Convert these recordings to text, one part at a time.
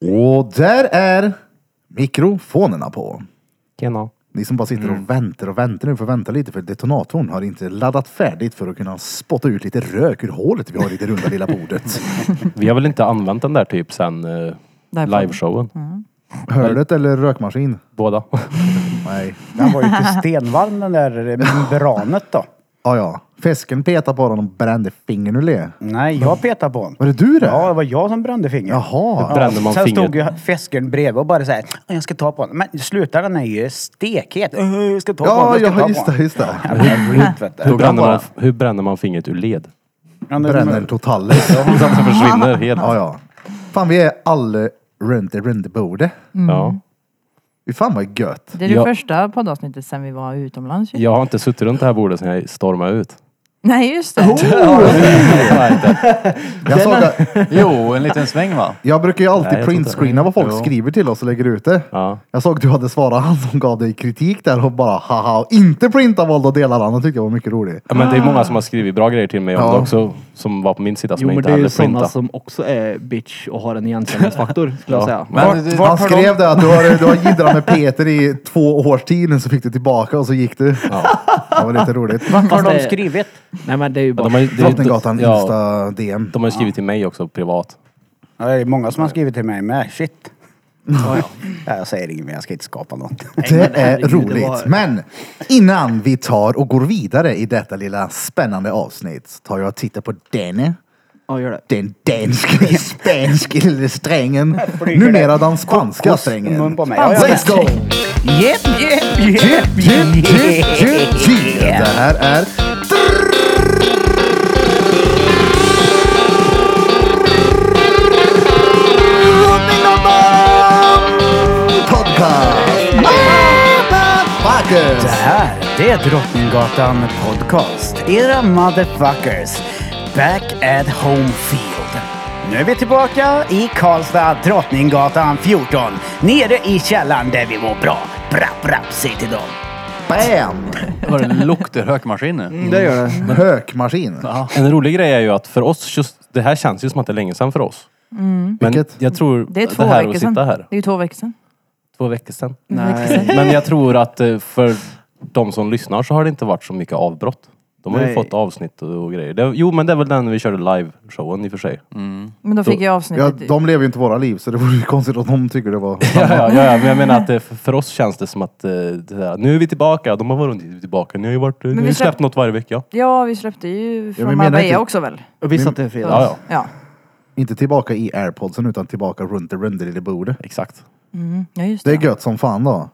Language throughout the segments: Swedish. Och där är mikrofonerna på. Genau. Ni som bara sitter och väntar och väntar nu får vänta lite för detonatorn har inte laddat färdigt för att kunna spotta ut lite rök ur hålet vi har i det runda lilla bordet. Vi har väl inte använt den där typ sen eh, Därifrån. liveshowen? Mm. Hörlet eller rökmaskin? Båda. Nej. Den var ju inte stenvarm den där membranet då. Ja, ja. Fisken petade på den och brände fingern ur le. Nej, jag petade på den. Var det du det? Ja, det var jag som brände fingret. Jaha. Brände man Sen fingret? stod ju fäskern bredvid och bara såhär, jag ska ta på den. Men sluta, den är ju stekhet. "Åh, Jag ska ta på Ja, den, jag ska ja, ta just på det, den. just det. Jävla skit, vet du. Hur bränner, man, bara. hur bränner man fingret ur led? Ja, nu- Bränner totalis. Så att det försvinner helt. Ja, ja. Fan, vi är alla runt det runda bordet. Mm. Ja. Fy fan vad gött. Det är det Ja. första poddavsnittet sen vi var utomlands ju. Jag har inte suttit runt det här bordet sen jag stormade ut. Nej just det. Jag, såg att, Jo, en liten sväng va? jag brukar ju alltid Nej, jag tror inte printscreena vad folk Jo. skriver till oss och lägger ut det. Ja. Jag såg att du hade svarat han som gav dig kritik där och bara haha, och inte printa valde att dela den. Det tyckte jag var mycket rolig. Ja, Men det är många som har skrivit bra grejer till mig om Ja. det också. Som var på min sida som Jo jag men inte det är ju heller sådana printade. som alltså- också är bitch och har en igenkänningsfaktor skulle jag säga. Men Vart- det- vart- Han skrev det att du har, du har jiddrat med Peter i två års tid, men så fick du tillbaka och så gick du. Det var lite roligt. Vad har de Fast det- skrivit? Nej men det är ju Ja, bara... de har ju- det är ju- Drottninggatan ja, Insta DM. De har ju skrivit till mig också privat. Ja, det är många som har skrivit till mig med. Shit. Ja, jag säger inget mer, jag ska inte skapa något. Det är herregud, det roligt. var- Men innan vi tar och går vidare i detta lilla spännande avsnitt tar jag och tittar på den. Ja gör det. Den danske, spanske lille strängen. flyger Numera det. den spanska Kokos i strängen. mun på mig. Ja, ja, Let's go! Jep, jep, Jip, jep, jip, jip, jep. jip, jip. Det här är... Podcast! Det Motherfuckers! här, det är Drottninggatan Podcast. Era motherfuckers. Back at home field. Nu är vi tillbaka i Karlstad, Drottninggatan 14. Nere i källaren där vi mår bra. Brapp, brapp, säg till dem. Bam! Var det en lukter högmaskin nu? Mm, Det gör det. Hökmaskin. En rolig grej är ju att för oss, just, det här känns ju som att det är länge sedan för oss. Men Vilket? jag tror Mm. Det är två här veckor att sedan. sitta här. Det är ju två veckor sedan. Två veckor sedan. Nej. Men jag tror att eh, för de som lyssnar så har det inte varit så mycket avbrott. De har ju Nej. fått avsnitt och och grejer. Det, jo men det är väl den vi körde live-showen i och för sig. Men då fick jag Ja, avsnittet. de lever ju inte våra liv så det vore ju konstigt om de tycker det var... Ja, ja, ja, ja, men jag menar att det, för oss känns det som att eh, det där, nu är vi tillbaka. De har varit tillbaka. Ni har ju varit, ni har vi ju släpp- släppt något varje vecka. Ja vi släppte ju men från menar Marbella inte- också väl? Och vi satt i fredags. Mm. Ja, ja. Ja. Inte tillbaka i airpodsen utan tillbaka runt det runda lilla bordet. Exakt. Mm, Ja just Det det. är gött som fan då.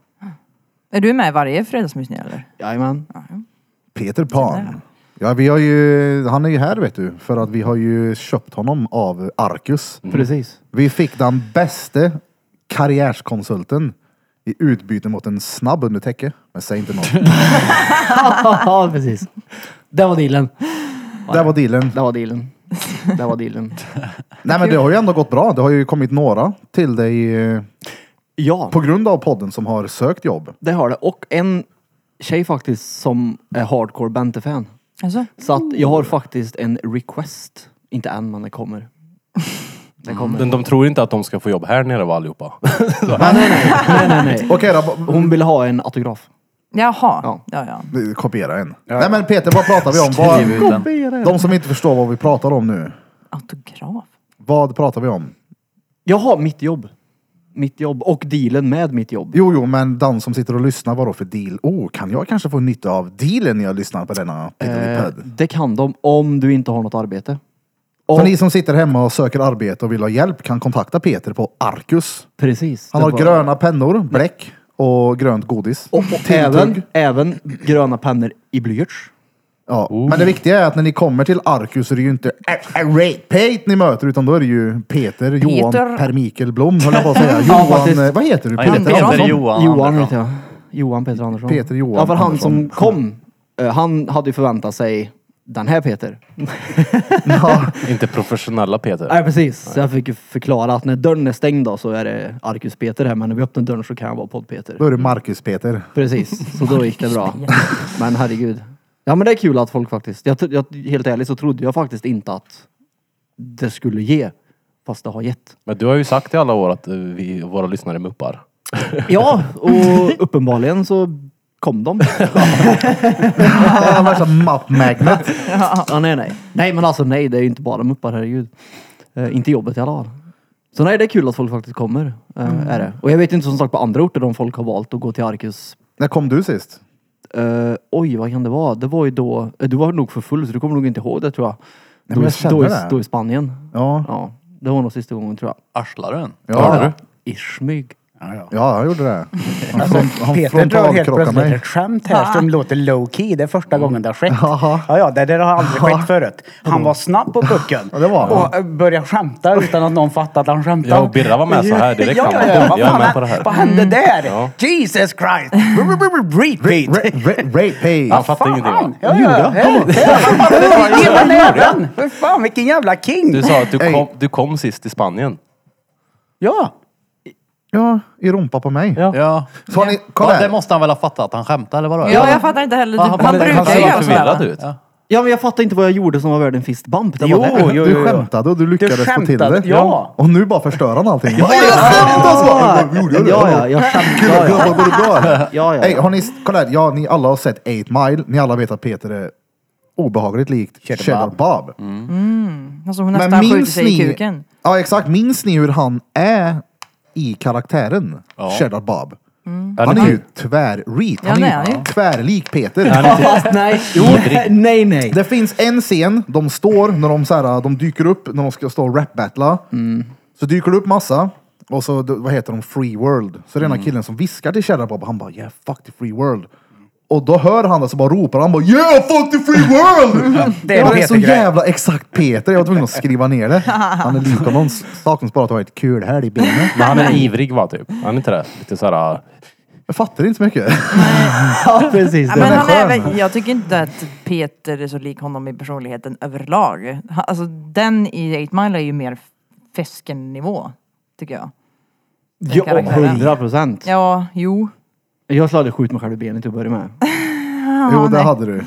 Är du med varje fredagsmys nu eller? Jajamän. Peter Pan. Ja, vi har ju, han är ju här vet du, för att vi har ju köpt honom av Arcus. Mm. Precis. Vi fick den bästa karriärskonsulten i utbyte mot en snabb under täcke. Men säg inte något. Ja precis. Det var dealen. Där var dealen. Det var dealen. Det var dealen. Nej men det har ju ändå gått bra. Det har ju kommit några till dig eh, Ja. på grund av podden som har sökt jobb. Det har det. Och en tjej faktiskt som är hardcore Bente-fan. Alltså? Så att jag har faktiskt en request. Inte än, men det kommer. Det kommer. De, de tror inte att de ska få jobb här nere va allihopa. Nej, nej, nej. eh, Okej då, Hon vill ha en autograf. Jaha. Ja Ja. ja. ja. b- kopiera en. Nej men Peter, vad pratar vi om? Skriv Vad, ut den. de som inte förstår vad vi pratar om nu. Autograf. Vad pratar vi om? Jaha, mitt jobb. Mitt jobb och dealen med mitt jobb. Jo, jo, men den som sitter och lyssnar, vadå för deal? Oh, kan jag kanske få nytta av dealen när jag lyssnar på denna Eh, Piddelipöd? det kan de om du inte har något arbete. Så Och, ni som sitter hemma och söker arbete och vill ha hjälp kan kontakta Peter på Arcus. precis. Han det har var- gröna pennor, bläck och grönt godis. Och, och även, även gröna pennor i blyerts. Ja. Oh. Men det viktiga är att när ni kommer till Arcus så är det ju inte Ä- Ä- Ray- Pate ni möter, utan då är det ju Peter, Johan Peter. Per Mikael Blom, höll jag på att säga. Ja, Johan, faktiskt. eh, vad heter du? Han heter Peter Andersson? Peter Johan Johan Andersson. heter jag. Johan Peter Andersson. Peter Johan Ja, för han Andersson. som kom, eh, han hade ju förväntat sig den här Peter. Ja. inte professionella Peter. Nej, precis. Så jag fick ju förklara att när dörren är stängd då, så är det Arkus-Peter här, men när vi öppnar dörren så kan jag vara Podd-Peter. Då är det Marcus-Peter. Precis, så då gick det bra. Men herregud. Ja men det är kul att folk faktiskt, jag, tro- jag, helt ärligt så trodde jag faktiskt inte att det skulle ge Fast det har gett. Men du har ju sagt i alla år att eh, vi, våra lyssnare är muppar. Ja, och uppenbarligen så kom de. Han var som map magnet. Ja, nej, nej. Nej, men alltså nej, det är ju inte bara muppar, herregud. Eh, inte jobbet i alla fall. Så nej, det är kul att folk faktiskt kommer. Eh, är det. Och jag vet inte som sagt på andra orter om folk har valt att gå till Arkus. När kom du sist? Eh, oj, vad kan det vara? Det var ju då, eh, du var nog för full så du kommer nog inte ihåg det tror jag. men jag då, känner i- då, i, det. då i Spanien. Ja, Ja, det var nog sista gången tror jag. Arslaren. ja, Hörde du? I smyg. Ja, ja. ja jag gjorde det. Han, Alltså, från, han Peter drar helt frontalkrockade plötsligt mig. ett skämt här som låter low key. Det är första gången det har skett. Jaha. Ja, ja, det där har aldrig skett förut. Han var snabb på pucken Ja, det var han. och eh, började skämta utan att någon fattade att han skämtade. Ja, och Birra var med så här direkt. Ja, ja, Han ja. bara, Vad, "Jag är fan, med på det här." vad hände där? Ja. Jesus Christ! Repeat! Ra- ra- Rape, hej! Han fattade ingenting. Ja, ja, ja. Hela näven! För fan, vilken jävla king! Du sa att du Ey. kom, du kom sist till Spanien. Ja. Ja, i rumpa på mig. Ja. Ja. Så har ni, kolla ja. Det här. måste han väl ha fattat, han skämtade eller vadå? Ja, jag fattar inte heller. Ja, Typ, han- han han- brukar Han Jag såg är göra förvirrad sådär. ut. Ja. Ja, men jag fattar inte vad jag gjorde som var värd en fist bump. Det Jo, var det. jo, Du skämtade och du lyckades Jag få till skämtade, det. ja. Och nu bara förstör han allting. Ja, Ja, gjorde alltså? ja, jag det? ja, jag Gud, skämtar. vad Ja, bra, vad bra. ja, Ey, ja. har ni, kolla här, ja, ni alla har sett 8 Mile. Ni alla vet att Peter är obehagligt likt Cheddar Cheddar Bob. Alltså hon nästan skjuter sig i kuken. Ja, exakt. Minns ni hur han är i karaktären Cheddar Bob? Han är ju tvärreet. Mm. Ja, Han det är är han ju ju. tvärlik Peter. Fast nej, nej, nej. Det finns en scen, de står när de, så här, de dyker upp när de ska stå och rap-battla. Så dyker det upp massa. Och så, d- vad heter de, Free World. Så det är den här killen som viskar till Cheddar Bob, han bara yeah fuck the free world. Och då hör han det så bara ropar han bara yeah fuck the free world! Det är en det är så Peter-grej. jävla exakt Peter, jag var tvungen att skriva ner det. Han är lik honom, saknas bara att ha ett kul här i benen. Men han är ivrig va, typ? Han är inte det? Lite äh, såhär... Jag fattar inte så mycket. Ja, precis. Ja, Det. men är han är skön. väl, jag tycker inte att Peter är så lik honom i personligheten överlag. Ha- Alltså den i 8 Mile är ju mer Fesken-nivå, tycker jag. Ja, karaktären. 100 procent. Ja, jo. Jag slog skjut mig själv i benet till att börja med. jo, det hade du.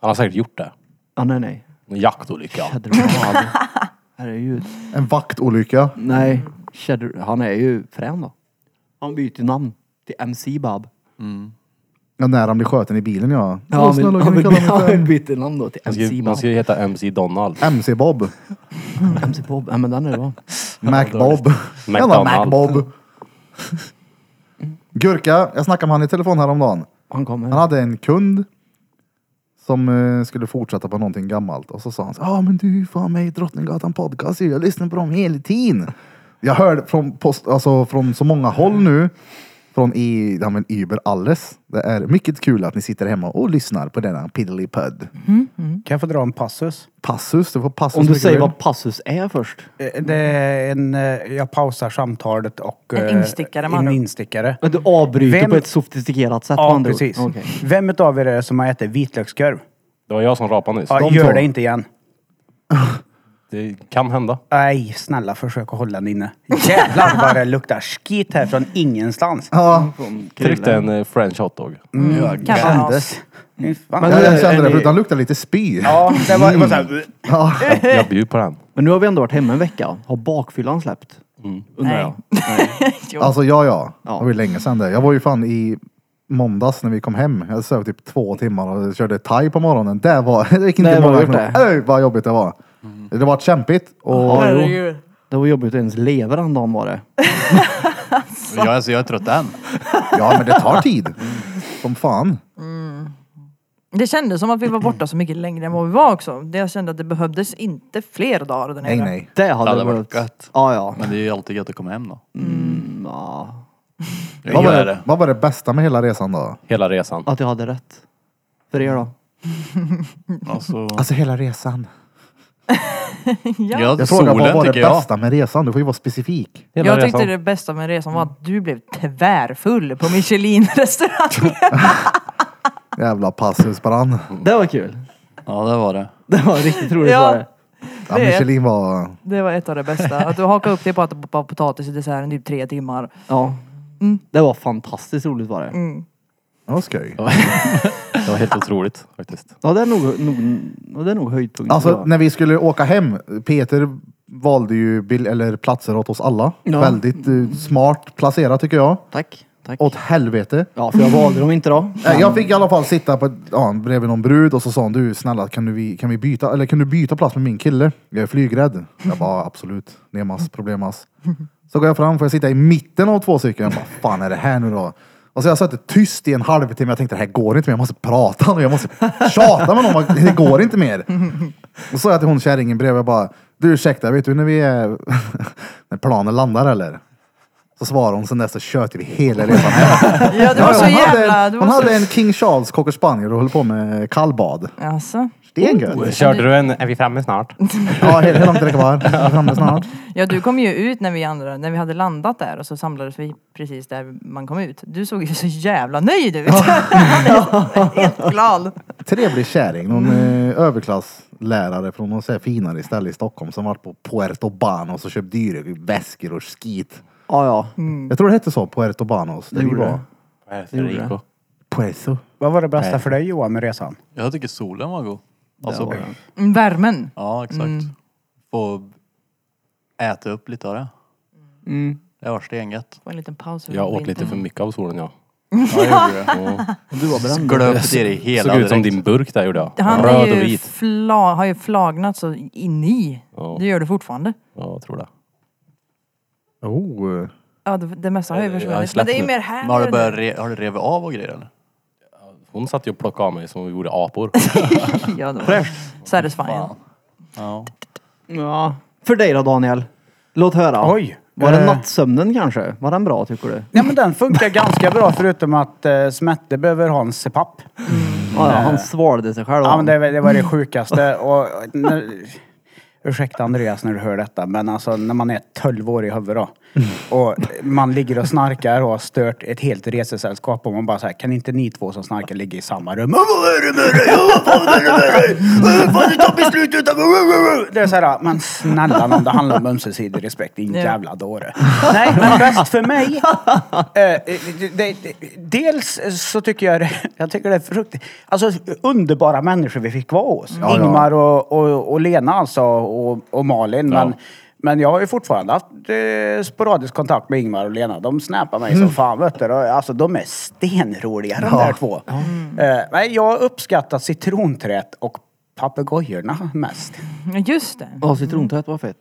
Han har säkert gjort det. Ja, nej, nej. En jaktolycka. Cheddar Bob. Herregud. En vaktolycka. Nej, Cheddar, han är ju frän då. Han byter namn till MC Bob. Ja, när han blir skjuten i bilen ja. Åh, Ja, snälla, men, kan han, vi vill, kalla honom han för vill byta namn då till Han ska, MC ju- han Bob. ska ju heta MC Donald. MC Bob. MC Bob. Ja, men den är bra. Mac Bob. Jävla Mac Bob. Gurka, jag snackade med han i telefon häromdagen. Han kommer. Han hade en kund som eh, skulle fortsätta på någonting gammalt och så sa han så ja ah, men du är fan med i Drottninggatan podcast ju. jag lyssnar på dem hela tiden. Jag hörde från, post, alltså, från så många håll nu, från i, ja, men, Uber alles. Det är mycket kul att ni sitter hemma och lyssnar på denna piddly-pudd. Kan jag få dra en passus? Passus, du får passus. Om du mycket säger väl. vad passus är först. Eh, Det är en, eh, jag pausar samtalet och... En eh, instickare, med En andra ord. instickare. Men Du avbryter Vem- på ett sofistikerat sätt med Ja, andra ord. precis. Okej. Vem utav er är det som har ätit vitlökskorv? Det var jag som rapade nyss. Ja, De gör två. det inte igen. Det kan hända. Nej, snälla försök att hålla den inne. Jävlar vad det luktar skit här från ingenstans. Ja, Tryckte en eh, french hotdog. Mm, kan man ha. Fy fan. jag, jag kände Mm. Är det, ni- för han luktar lite spy. Ja, det var, det var så här, Ja. Jag, jag bjuder på den. Men nu har vi ändå varit hemma en vecka. Har bakfyllan släppt? Mm. Undrar Nej. jag. Alltså ja, ja. Ja. Det var ju länge sedan det. Jag var ju fan i måndags när vi kom hem. Jag sov typ två timmar och körde thai på morgonen. Det var... Det gick inte Mm. Det var många gjort knop. Öj, vad jobbigt det var. Det var kämpigt och... Ja, jo. Det var jobbigt att ens lever den dagen var det. Jag, alltså, jag är trött än. Ja, men det tar tid. Som fan. Det kändes som att vi var borta så mycket längre än vad vi var också. Det jag kände att det behövdes inte fler dagar den här Nej, gången. nej. Det hade, Det hade varit gött. Ja, ja. Men det är ju alltid gött att komma hem då. Mm, ja. Jag Vad var, gillar det, vad var det bästa med hela resan då? Hela resan. Att jag hade rätt. För er då? Alltså, Alltså hela resan. Jag ja, frågar vad solen var det tycker jag. bästa med resan? Du får ju vara specifik. Hela Jag resan. tyckte det bästa med resan var att du blev tvärfull på Michelin-restaurangen. Jävla passus på den. Mm. Det var kul. Ja, det var det. Det var riktigt roligt. Ja. var det. Ja, Det- Michelin var... Det var ett av det bästa. Att du hakade upp dig på att äta potatis i desserten typ tre timmar. Ja. Det var fantastiskt roligt var det. Det var skoj. Det var helt otroligt faktiskt. Ja, det är nog, nog, ja, det är nog höjdpunkten. Alltså tror jag. när vi skulle åka hem, Peter valde ju bil- eller platser åt oss alla. Ja. Väldigt eh, smart placerat tycker jag. Tack. Tack. Åt helvete. Ja, för jag valde dem inte då. Nej, Eh, Jag fick i alla fall sitta på, ja, bredvid någon brud och så sa hon du snälla kan du, vi- kan vi byta, eller kan du byta plats med min kille? Jag är flygrädd. Jag bara absolut, nemas, problemas. Så går jag fram, får jag sitta i mitten av två stycken. Jag bara, fan är det här nu då? Alltså jag satt tyst i en halvtimme, jag tänkte det här går inte mer, jag måste prata nu, jag måste tjata med någon, det går inte mer. Och så sa jag till hon kärringen bredvid, jag bara, du ursäkta, vet du när vi är, när planen landar eller? Så svarade hon, sen dess så tjöt vi hela resan hem. Ja, det var Ja, så hon jävla... Hade, det hon var så- hade en King Charles cocker spaniel och höll på med kallbad. Alltså. Stengött! Körde du en, är vi framme snart? Ja, hela hela tiden kvar. Jag är Framme snart. Ja, du kom ju ut när vi andra, när vi hade landat där och så samlades vi precis där man kom ut. Du såg ju så jävla nöjd ut. Helt glad. Trevlig kärring. Någon eh, överklasslärare från något så här finare ställe i Stockholm som varit på Puerto Banos och köpt dyra väskor och skit. Ja, ja. Jag tror det hette så, Puerto Banos. Där vi gjorde var. det. Rico. Puerto. Mm. Vad var det bästa för dig Johan med resan? Jag tycker solen var god. Alltså, var Mm, Värmen. ja, exakt. Få äta upp lite av det. Mm. Det var stengött. Få en liten paus. över Jag åt vintern. lite för mycket av solen ja. Du var bränd. Glömt i dig hela Såg ut som direkt. din burk där gjorde jag. Han är Röd och ju vit. fla, har ju flagnat så in i. Ja. Det gör det fortfarande. Ja, jag tror det. Oh. Ja, det, det mesta har ju Jag- jag har försvunnit. Men släppt det är ju nu. mer här Men har nu du, än börjat re- har du revit av och grejer eller? Hon satt ju och plockade av mig som om vi vore apor. där. Ja, det var satisfying. Fan. Ja. Ja. För dig då Daniel? Låt höra. Oj! Var det Eh, nattsömnen kanske? Var den bra tycker du? Ja men den funkar ganska bra förutom att eh, Smette behöver ha en CPAP. Ja, ja, han svalde sig själv. Ja men han. det, var- det var det sjukaste. Och, när, ursäkta Andreas när du hör detta men alltså när man är 12 år i huvudet då, och man ligger och snarkar och har stört ett helt resesällskap och man bara såhär, kan inte ni två som snarkar ligga i samma rum? Vad är det med dig? Ja, Vad fan är det med dig? Vad fan, du tar beslut utan... Det är såhär, men snälla nån, det handlar om ömsesidig respekt, din Ja. jävla dåre. Nej men bäst för mig Eh, eh, det, det, det- dels så tycker jag, det- jag tycker det är frukt. Alltså underbara människor vi fick vara hos. Ja, ja. Ingmar Och, och, och Lena alltså och, och Malin. Men, men jag har ju fortfarande haft eh, sporadisk kontakt med Ingmar och Lena. De snappar mig Mm. som fan vet du. Och, Alltså de är stenroliga de där två. Eh, men jag uppskattar citronträet och papegojorna mest. Just det. Ja, citrontät var fett.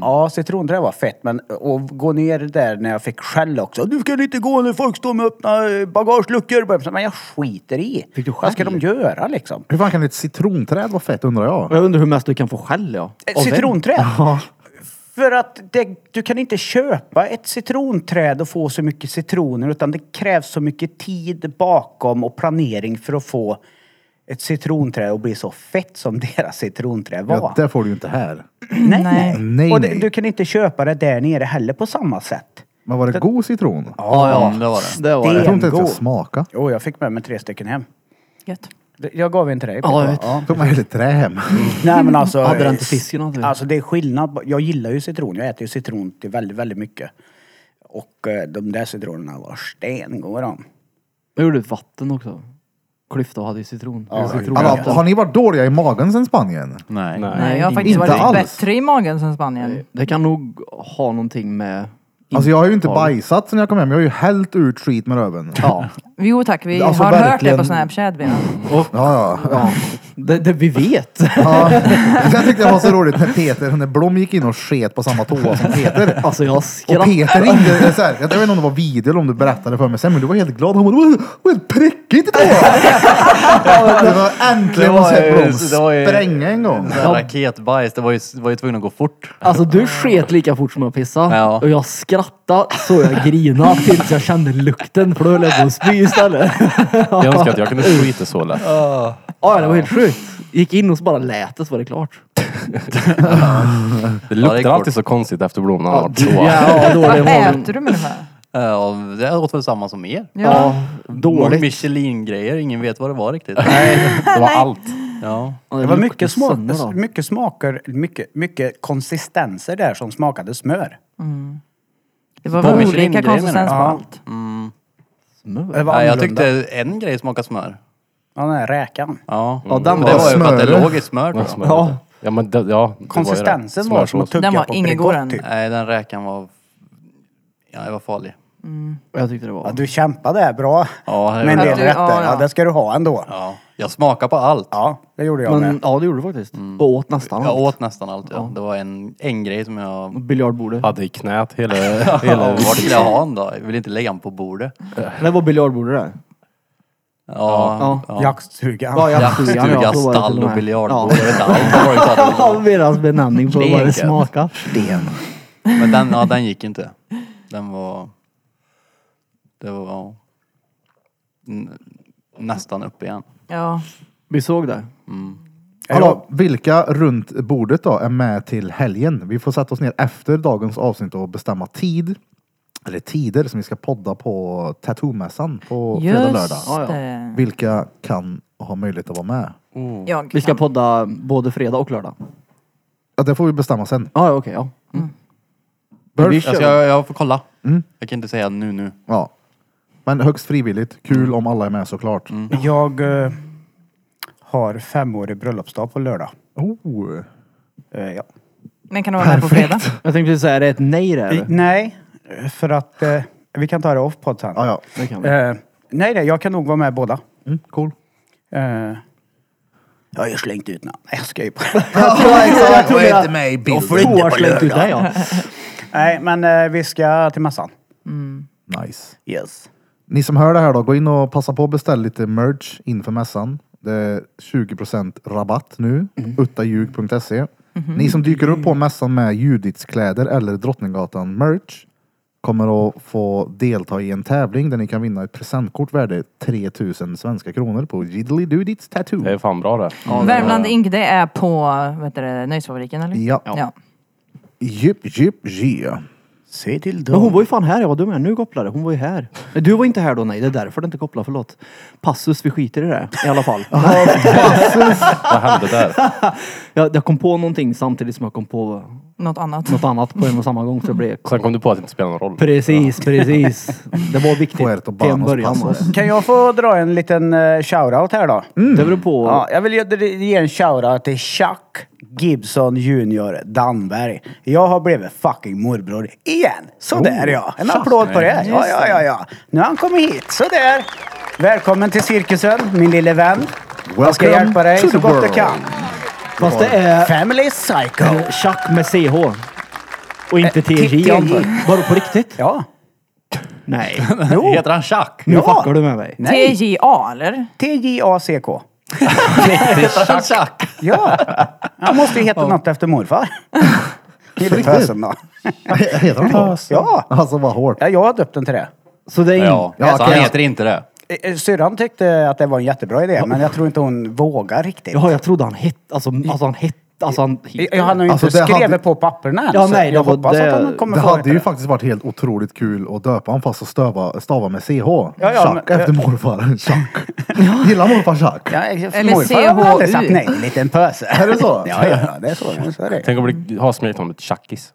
Ja, citronträ var fett. Men att gå ner där när jag fick skäll också. Du ska inte gå när folk står med öppna eh, bagageluckor. Men jag skiter i. Fick du Vad ska de skäll? göra liksom? Hur fan kan ett citronträd vara fett undrar jag? Jag undrar hur mest du kan få skäll ja. Ett Av vem? citronträd? För att det, du kan inte köpa ett citronträd och få så mycket citroner utan det krävs så mycket tid bakom och planering för att få ett citronträd att bli så fett som deras citronträd var. Ja, det får du ju inte här. Nej, Nej. nej. Nej, och det, nej. du kan inte köpa det där nere heller på samma sätt. Men var det god citron? Ja, ja. Mm, det var det. Det var Jag det. tror inte ens jag god. smaka. Jo, jag fick med mig tre stycken hem. Gött. Det- Jag gav en till dig. Ja, jag vet. Ja. Tog med hela trä hem. Nej men alltså. Hade den till fisken, hade vi. Alltså det är skillnad. på- Jag gillar ju citron. Jag äter ju citron till väldigt, väldigt mycket. Och eh, de där citronerna var stengoda de. Jag gjorde ett vatten också. Klyfta hade ju citron. Ja, citron. Alla, Alltså, har ni varit dåliga i magen sen Spanien? Nej. Nej. Nej, jag har faktiskt inte varit alls. bättre i magen sen Spanien. Det kan nog ha någonting med... Alltså jag har ju inte intaget. bajsat sen jag kom hem. Jag har ju hällt ut skit med röven. Ja, Jo tack, vi Alltså, har verkligen. hört det på Snapchat. vi. Ja, ja. det, det vi vet. ja. Jag tyckte det var så roligt när Peter, när Blom gick in och sket på samma toa som Peter. Alltså jag Och skrattade. Peter ringde, eller så här, jag vet inte om det var video eller om du berättade för mig sen, men du var helt glad. Han bara, "Det var- det var helt prickigt i toan. Det var äntligen Det man var sett ju- Blom det var ju- spränga en gång. Det där Raketbajs, det var ju, det var ju tvungen att gå fort. Alltså du sket lika fort som jag pissade. Ja. Och jag skrattade så jag grinade tills jag kände lukten för då höll jag på att spy istället. Jag önskar att jag kunde skita så lätt. Ja, det var helt sjukt. Gick in och så bara lät det så var det klart. Det Ja, det är luktar klart. alltid så konstigt efter Blom när han har varit Ja, toa. dålig Vad morgon. äter du med det här? Eh, och Det åt väl samma som er. Ja. Dåligt. Michelin-grejer, ingen vet vad det var riktigt. Det var allt. Ja. Det var mycket, smak, sönder då. mycket smaker, mycket, mycket konsistenser där som smakade smör. Det var På väl Michelin, olika det menar konsistens på jag. Ja. allt. Det var Nej, jag annorlunda. tyckte en grej smakade smör. Ja, den här räkan. Ja. Ja, den Men det var var ju för att det smörig. låg i smör. tror jag. Ja. Ja, men det, ja, det Konsistensen var, typ som att tugga Den var på innergården. Bregott typ. Nej, den räkan var... Ja, det var farlig. Jag tyckte det var... Ja, du kämpade här bra. Ja, Med det en gjorde del jag. rätter. Ja, du- Ja, ja, ja. det ska du ha ändå. Ja, Ja, jag smakade på allt. det gjorde jag men med. ja, det gjorde du faktiskt. Och åt nästan Jag allt. åt nästan allt. Ja. Det var en, en grej som jag... Biljardbordet. Hade i knät hela... Ja, hela var skulle jag ha en då? Jag ville inte lägga den på bordet. Det var biljardbordet det. Ja, ja. Jaktstugan. Ja, jaktstugan, Jaktstuga, ja, så var det till stall och och med. biljardbord. Jag vet inte allt. Det var ju så att- Ja. Deras benämning på vad det Leken. smakar. Men den, ja, den gick inte. Den var... Det var... ja. N- Nästan upp igen. Ja. Vi såg det. Hallå, vilka runt bordet då är med till helgen? Vi får sätta oss ner efter dagens avsnitt och bestämma tid. Eller tider som vi ska podda på Tattoo-mässan på fredag och lördag. Just det. Vilka kan ha möjlighet att vara med? Jag Vi ska kan. podda både fredag och lördag. Ja, det får vi bestämma sen. Ja, okej, ja. Bör- Jag, ska, jag får kolla. Mm. Jag kan inte säga nu nu. Ja. Men högst frivilligt. Kul om alla är med såklart. Jag eh, har femårig bröllopsdag på lördag. Oh. Eh, ja. Men kan du vara med på fredag? Jag tänkte precis säga, är det ett nej där? I, eller? nej, för att... eh, vi kan ta det off podd sen. Ja, ja. Det kan vi. Eh, nej, nej, jag kan nog vara med båda. Mm, cool. Eh, jag har ju slängt ut namn. Nej, jag skojar ju bara. Jag tror det. med i Jag får inte Två har på slängt ut lördag. dig ja. Nej, men eh, vi ska till mässan. Nice. Yes. Ni som hör det här då, gå in och passa på att beställa lite merch inför mässan. Det är 20% rabatt nu. Mm. Uttaljug.se. Mhm. Ni som dyker upp på mässan med Juditskläder eller Drottninggatan merch kommer att få delta i en tävling där ni kan vinna ett presentkort värde 3000 svenska kronor på Jiddly Dudits Tattoo. Det är fan bra det. Värmland Ink, det är på vad heter det, Nöjesfabriken eller? Ja. ja. Jupp, jupp, ja. Se till Men hon dem. var ju fan här, jag var dum här. Nu kopplar det. Hon var ju här. Nej, Du var inte här då, nej. Det är därför det inte kopplar, förlåt. Passus, vi skiter i det i alla fall. Vad hände där? Jag, jag kom på någonting samtidigt som jag kom på Något annat. något annat på en och samma gång. Så det blev... Sen kom du på att det inte spelar någon roll. Precis, precis. Det var viktigt Puerto till en Banos början. var det. Passos. Kan jag få dra en liten eh, shoutout här då? Det beror på. Ja, jag vill ge- ge en shoutout till Chuck Gibson Junior Danberg. Jag har blivit fucking morbror igen. Oh, Sådär ja. En applåd på det. Ja, ja, ja, ja. Nu har han kommit hit. Sådär. Välkommen till cirkusen, min lille vän. jag ska Welcome hjälpa dig to så the gott jag world. kan. Fast det är Family Psycho. eh, Chuck med CH. Och inte Eh, T- TJ TJ. antar jag. Vadå på riktigt? Ja. Nej. Heter han Chuck? Nu Ja. fuckar du med mig. Nej. TJA eller? T-J-A-C-K. Heter han Chuck? Ja. Han måste ju heta något efter morfar. Lille tösen då. Heter han så? Ja. Alltså vad hårt. Ja, jag har döpt den till det. Så det är in... Ja, Ja, så okej. han heter inte det. Eh, eh, Syrran tyckte att det var en jättebra idé, men jag tror inte hon vågar riktigt. Jaha, jag trodde han hette... Alltså, alltså han hette... Alltså han... Jag- Jag hann ju inte Alltså, det skrivit hade- på papperna än, Ja, så nej, det jag var- hoppas det- att han kommer Det få hade veta ju det. faktiskt varit helt otroligt kul att döpa honom fast att stöva, stava med CH. Ja, ja, Chuck men- efter morfar. Chuck. Gillar morfar Chuck? Ja, jag- Eller morfar har aldrig CHU. sagt nej, en liten pöse. Är det så? Ja, ja, det är så. så är det. Tänk att bli, ha smeknamnet Chuckis.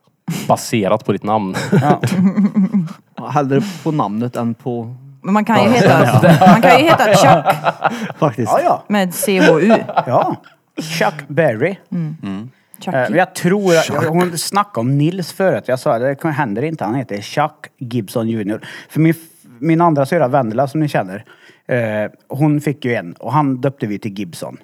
Baserat på ditt namn. Ja. Ja, Hellre på namnet än på... Men man kan ju heta, man kan ju heta Chuck Faktiskt. ja, ja. med CHU. ja. Chuck Berry. Chuck. Eh, Jag tror, jag, hon snackade om Nils förut. Jag sa det händer inte, han heter Chuck Gibson Jr. För min, min andra syrra Vendela som ni känner, eh, hon fick ju en och han döpte vi till Gibson.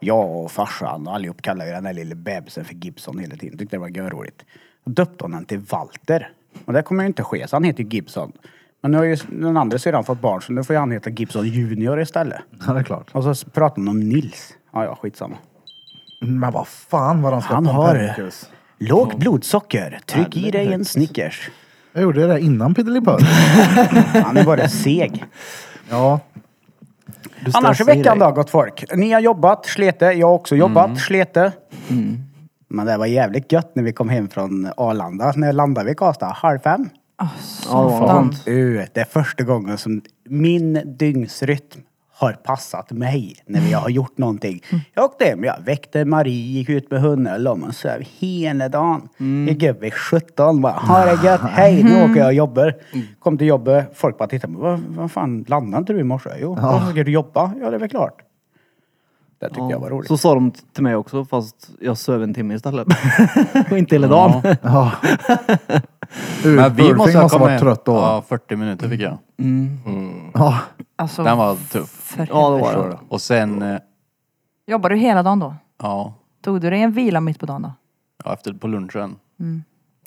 Jag och farsan och allihop kallade ju den här lilla bebisen för Gibson hela tiden. Tyckte det var görroligt. Då döpte hon den till Walter. Och det kommer ju inte ske, så han heter ju Gibson. Men nu har ju den andra syrran fått barn så nu får ju han heta Gibson Junior istället. Ja, det är klart. Och så pratar hon om Nils. Ja, ja, skitsamma. Men vad fan vad han ska Han på en har- Pernickus. Lågt blodsocker. Tryck i dig en Snickers. Jag gjorde det där innan Piddelipöl. Han är bara seg. Ja. Du stressar Annars i i veckan dig. Mm. då, gott folk. Ni har jobbat, slete. Jag har också jobbat, slete. Men det var jävligt gött när vi kom hem från Arlanda. När landade vi i Karlstad? Halv fem? Ja, det var Fan. skönt. Uh, det är första gången som min dygnsrytm har passat mig när vi har gjort någonting. Mm. Jag åkte hem, jag väckte Marie, gick ut med hunden, jag la mig och sov hela dagen. Mm. Gick upp vid 17, bara ha det gött, hej nu åker jag och jobbar. Kom till jobbet, folk bara tittade på mig, vad, vad fan landade inte du i morse? Jo, varför ska du jobba? Ja det är väl klart. Det Det tyckte jag var roligt. Så sa de t- till mig också fast jag söv en timme istället. och inte hela dagen. Ja. Ulf Men vi Ulfing måste måste ha ha kommit... varit trött då. Mm. Ja, 40 minuter fick jag. Ja. Alltså, Den var tuff. för Ja, det var helvete. det. Och sen, eh, Jobbar du hela dagen då? ja, Tog du dig en vila mitt på dagen då? ja efter på lunchen. Mm.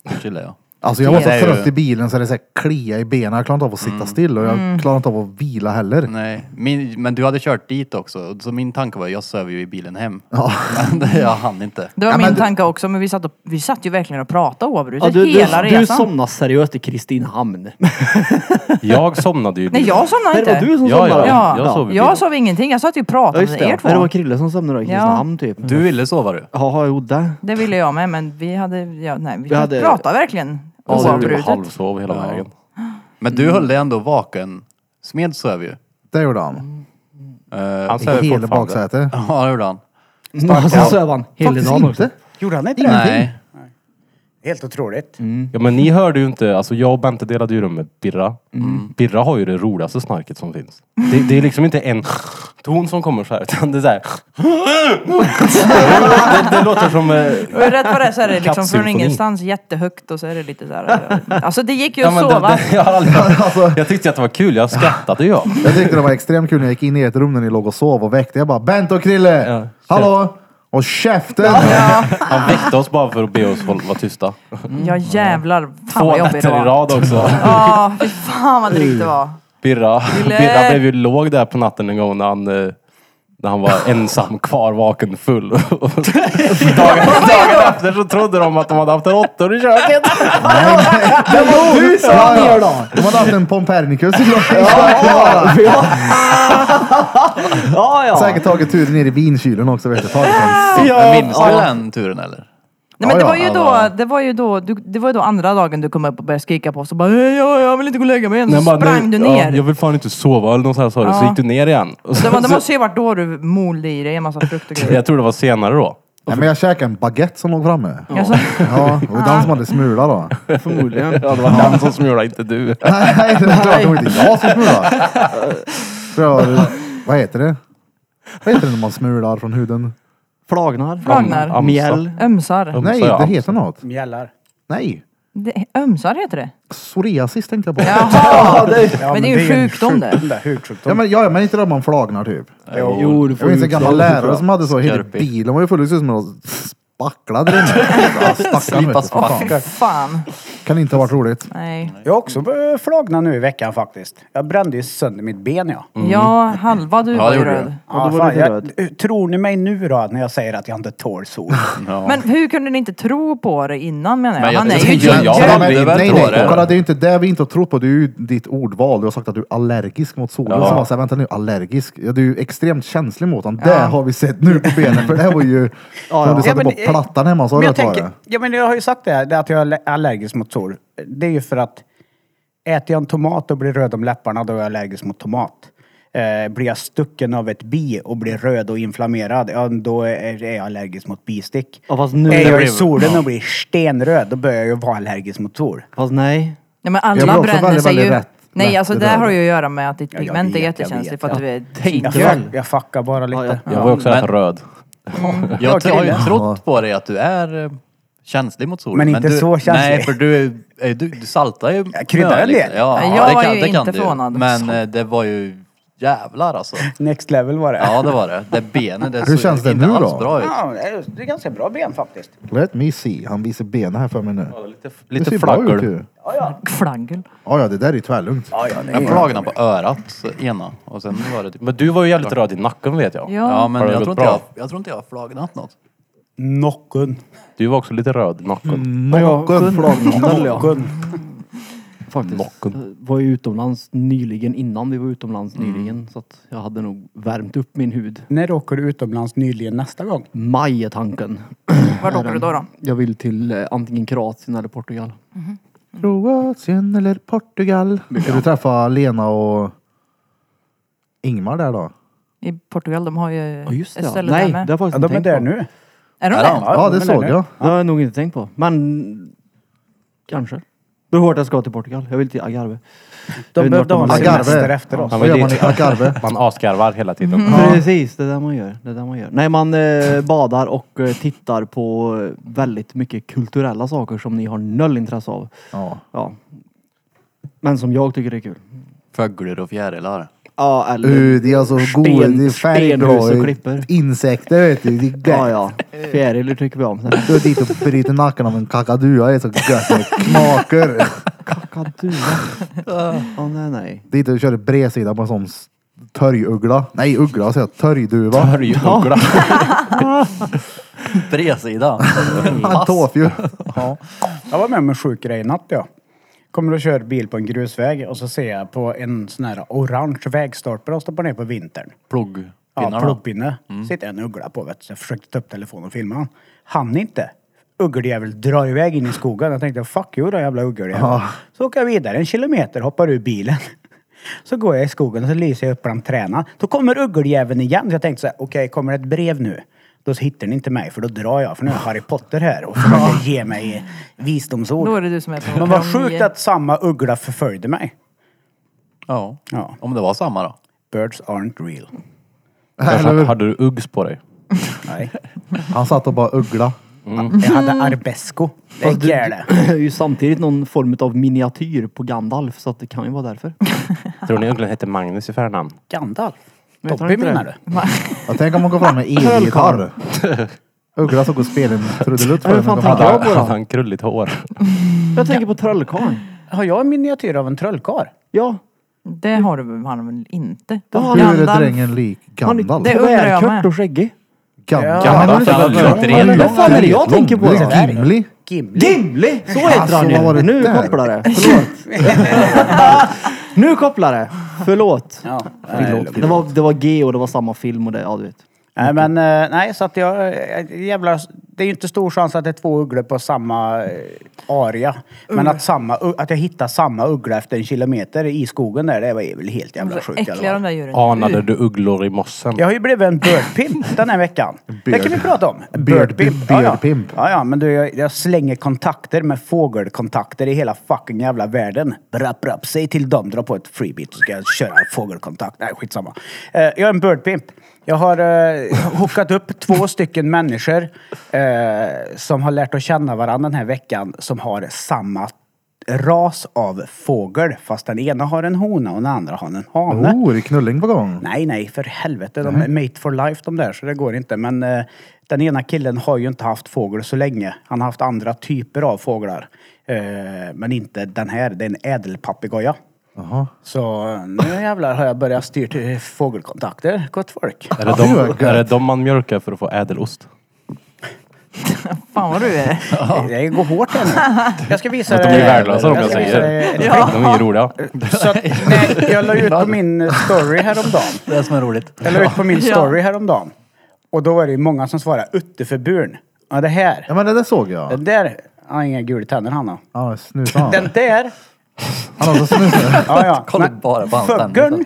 Då chillade jag. Alltså jag var så Det är ju- trött i bilen så det så här klia i benen. Jag klarar inte av att sitta still och jag klarar inte av att vila heller. Nej, min, men du hade kört dit också. Så min tanke var, jag söver ju i bilen hem. Ja. Men det- jag hann inte. Det var Ja, men min du- tanke också, men vi satt, och, vi satt ju verkligen och pratade oavbrutet Ja, du, du, hela du resan. somnade seriöst i Kristinehamn. Jag somnade ju. Nej, jag somnade Nej, det inte. var du som Ja, somnade. ja. Ja, Jag sov i bilen. jag sov ingenting. Jag satt ju och Ja, pratade just med det. er Ja, två. Det var Krille som somnade i Kristinehamn typ. Du ville sova du? Jaha, jo det. Det ville jag med, men vi hade... Ja, nej, vi, Vi hade- pratade verkligen Ja, det gjorde vi. typ oavbrutet. halvsov hela Ja. vägen. Men du höll dig ändå vaken. Smed söv ju. Det gjorde han. Eh, Han I söver hela fortfarande. baksätet. Ja, det gjorde han. Och så söv han hela Faktiskt dagen också. inte. Gjorde han inte det? Nej. Helt otroligt. Mm. Ja men ni hörde ju inte, alltså jag och Bente delade ju rum med Birra. Birra har ju det roligaste snarket som finns. Det, det är liksom inte en ton som kommer så här utan det är så här. det, det låter som... eh, Och rätt vad det är så är det liksom från Kattsymfoni. ingenstans jättehögt och så är det lite så här. Alltså det gick ju Ja, att men det, sova. det, jag, har aldrig, alltså, jag tyckte att det var kul, jag skrattade ju. Jag tyckte det var extremt kul när jag gick in i ett rum när ni låg och sov och väckte. Jag bara Bent och Krille! Ja, Hallå! Och käften! Han väckte oss bara för att be oss hålla- vara tysta. Ja jävlar, fan Två vad jobbigt det nätter i var. rad också. Ja, fy fan vad drygt det var. Birra, Ville. Birra blev ju låg där på natten en gång när han, eh, när han var ensam kvar vaken full. Och dagen, dagen efter så trodde de att de hade haft en åttor i köket. Det var du som han gör då. De hade haft en Pompernicus i klockan. Ja, ja. Säkert tagit turen ner i vinkylen också. Vet du. Tagit en sitt. Men minns du den turen eller? Nej, Ja, men det ja, var ju ja, då, va. det var ju då, du, det var ju då andra dagen du kom upp och började skrika på oss och bara "Hej, ja, jag vill inte gå och lägga mig än. Så Nej, bara, sprang nu- du Ja, jag ner. vill fan inte sova eller något sånt här sa du. Så Ja. gick du ner igen. Och Så så, Det, var, det måste ju varit då du molde i dig en massa frukt och grejer. jag tror det var senare då. Nej, men jag käkade en baguette som låg framme. Alltså, Ja, och den som hade smula då. Förmodligen. Ja, det var han Alltså, som smulade, inte du. Nej, det är klart det var inte jag som smulade. För jag, vad heter det? Vad heter det när man smular från huden? Flagnar. Flagnar. Am- Mjäll. ömsar. Nej, sa jag. det heter något. Mjällar. Nej, Det, ömsar heter det. psoriasis tänkte jag på. Jaha! Ja, Men det är ju en sjukdom det. där. Hudsjukdom. Ja men, ja, men inte där man flagnar typ. Jo, du Jag får minns ju en gammal lärare som hade så, hela Skarpig. bilen var ju full, det såg ut som en spacklad där inne. Slipas Stackarn Fy fan. Kan inte ha varit roligt. Nej. Jag har Mm. också börjat flagna nu i veckan faktiskt. Jag brände ju sönder mitt ben ja. Ja, halva du var ju gjorde röd. Ja, då var fan, du jag, tror ni mig nu då när jag säger att jag inte tål sol? Men hur kunde ni inte tro på det innan menar jag? Men jag- Han är jag ju typ- tänkte- jag- jag- ginger. men det nej, är väl nej, inte nej. vad det är. Kolla, det är ju inte det vi inte har trott på. Det är ju ditt ordval. Du har sagt att du är allergisk mot solen. Ja. Så man säger, vänta nu, allergisk. Ja, du är ju extremt känslig mot den. Det har vi sett nu på benen. För det här var ju... ja. När du satte men, på plattan hemma så men har du hört jag, vad det tänker, ja, men jag har ju sagt det här, det att jag är aller- allergisk mot sol. Det är ju för att äter jag en tomat och blir röd om läpparna, då är jag allergisk mot tomat. Eh, blir jag stucken av ett bi och blir röd och inflammerad, ja, då är, är jag allergisk mot bistick. Ja, fast nu... är jag i blev- solen och blir stenröd, då börjar jag ju vara allergisk mot sol. Fast nej. Nej men Jag blir alla också bränner väldigt, sig väldigt ju. rätt. Nej Rätt alltså det röd. har ju att göra med att ditt Ja, jag pigment är vet, jag jättekänsligt vet. för att du är Jag, tinkel. fuck, jag fuckar bara lite. Ja, jag- Jag var ju också Men- rätt röd. Jag Jag har ju tror det. trott på dig att du är eh, känslig mot solen. Men inte du, så känslig. Nej, för du, är- eh, du, du saltar ju. Jag kryddar mjöl, en del. liksom. Ja, Jag ja, det var kan, ju det kan inte du. förvånad. Men eh, det var ju jävlar alltså. Next level var det. Ja, det var det. Det benet, det Hur känns det inte nu alls då? bra ut. Ja, det är ganska bra ben faktiskt. är. Let me see. Han visar benen här för mig nu. Lite, Det lite ser bra ut flacker. ju. Flaggel. Ja, ja, det där är ju tvärlugnt. Ja, ja, det Jag är... flagnade på örat så ena och sen var det typ... Men du var ju jävligt röd i nacken vet jag. Ja. Ja, men Har det jag gått tror, inte bra? jag, jag tror inte jag har flagnat något. Nocken. Du var också lite röd i nacken. Mm. Men jag flagnade jag. Nocken. Faktiskt. Nocken. Jag Var ju utomlands nyligen innan vi var utomlands Mm. nyligen. Så att jag hade nog värmt upp min hud. När åker du utomlands nyligen nästa gång? Maj är tanken. Vart åker du då då? Mm. Jag vill till eh, antingen Kroatien eller Portugal. Kroatien eller Portugal. Ska du träffa Lena och Ingmar där då? I Portugal, de har ju Ja just det. ett ja. ställe där Nej, det har med. jag faktiskt Ja, de är inte där tänkt på. nu. Är de Ja, det? Ja, de är det där såg nu. jag. Det har jag nog inte tänkt på. Men kanske. Beror hårt jag ska till Portugal. Jag vill till Algarve. Jag De vet behövde inte ha vart en de har semester Algarve. efter oss. Han var Vad gör man i dit. Algarve? Man asgarvar hela tiden. Mm. Precis, det är det man gör. Det är det man gör. Nej, man eh, badar och eh, tittar på eh, väldigt mycket kulturella saker som ni har noll intresse av. Ja. Ja. Men som jag tycker är kul. Fåglar och fjärilar. Ja, eller... Uh, det är alltså goda, det är stenhus och färgglada klipper. insekter vet du. Det är gött. Ja, ja. Eh. Fjärilar tycker vi om. Sen- Du är dit och bryter nacken av en kakadua. Det är så gött med knaker. Kakadua. Ah. Åh nej, nej. Dit och kör bredsida på en sån s- törjuggla. Nej, uggla säger jag. Törjduva. Hörjuggla. Bredsida. Han tåfju. Jag var med om en sjuk grej i natt jag. Kommer och kör bil på en grusväg och så ser jag på en sån här orange vägstolpe de stoppar ner på vintern. Plogg. Ja, Pinnarna. pluggpinne. Sitter en uggla på vet du. Så jag försökte ta upp telefonen och filma han. Han inte. Uggeljävel drar iväg in i skogen. Jag tänkte fuck you då jävla uggeljävel. Så åker jag vidare en kilometer, hoppar ur bilen. Så går jag i skogen och så lyser jag upp bland träna. Då kommer uggeljäveln igen. Så jag tänkte så här, okej kommer det ett brev nu? Då hittar ni inte mig för då drar jag för nu är Harry Potter här och försöker ge mig visdomsord. Då är det du som är på Men vad plan sjukt nio. att samma uggla förföljde mig. Ja. Ja. Om det var samma då. Birds aren't real. Eller hur? Hade du uggs på dig? Nej. Han satt och bara uggla. Jag hade arbesco. Det är jävla. är ju samtidigt någon form av miniatyr på Gandalf så att det kan ju vara därför. Tror ni ugglan hette Magnus i förnamn? Gandalf. Vet han Tobbe inte det? menar du? Jag tänker om man går fram med elgitarr. Uggla som går och spelar en trudelutt för Ja, fan, en. tack. Ja, Hade han, på då. hade han krulligt hår? Jag tänker på Trollkarlen. Har jag en miniatyr av en trollkarl? Ja. Det har du han väl inte? Hur är Gandalf. drängen lik Gandalf? det- undrar jag med. Tvärkört och skäggig. Gandalf. Ja, Han är han inte så lång. var väldigt Han ren. är Vad fan är det jag lång. tänker på Det är då? Gimli. Gimli. Gimli! Så heter Alltså, han vad var det ju. Nu där? kopplar det. Förlåt. nu kopplar det. Förlåt. Ja. Det var, det var G och det var samma film och det, ja du vet. Nej men eh, nej så att jag, eh, jävlar, det är ju inte stor chans att det är två ugglor på samma eh, aria. Men att, samma, u- att jag hittar samma uggla efter en kilometer i skogen där, det var väl helt jävla Alltså, Så sjukt. äckliga de där djuren. Anade du ugglor i mossen? Jag har ju blivit en birdpimp den här veckan. Det kan vi prata om. Birdpimp, Ja, ja. birdpimp. Ja, ja, men du, jag, jag slänger kontakter med fågelkontakter i hela fucking jävla världen. Brapp, brapp, säg till dem, dra på ett freebit så ska jag köra en fågelkontakt. Nej, skitsamma. Eh, jag är en birdpimp. Jag har eh, hookat upp två stycken människor eh, som har lärt att känna varandra den här veckan som har samma ras av fågel. Fast den ena har en hona och den andra har en hane. Oh, det är knulling på gång. Nej, nej, för helvete. Mhm. De är mate for life de där, så det går inte. Men eh, den ena killen har ju inte haft fågel så länge. Han har haft andra typer av fåglar. Eh, men inte den här. Det är en ädelpapegoja. Jaha. Så eh, nu jävlar har jag börjat styra till fågelkontakter. Gott folk. Är det, Ja, det var gött. de, är det de man mjölkar för att få ädelost? Fan vad du är. Jag går hårt här nu. Jag ska visa Att de dig- är värdelösa om ska jag visa säger dig- det. De är ju roliga. Så att, nej, jag la ut på min story häromdagen. Det är som är roligt. Jag la ut på min Ja. story häromdagen. Och då var det ju många som svarade utteförburen. Ja, det här. Ja men det där såg jag. Den där han har inga gula tänder han har. Ja, snusen han. Den där. Han har också snusen. Ja, ja. Kolla Men bara på hans Fuggeln. tänder.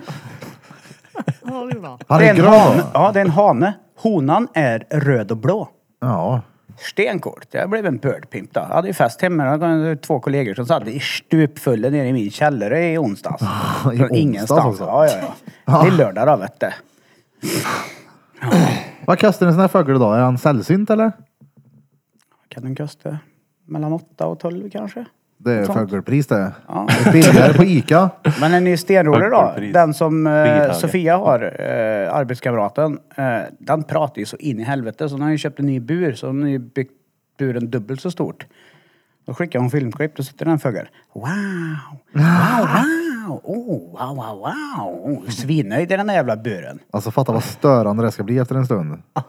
Han är Det är en hane. grön. Ja, det är en hane. Honan är röd och blå. Ja. Stenkort. Jag blev en birdpimp då. Jag hade ju fest hemma. Jag hade två kollegor som satt i stupfulla nere i min källare i onsdags. I Från onsdags ingenstans. också? Ja, ja, ja. Det är lördag då, vet du. Vad kastar en sån här fågel idag? Är han sällsynt eller? Kan den kosta mellan 8 och 12 kanske? Det är Sånt. fågelpris det. Det är billigare på Ica. Men den är ju stenrolig då. Fuckerpris. Den som eh, Bilhöga. Sofia har, eh, arbetskamraten, eh, den pratar ju så in i helvete. Så hon har ju köpt en ny bur, så hon har ju byggt buren dubbelt så stort. Då skickar hon filmklipp, då sitter den fågeln. Wow! Wow, wow! Oh, wow, wow, wow! Oh, Svinnöjd i den där jävla buren. Alltså fatta vad störande det ska bli efter en stund. Det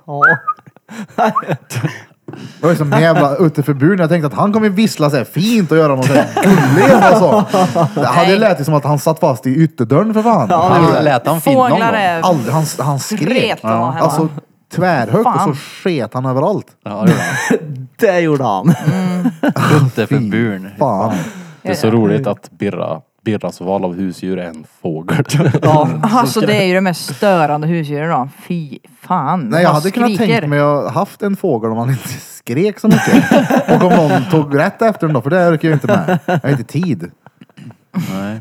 var ju som en jävla utteförbud när jag tänkte att han kommer vissla så här fint och göra något så här gulligt och så. Det hade lät ju som att han satt fast i ytterdörren för fan. Han Han, lät han fin någon gång? Fåglar är... aldrig, han, han Sket skrek. han hemma. Alltså tvärhögt och så Fan. sket han överallt. Ja, det gjorde han. Det gjorde han. Inte för buren. Fan. Alltså, Eh. Det är så roligt att Birra Birras val av husdjur är en fågel. Ja. Alltså det är ju det mest störande husdjuren då. Fy fan. Nej, jag De hade kunnat skriker. tänkt mig att haft en fågel om han inte skrek så mycket. Och om någon tog rätt efter den då, för det orkar jag inte med. Jag har inte tid. Nej.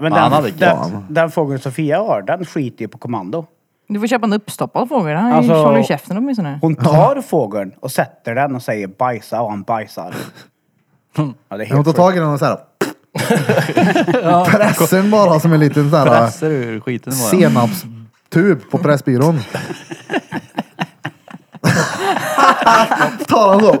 Men Man hade den, den, kvar. den fågeln Sofia har, den skiter ju på kommando. Du får köpa en uppstoppad fågel. Han Alltså- håller ju käften åtminstone. Hon tar fågeln och sätter den och säger bajsa och han bajsar. Ja, det Jag är helt tar sjukt. tag i den och så här. Pressar den bara som en liten så här Pressar ur skiten bara. senapstub på Pressbyrån. Tar han så.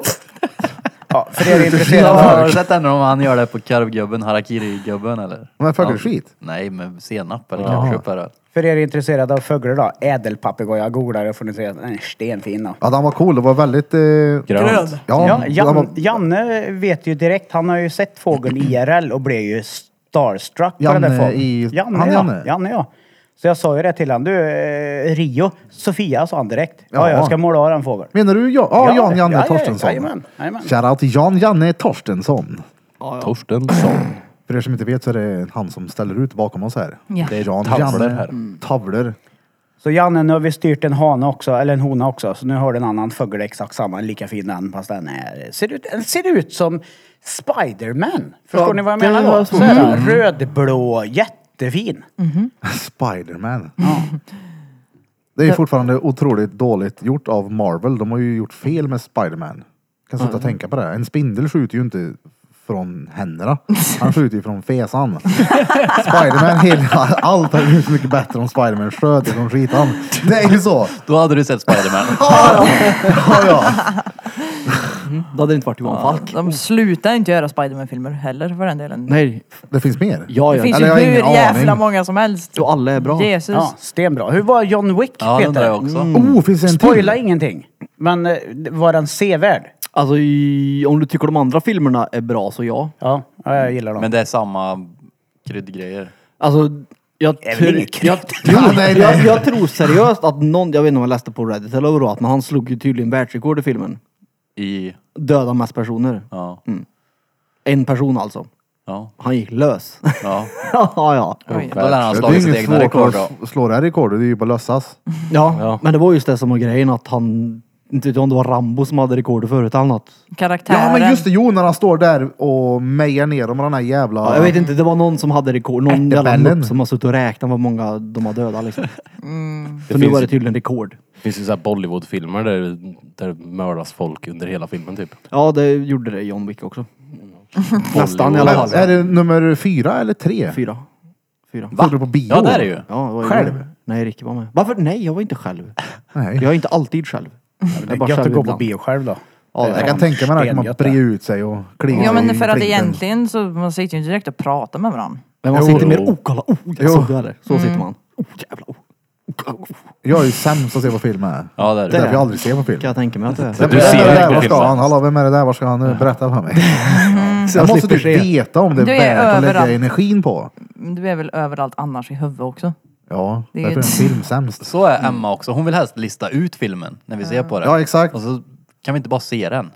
Ja, för er Jag intresserade har sett ändå om han gör det på karvgubben, harakiri-gubben eller? Men följer Ja. skit. Nej, med senap eller ketchup är det. för er intresserade av fåglar då, ädelpapegoja, googlar det får ni se att den är stenfin då. Ja, den var cool. Det var väldigt... Eh, ja, Grönt. Ja, den var, Jan, Janne vet ju direkt, han har ju sett fågeln IRL och blev ju starstruck på den där Janne fågeln. i- Janne, han ja. Janne? Janne ja. Så jag sa ju det till honom, du eh, Rio, Sofia sa han direkt. Ja, Ja. jag ska måla av den fågeln. menar du ja, ja, Ja, Jan Janne ja, ja, Torstensson? jajamän, jajamän. Shoutout till Jan Janne Torstensson. Torstensson. För er som inte vet så är det han som ställer ut bakom oss här. Ja. Det är Jan tavlor Janne här. Tavlor. Så Janne, nu har vi styrt en hane också, eller en hona också, så nu har du en annan fågel exakt samma, lika fin den, fast den är, ser, ut, den ser ut som Spiderman. Förstår Ja, ni vad jag det menar var då? så. Mm. Så är den rödblå, jättefin. Spiderman. Mm. Det är ju fortfarande otroligt dåligt gjort av Marvel. De har ju gjort fel med Spiderman. Kan sluta tänka på det. En spindel skjuter ju inte från händerna. Han skjuter ju från fesan. Spiderman, hela, allt hade blivit så mycket bättre om Spiderman sköt från skitan. Det är ju så. Då hade du sett Spiderman. Ja, ja. Då hade det inte varit Johan Falk. De slutar inte göra Spiderman-filmer heller för den delen. Nej, Det finns mer. ja, Det ja. finns Eller jag har ju hur ingen jävla aning. många som helst. Och alla är bra. Jesus. Ja, stenbra. Hur var John Wick, Ja, det undrar jag Peter? Mm. Mm. också. Oh, finns det en Spoila till? ingenting, men eh, var den sevärd? Alltså i, om du tycker de andra filmerna är bra så ja. Ja, ja, jag gillar dem. Men det är samma kryddgrejer. Alltså jag, Det är väl tror- inget jag, krydd. jo, Ja, nej, nej. Jag, jag tror seriöst att någon, jag vet inte om jag läste på Reddit eller vad det var, att han slog ju tydligen världsrekord i filmen. I... Döda mest personer. Ja. En person alltså. Ja. Han gick lös. Ja. ja, ja. Oj. Då lär han ha Det är slagit sitt inget egna svårt rekord då. att slå det här rekordet. Det är ju bara att lösas. Ja, Ja. men det var just det som var grejen att han, inte vet jag om det var Rambo som hade rekordet förut eller något. Karaktären. Ja, men just det. Jo, när han står där och mejar ner dem med den här jävla... Ja, jag vet inte, det var någon som hade rekord, någon jävla Ättepällen. mupp som har suttit och räknat vad många de har dödat liksom. Så nu finns- var det tydligen rekord. Det finns ju såhär Bollywood-filmer där, där det mördas folk under hela filmen typ. Ja, det gjorde det i John Wick också. Nästan i alla Men, Mm. är fall. det nummer fyra eller tre? Fyra. Fyra. Såg du på bio? Ja, det är det ju. Ja, det var ju- Själv? Nej, Ricky var med. Varför? Nej, jag var inte själv. Nej. Jag är inte alltid själv. Jag är bara Gött själv att gå på ibland. bio själv då. Ja, Jag kan tänka mig det här, att man brer ut sig och kliar Ja sig men i för att flinten. egentligen så man sitter ju inte direkt och pratar med varandra. Men man Jo. sitter mer, oh kolla, oh jag Jo. Mm. såg det där. Så sitter man. Oh jävlar, oh. Jag är ju sämst att se på film är. Ja, det Det är är det. därför jag aldrig ser på film. Kan jag tänka mig att det är. Vem är Du det ser där? inte på Var film, ska va? han? Hallå, vem är det där? Var ska han nu? Berätta för mig. Jag måste slipper typ se. veta om det är Du är värt att lägga överallt. energin på. Men Du är väl överallt annars i huvudet också? Ja, Det är därför är en ett- film sämst. Så är Emma också. Hon vill helst lista ut filmen när vi ser på den. Ja, exakt. Och så kan vi inte bara se den.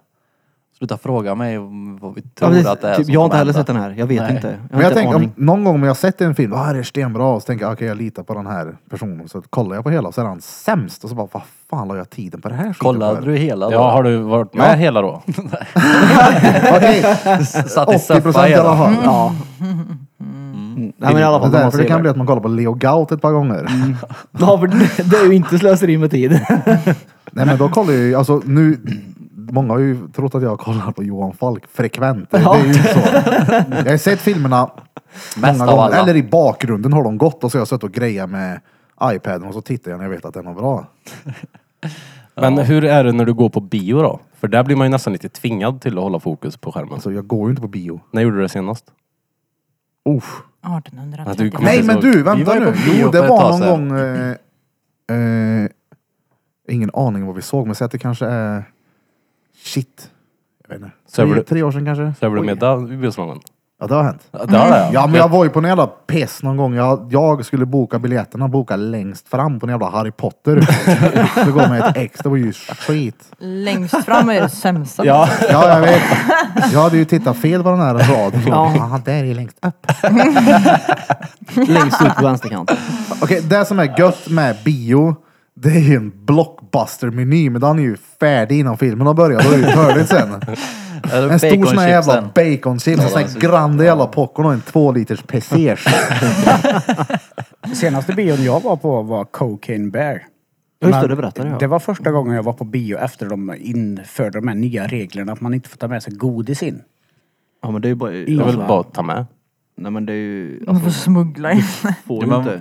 Sluta fråga mig om vad vi Ja, tror men att det är typ, som jag har inte kommer hända. heller sett den här. Jag vet Nej. inte. Jag har Men jag inte en tänker, om, aning. någon gång om jag sett en film, ah, det är stenbra, och så tänker jag, okej jag litar på den här personen. Så kollar jag på hela, så är han sämst. Och så bara, vad fan la jag tiden på det här skiten Kollade för? du hela då? Ja, har du varit med hela då? Okej, Satt i 80 soffa procent i alla hela? fall. Ja. Mm. Nej men i alla fall. det är man därför det ser kan det. bli att man kollar på Leo Gaut ett par gånger. Ja, för det- det är ju inte slöseri med tid. Nej men då kollar jag ju, alltså nu, många har ju trott att jag kollar på Johan Falk frekvent. Det, det är ju inte så. Jag har sett filmerna Mest många av gånger, alla. eller i bakgrunden har de gått och så har jag suttit och grejat med iPaden och så tittar jag när jag vet att den är bra. Men hur är det när du går på bio då? För där blir man ju nästan lite tvingad till att hålla fokus på skärmen. Alltså jag går ju inte på bio. När gjorde du det senast? Usch. Ja, du 1830. kommer- Nej inte men så- du, vi vänta var ju nu. på bio Jo, det för ett tag var någon sedan. gång... Eh, eh, ingen aning om vad vi såg, men säg att det kanske är... Shit. Jag vet inte. Så är Tre, det- tre år sedan kanske? Så jag blev Oj. med där i Mm. biosalongen. Ja, Ja, det har hänt. Ja, Det har det? Ja, men jag var ju på en jävla piss någon gång. Jag, jag skulle boka biljetterna, boka längst fram på en jävla Harry Potter. Så gav mig ett ex, det var ju skit. Längst fram är det sämsta. liksom, Ja. Ja, jag vet. Jag hade ju tittat fel på den här raden. Ja, där är ju längst upp. Längst ut på vänsterkanten. Okej, det som är gött med bio, det är ju en blockbuster-meny, men den är ju färdig innan filmen har börjat. Då är det ju törligt sen. En stor sån här jävla baconchips, en sån här grande jävla popcorn och en två liters pesers. Senaste bion jag var på var Cocaine Bear. Ja, just det, Men det berättade jag. Det var första gången jag var på bio efter de införde de här nya reglerna att man inte får ta med sig godis in. Ja men det är ju bara... Jag vill bara ta med. Nej men det är ju... Man får Alltså, smuggla in. får Ja, ju men- inte.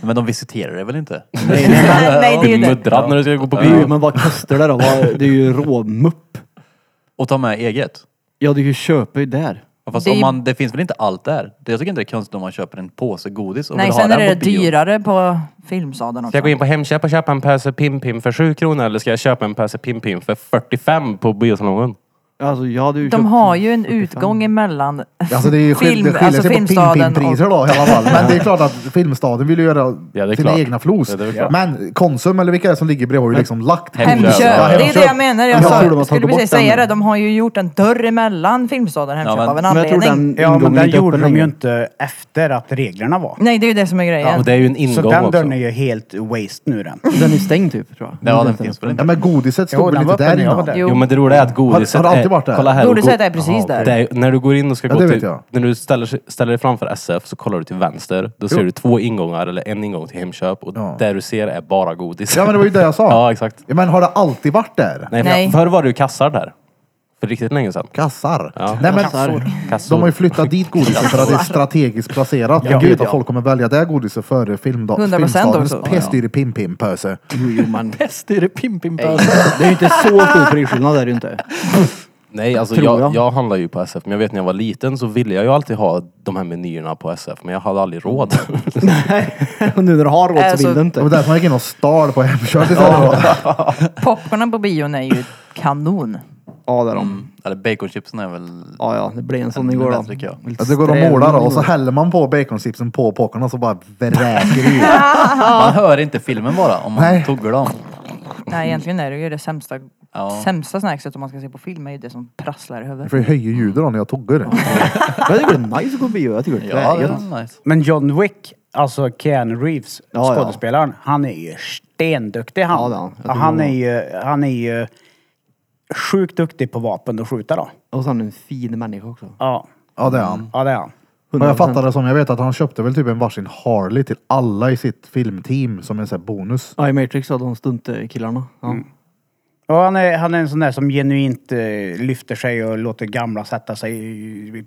Men de visiterar det väl inte? Nej, det är ju det. Muddrad när du ska gå på Det är ju, bio. men vad kostar det då? Vad- Det är ju råmupp. Och ta med eget? Ja du köper ju där. Ja, Fast Det det, är- om man, det finns väl inte allt där? Det, jag tycker inte det är konstigt om man köper en påse godis och Nej, vill ha sen är den det på bio. dyrare på filmsadeln Ska också. jag gå in på Hemköp och köpa en påse Pim-Pim för 7 kronor eller ska jag köpa en påse Pim-Pim för 45 på biosalongen? Alltså jag hade ju De köpt- har ju en utgång emellan. Alltså det, är ju skil- Film- det skiljer alltså sig på Filmstaden Pim-Pim-priser då i alla fall. Men det är klart att Filmstaden vill ju göra Ja, det är sina klart. egna flos. Ja, det är klart. Men Konsum eller vilka det är som ligger bredvid har ju liksom lagt Hemköp. Hemköp. Ja, Det är det jag menar. Jag Jag sa- tror de har skulle tagit precis bort säga den. det. De har ju gjort en dörr emellan filmstaden Hemköp men- av en Men jag tror anledning. den Ja, men Mm. ingången den inte gjorde öppen de ju längre. inte efter att reglerna var. Nej, det är ju det som är grejen. Och det är ju en ingång Så den också. dörren är ju helt waste nu den. Den är stängd typ tror jag. Ja, den finns väl Ja inte? men godiset Jo, stod väl den inte var öppen där när jag innan? var där. Jo. Jo men det roliga är att godiset Har- har det alltid varit där? Kolla här. Godiset go- är precis där. Det är, när du går in och ska Ja, det gå vet till... jag. När du ställer, sig- ställer dig framför SF så kollar du till vänster. Då ser Jo. du två ingångar eller en ingång till Hemköp och Ja. där du ser är bara godis. Ja men det var ju det jag sa. Ja, exakt. Ja, men har det alltid varit där? Nej, för- Nej. Förr var det ju kassar där. För riktigt länge sedan. Kassar. Ja. Nej, men Kassor. Kassor. De har ju flyttat dit godiset för att det är strategiskt placerat. Ja. Jag vet Ja. att folk kommer välja det här godiset före filmdag- 100% filmstadens också. pestdyre pim-pim-pöse. Jo, jo, men... Bäst är det pimpim Nej, det är ju inte så stor prisskillnad är det ju inte. Nej, alltså Tror jag, jag. jag. handlar ju på SF, men jag vet när jag var liten så ville jag ju alltid ha de här menyerna på SF, men jag hade aldrig råd. Och nu när du har råd så vill Alltså- du Det var inte. därför man gick in och stal på Hemköp istället. Popcornen på bion är ju kanon. Ja det är de. Eller baconchipsen är väl... Ja ja, det blev en sån Den är igår då. bättre, tycker jag. Lite Ja, det går att sträv- måla då och så häller man på baconchipsen på popcornen och så bara vräker det ut. Man hör inte filmen bara om man Nej. tuggar dem. Nej, egentligen är det ju det sämsta, Ja. sämsta snackset om man ska se på film är ju det som prasslar i Jag huvudet. får ju höja ljudet då när jag tuggar. Jag tycker det är nice att gå på bio. Jag tycker det Ja, är det gött. är nice. Men John Wick, alltså Keanu Reeves, Ja, ja. skådespelaren, han är ju stenduktig Ja, han. det är han. Jag Och tycker han, om är ju, han är ju sjukt duktig på vapen och skjuta då. Och sen en fin människa också. Ja, Ja det är han. ja det är han. Men jag fattar det som, jag vet att han köpte väl typ en varsin Harley till alla i sitt filmteam som en sån här bonus. Ja, i Matrix hade de stuntkillarna. Ja. Och han, är, han är en sån där som genuint eh, lyfter sig och låter gamla sätta sig i, i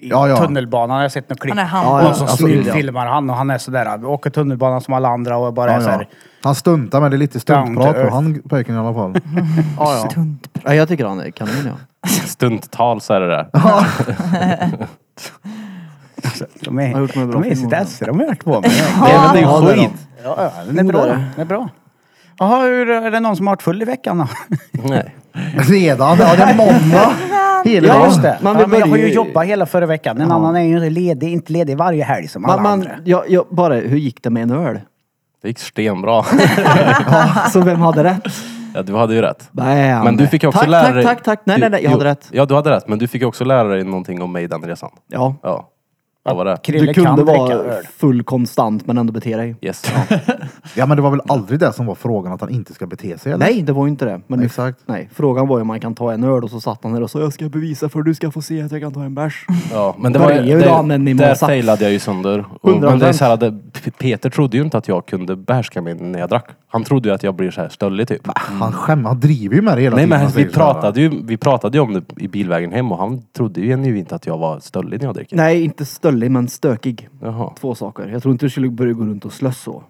Ja, ja. tunnelbanan. Jag har sett något klipp. Han är han. Ja, Någon som Alltså, smygfilmar han och han är sådär, åker tunnelbanan som alla andra och bara är Ja, såhär. ja. Han stuntar men det är lite Down stuntprat to på earth. han pojken i alla fall. Ja, ja. Stunt. ja, jag tycker han är kanon ja. Stunttal så är det där. De Har gjort är, några bra de är i sitt filmer. esse, de har hört på mig. Nej, men det Ja, det är är ju skit. Ja, ja, den är Jo, bra. det är Den är bra. Jaha, hur, är det någon som har varit full i veckan då? Nej. Redan? Ja det är måndag. Hela dagen. Man Man ja, vill men jag har börja ju ju- jobbat hela förra veckan. En annan är ju inte ledig, inte ledig varje helg som alla Man, man, andra. jag, jag, bara, hur gick det med en öl? Det gick stenbra. Så vem hade rätt? Ja, du hade ju rätt. Bam. Men du fick ju också tack, lära tack, dig... tack, tack. Nej, du- nej, nej, jag hade jo, rätt. Ja, du hade rätt. Men du fick ju också lära dig någonting om mig den resan. Ja. Ja. Vad var det? Krille Du kunde kan dricka vara öl. full konstant men ändå bete dig. Yes. Ja men det var väl aldrig det som var frågan att han inte ska bete sig eller? Nej, det var ju inte det. Men Nej, exakt. Nej, frågan var ju om man kan ta en öl och så satt han där och sa jag ska bevisa för du ska få se att jag kan ta en bärs. Ja, men det var ju... Börjar ju då Det, använd i där Mozart. failade jag ju sönder. Och, men det är 100%. så här, att det, P- Peter trodde ju inte att jag kunde behärska mig när jag drack. Han trodde ju att jag blir så här stöllig typ. Han skämmer, han driver ju med det hela Nej tiden. alltså. men Han säger vi så här. pratade, ju, vi pratade ju om det i bilvägen hem och han trodde ju nu inte att jag var stöllig när jag dricker. Nej, inte stöllig men stökig. Jaha. Två saker. Jag tror inte du skulle börja gå runt och slöss så.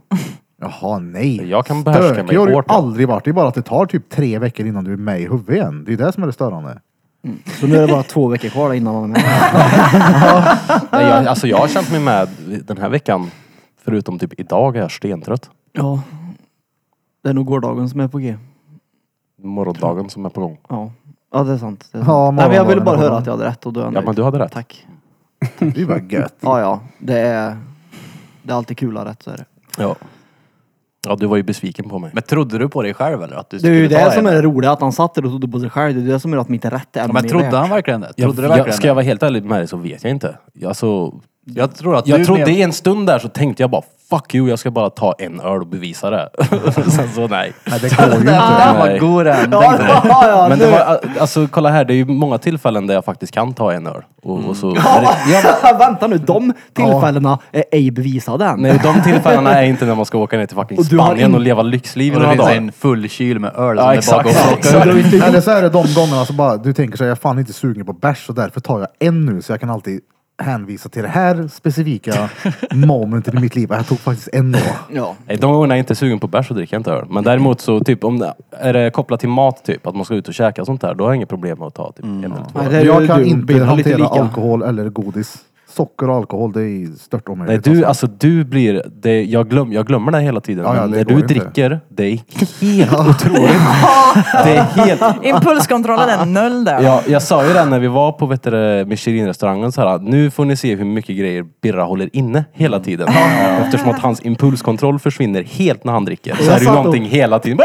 Jaha, nej. Jag kan behärska mig Stökig har du ju hårt, ja. aldrig varit. Det är bara att det tar typ tre veckor innan du är med i huvudet igen. Det är det som är det störande. Så nu är det bara två veckor kvar där innan man är med. Nej, jag, alltså jag har känt mig med den här veckan, förutom typ idag är jag stentrött. Ja. Det är nog gårdagen som är på G. Morgondagen som är på gång. Ja. Ja, det är sant. Det är sant. Ja, Nej, men jag ville morgondagen bara är på höra gång. att jag hade rätt och då är jag Ja nöjd. men du hade rätt. Tack. Det var gött. Ja, ja. Det är, det är alltid kul att ha rätt så är det. Ja. ja, du var ju besviken på mig. Men trodde du på dig själv eller? Att du Det är skulle ju ta det som en? är det roliga, att han satt där och trodde på sig själv. Det är det som gör att mitt rätt är ännu Ja, Men mer trodde värt. han verkligen det? Jag, Trodde du verkligen jag, ska jag det? vara helt ärlig med dig så vet jag inte. Jag, så, Jag tror att jag du trodde men- i en stund där så tänkte jag bara fuck you, jag ska bara ta en öl och bevisa det. Sen så nej. Nej, det går ju Den inte. där var Nej. Ah, god den. Ja, ja, ja, Men nu- det var, alltså kolla här, det är ju många tillfällen där jag faktiskt kan ta en öl. Och, och Mm. så, ja, men- Vänta nu, de tillfällena är ej bevisade än. nej, de tillfällena är inte när man ska åka ner till fucking Och du har Spanien in- och leva lyxliv i Och det några finns dagar. en full kyl med öl som Ja, det bara exakt. går att plocka ur. Eller så är det de gångerna som bara, du tänker så här, jag är fan inte sugen på bärs så därför tar jag en nu så jag kan alltid hänvisa till det här specifika momentet i mitt liv. Jag tog faktiskt en då. Ja. Nej, de gångerna jag inte är sugen på bärs så dricker jag inte öl. Men däremot så typ om det, är det kopplat till mat typ, att man ska ut och käka och sånt där, då har jag inget problem med att ta typ Mm. en eller två. Nej, öl. det är ju Jag kan du, inte Bill, lite hantera lika. alkohol eller godis. Socker och alkohol, det är stört Nej omöjligt. du, alltså du blir, det, jag, glöm, jag glömmer det hela tiden. Ja, ja, men det när går du inte. dricker, det är helt otroligt. det är helt Impulskontrollen är noll där. Ja, jag sa ju det när vi var på vet du, det, Michelin-restaurangen så här, nu får ni se hur mycket grejer Birra håller inne hela tiden. Eftersom att hans impulskontroll försvinner helt när han dricker. Så Jag är det ju satt och- någonting hela tiden.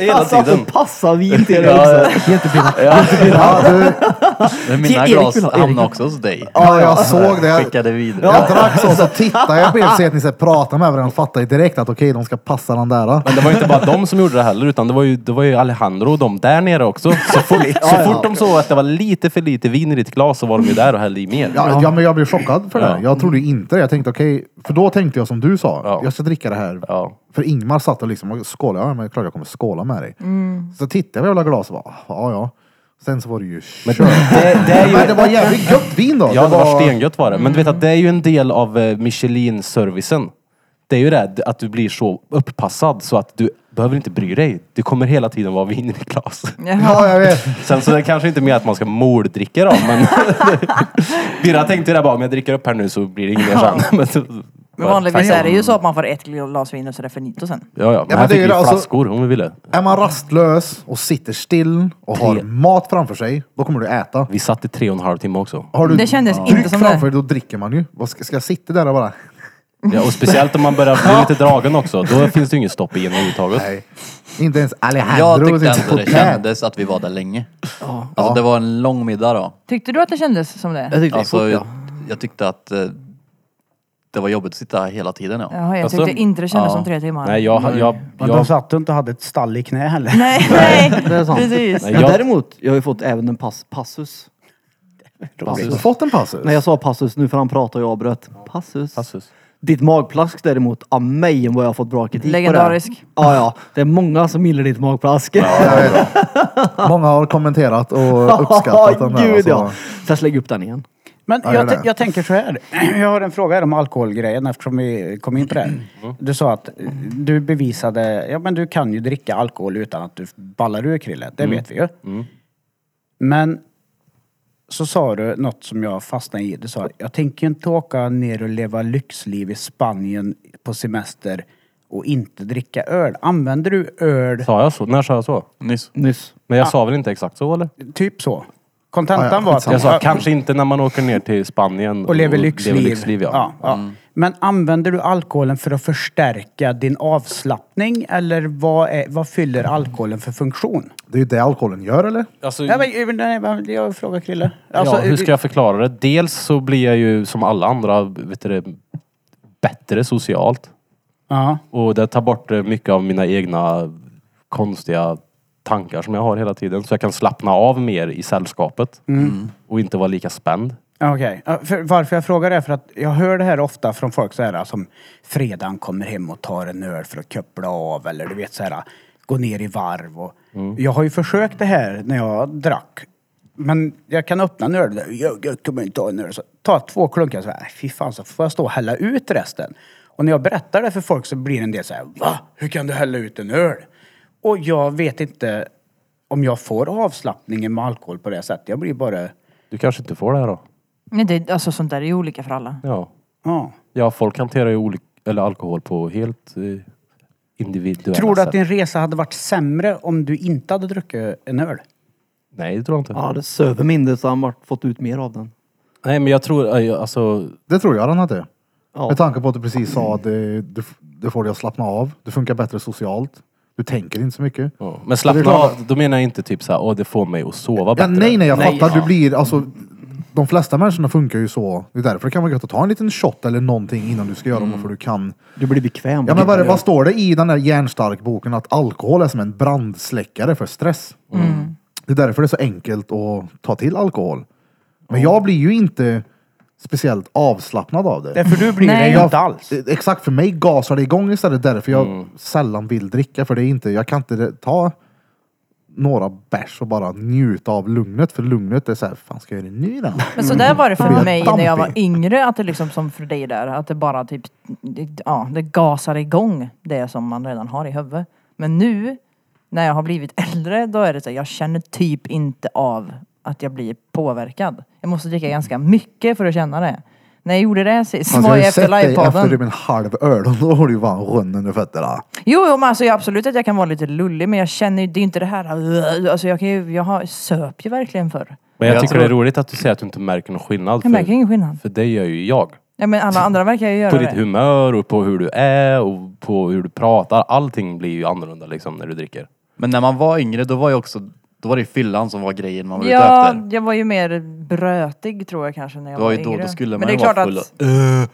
Hela Jag satt tiden. och passade vin till dig också. Ja, Ja, du, Men Mina Erik glas vill ha- Erik. hamnade också hos dig. ja, jag såg det. Jag, Skickade vidare. jag drack så, så tittade jag på er och ser att ni så här pratar med varandra och fattar ju direkt att okej, de ska passa den där. Men det var ju inte bara de som gjorde det heller, utan det var ju, det var ju Alejandro och de där nere också. Så fort, så fort de såg att det var lite för lite vin i ditt glas så var de ju där och hällde i mer. Ja, ja, men jag blev chockad för det. Ja. Jag trodde ju inte det. Jag tänkte okej, för då tänkte jag som du sa. Ja. Jag ska dricka det här. Ja. För Ingmar satt och liksom och skålade. Ja, men det är klart jag kommer skåla med dig. Så tittade jag på jävla glas och bara, ja ja. Sen så var det ju men Det, det är ju men det var jävligt gött vin då. Ja, det var stengött var det. Men du vet Mm. att det är ju en del av eh, Michelin-servicen. Det är ju det, att du blir så upppassad så att du behöver inte bry dig. Det kommer hela tiden vara vin i ditt glas. Ja, jag vet. Sen så är det kanske inte mer att man ska morddricka då, men... Birra tänkte ju det bara, om jag dricker upp här nu så blir det inget mer sen. Men så- Men vanligtvis Tack. är det ju så att man får ett glas vin och så är det för nito sen. Ja, ja. Men men här det är fick ju vi det, alltså- flaskor om vi ville. Är man rastlös och sitter still och har Tre. mat framför sig, då kommer du äta. Vi satt i tre och en halv timme också. Har du Det kändes dryck inte som det. framför dig, då dricker man ju. Vad Ska, ska jag sitta där och bara... Mm. Ja, och speciellt om man börjar bli lite dragen också. Då finns det ju inget stopp i en överhuvudtaget. Nej. Inte ens Jag Alejandro tyckte sitter på ändå det tät. kändes att vi var där länge. Alltså det var en lång middag då. Tyckte du att det kändes som det? Jag tyckte det Alltså, var fort, jag, ja. jag tyckte att eh, det var jobbigt att sitta här hela tiden. Ja. Jaha, jag tyckte Alltså, inte det kändes som tre timmar. Nej, jag... jag, jag, Men då satt du inte och hade ett stall i knä heller. nej, nej. Det är sant. precis. nej, Men jag däremot, jag har ju fått även en pass, passus. Har du fått en passus? När jag sa passus nu för han pratade och jag avbröt. Passus. Passus. Ditt magplask däremot, av mig vad jag har fått bra kritik på Legendarisk. det. Ja, ja. Det är många som gillar ditt magplask. Många har kommenterat och uppskattat den där. Gud ja. Alltså. Sen lägg upp den igen. Men Ja, gör jag, det. tän- jag tänker så här. Jag har en fråga här om alkoholgrejen eftersom vi kom in på det. Du sa att du bevisade, ja men du kan ju dricka alkohol utan att du ballar ur Krille. Det vet vi ju. Men så sa du något som jag fastnade i. Du sa, jag tänker inte åka ner och leva lyxliv i Spanien på semester och inte dricka öl. Använder du öl, Sa jag så? När sa jag så? Nyss. Nyss. Men jag sa väl inte exakt så eller? typ så? Kontentan Ja, ja, var att... Jag sa kanske inte när man åker ner till Spanien Och Mm, lever lyxliv. ja. Ja, Mm. ja. Men använder du alkoholen för att förstärka din avslappning eller vad, är, vad fyller alkoholen för funktion? Det är ju det alkoholen gör eller? Alltså, Nej, men, nej, men jag frågar Krille. Alltså, ja, hur eh, ska jag förklara det? Dels så blir jag ju som alla andra vet du, det, bättre socialt. Ja. Och det tar bort eh, mycket av mina egna konstiga tankar som jag har hela tiden. Så jag kan slappna av mer i sällskapet. Mm. Och inte vara lika spänd. Okej. Ja, för- Varför jag frågar är för att jag hör det här ofta från folk så här som fredagen kommer hem och tar en öl för att koppla av eller du vet så här gå ner i varv och jag har ju försökt det här när jag drack. Men jag kan öppna en öl, jag, jag kommer inte ta en öl. Så ta två klunkar så här, "Äh, fy fan så får jag stå och hälla ut resten. Och när jag berättar det för folk så blir en del så här, va? Hur kan du hälla ut en öl? Och jag vet inte om jag får avslappningen med alkohol på det sättet. Jag blir bara, Du kanske inte får det här då? Nej, det, alltså sånt där är ju olika för alla. Ja. ja. Ja, folk hanterar ju olika, eller alkohol på helt eh, individuella Tror du sätt. att din resa hade varit sämre om du inte hade druckit en öl? Nej, det tror jag inte. Han hade sövit mindre så han varit- fått ut mer av den. Nej, men jag tror, eh, jag- alltså, Det tror jag den hade. Ja. Med tanke på att du precis sa att det, det, det får dig att slappna av. Du funkar bättre socialt. Du tänker inte så mycket. ja. men slappna klart av, då menar jag inte typ såhär, åh det får mig att sova Ja, bättre. nej, nej, jag Nej, fattar. ja. Du blir, alltså, de flesta människorna funkar ju så. Det är därför det kan vara gött att ta en liten shot eller någonting innan du ska göra mm. för du kan. Du blir bekväm. Ja, men vad, är det- vad står det i den där hjärnstark-boken? Att alkohol är som en brandsläckare för stress. Mm. Mm. Det är därför det är så enkelt att ta till alkohol. Men jag blir ju inte speciellt avslappnad av det. Därför du blir Nej. det ju Jag- inte alls. Mm. Eh, Exakt, för mig gasar det igång istället. Därför jag sällan vill dricka. För det är inte, jag kan inte ta några bärs och bara njuta av lugnet. För lugnet är såhär, fan ska jag göra det nu då? Men så där var det för Mm. mig när jag var Dampig. yngre, att det liksom som för dig där, att det bara typ, det- ja, det gasar igång det som man redan har i huvudet. Men nu, när jag har blivit äldre, då är det så här, jag känner typ inte av att jag blir påverkad. Jag måste dricka ganska mycket för att känna det. När jag gjorde det sist, Alltså, var jag jag har sett efter dig efter livepodden. typ en halv öl och då har du ju bara runnen under fötterna. Jo, jo, men alltså jag, absolut att jag kan vara lite lullig, men jag känner ju, det är ju inte det här, äh, alltså jag kan ju, jag har, söp ju verkligen förr. Men jag, Jag tycker tror- det är roligt att du säger att du inte märker någon skillnad. Jag märker ingen skillnad. För det gör ju jag. Ja, men alla andra verkar ju göra På det. ditt humör och på hur du är och på hur du pratar. Allting blir ju annorlunda liksom när du dricker. Men när man var yngre då var ju också, då var det ju fyllan som var grejen man var ute Ja, efter. jag var ju mer brötig tror jag kanske när jag Det var ju då, yngre. då skulle Men man det ju är klart vara att, full. Ja,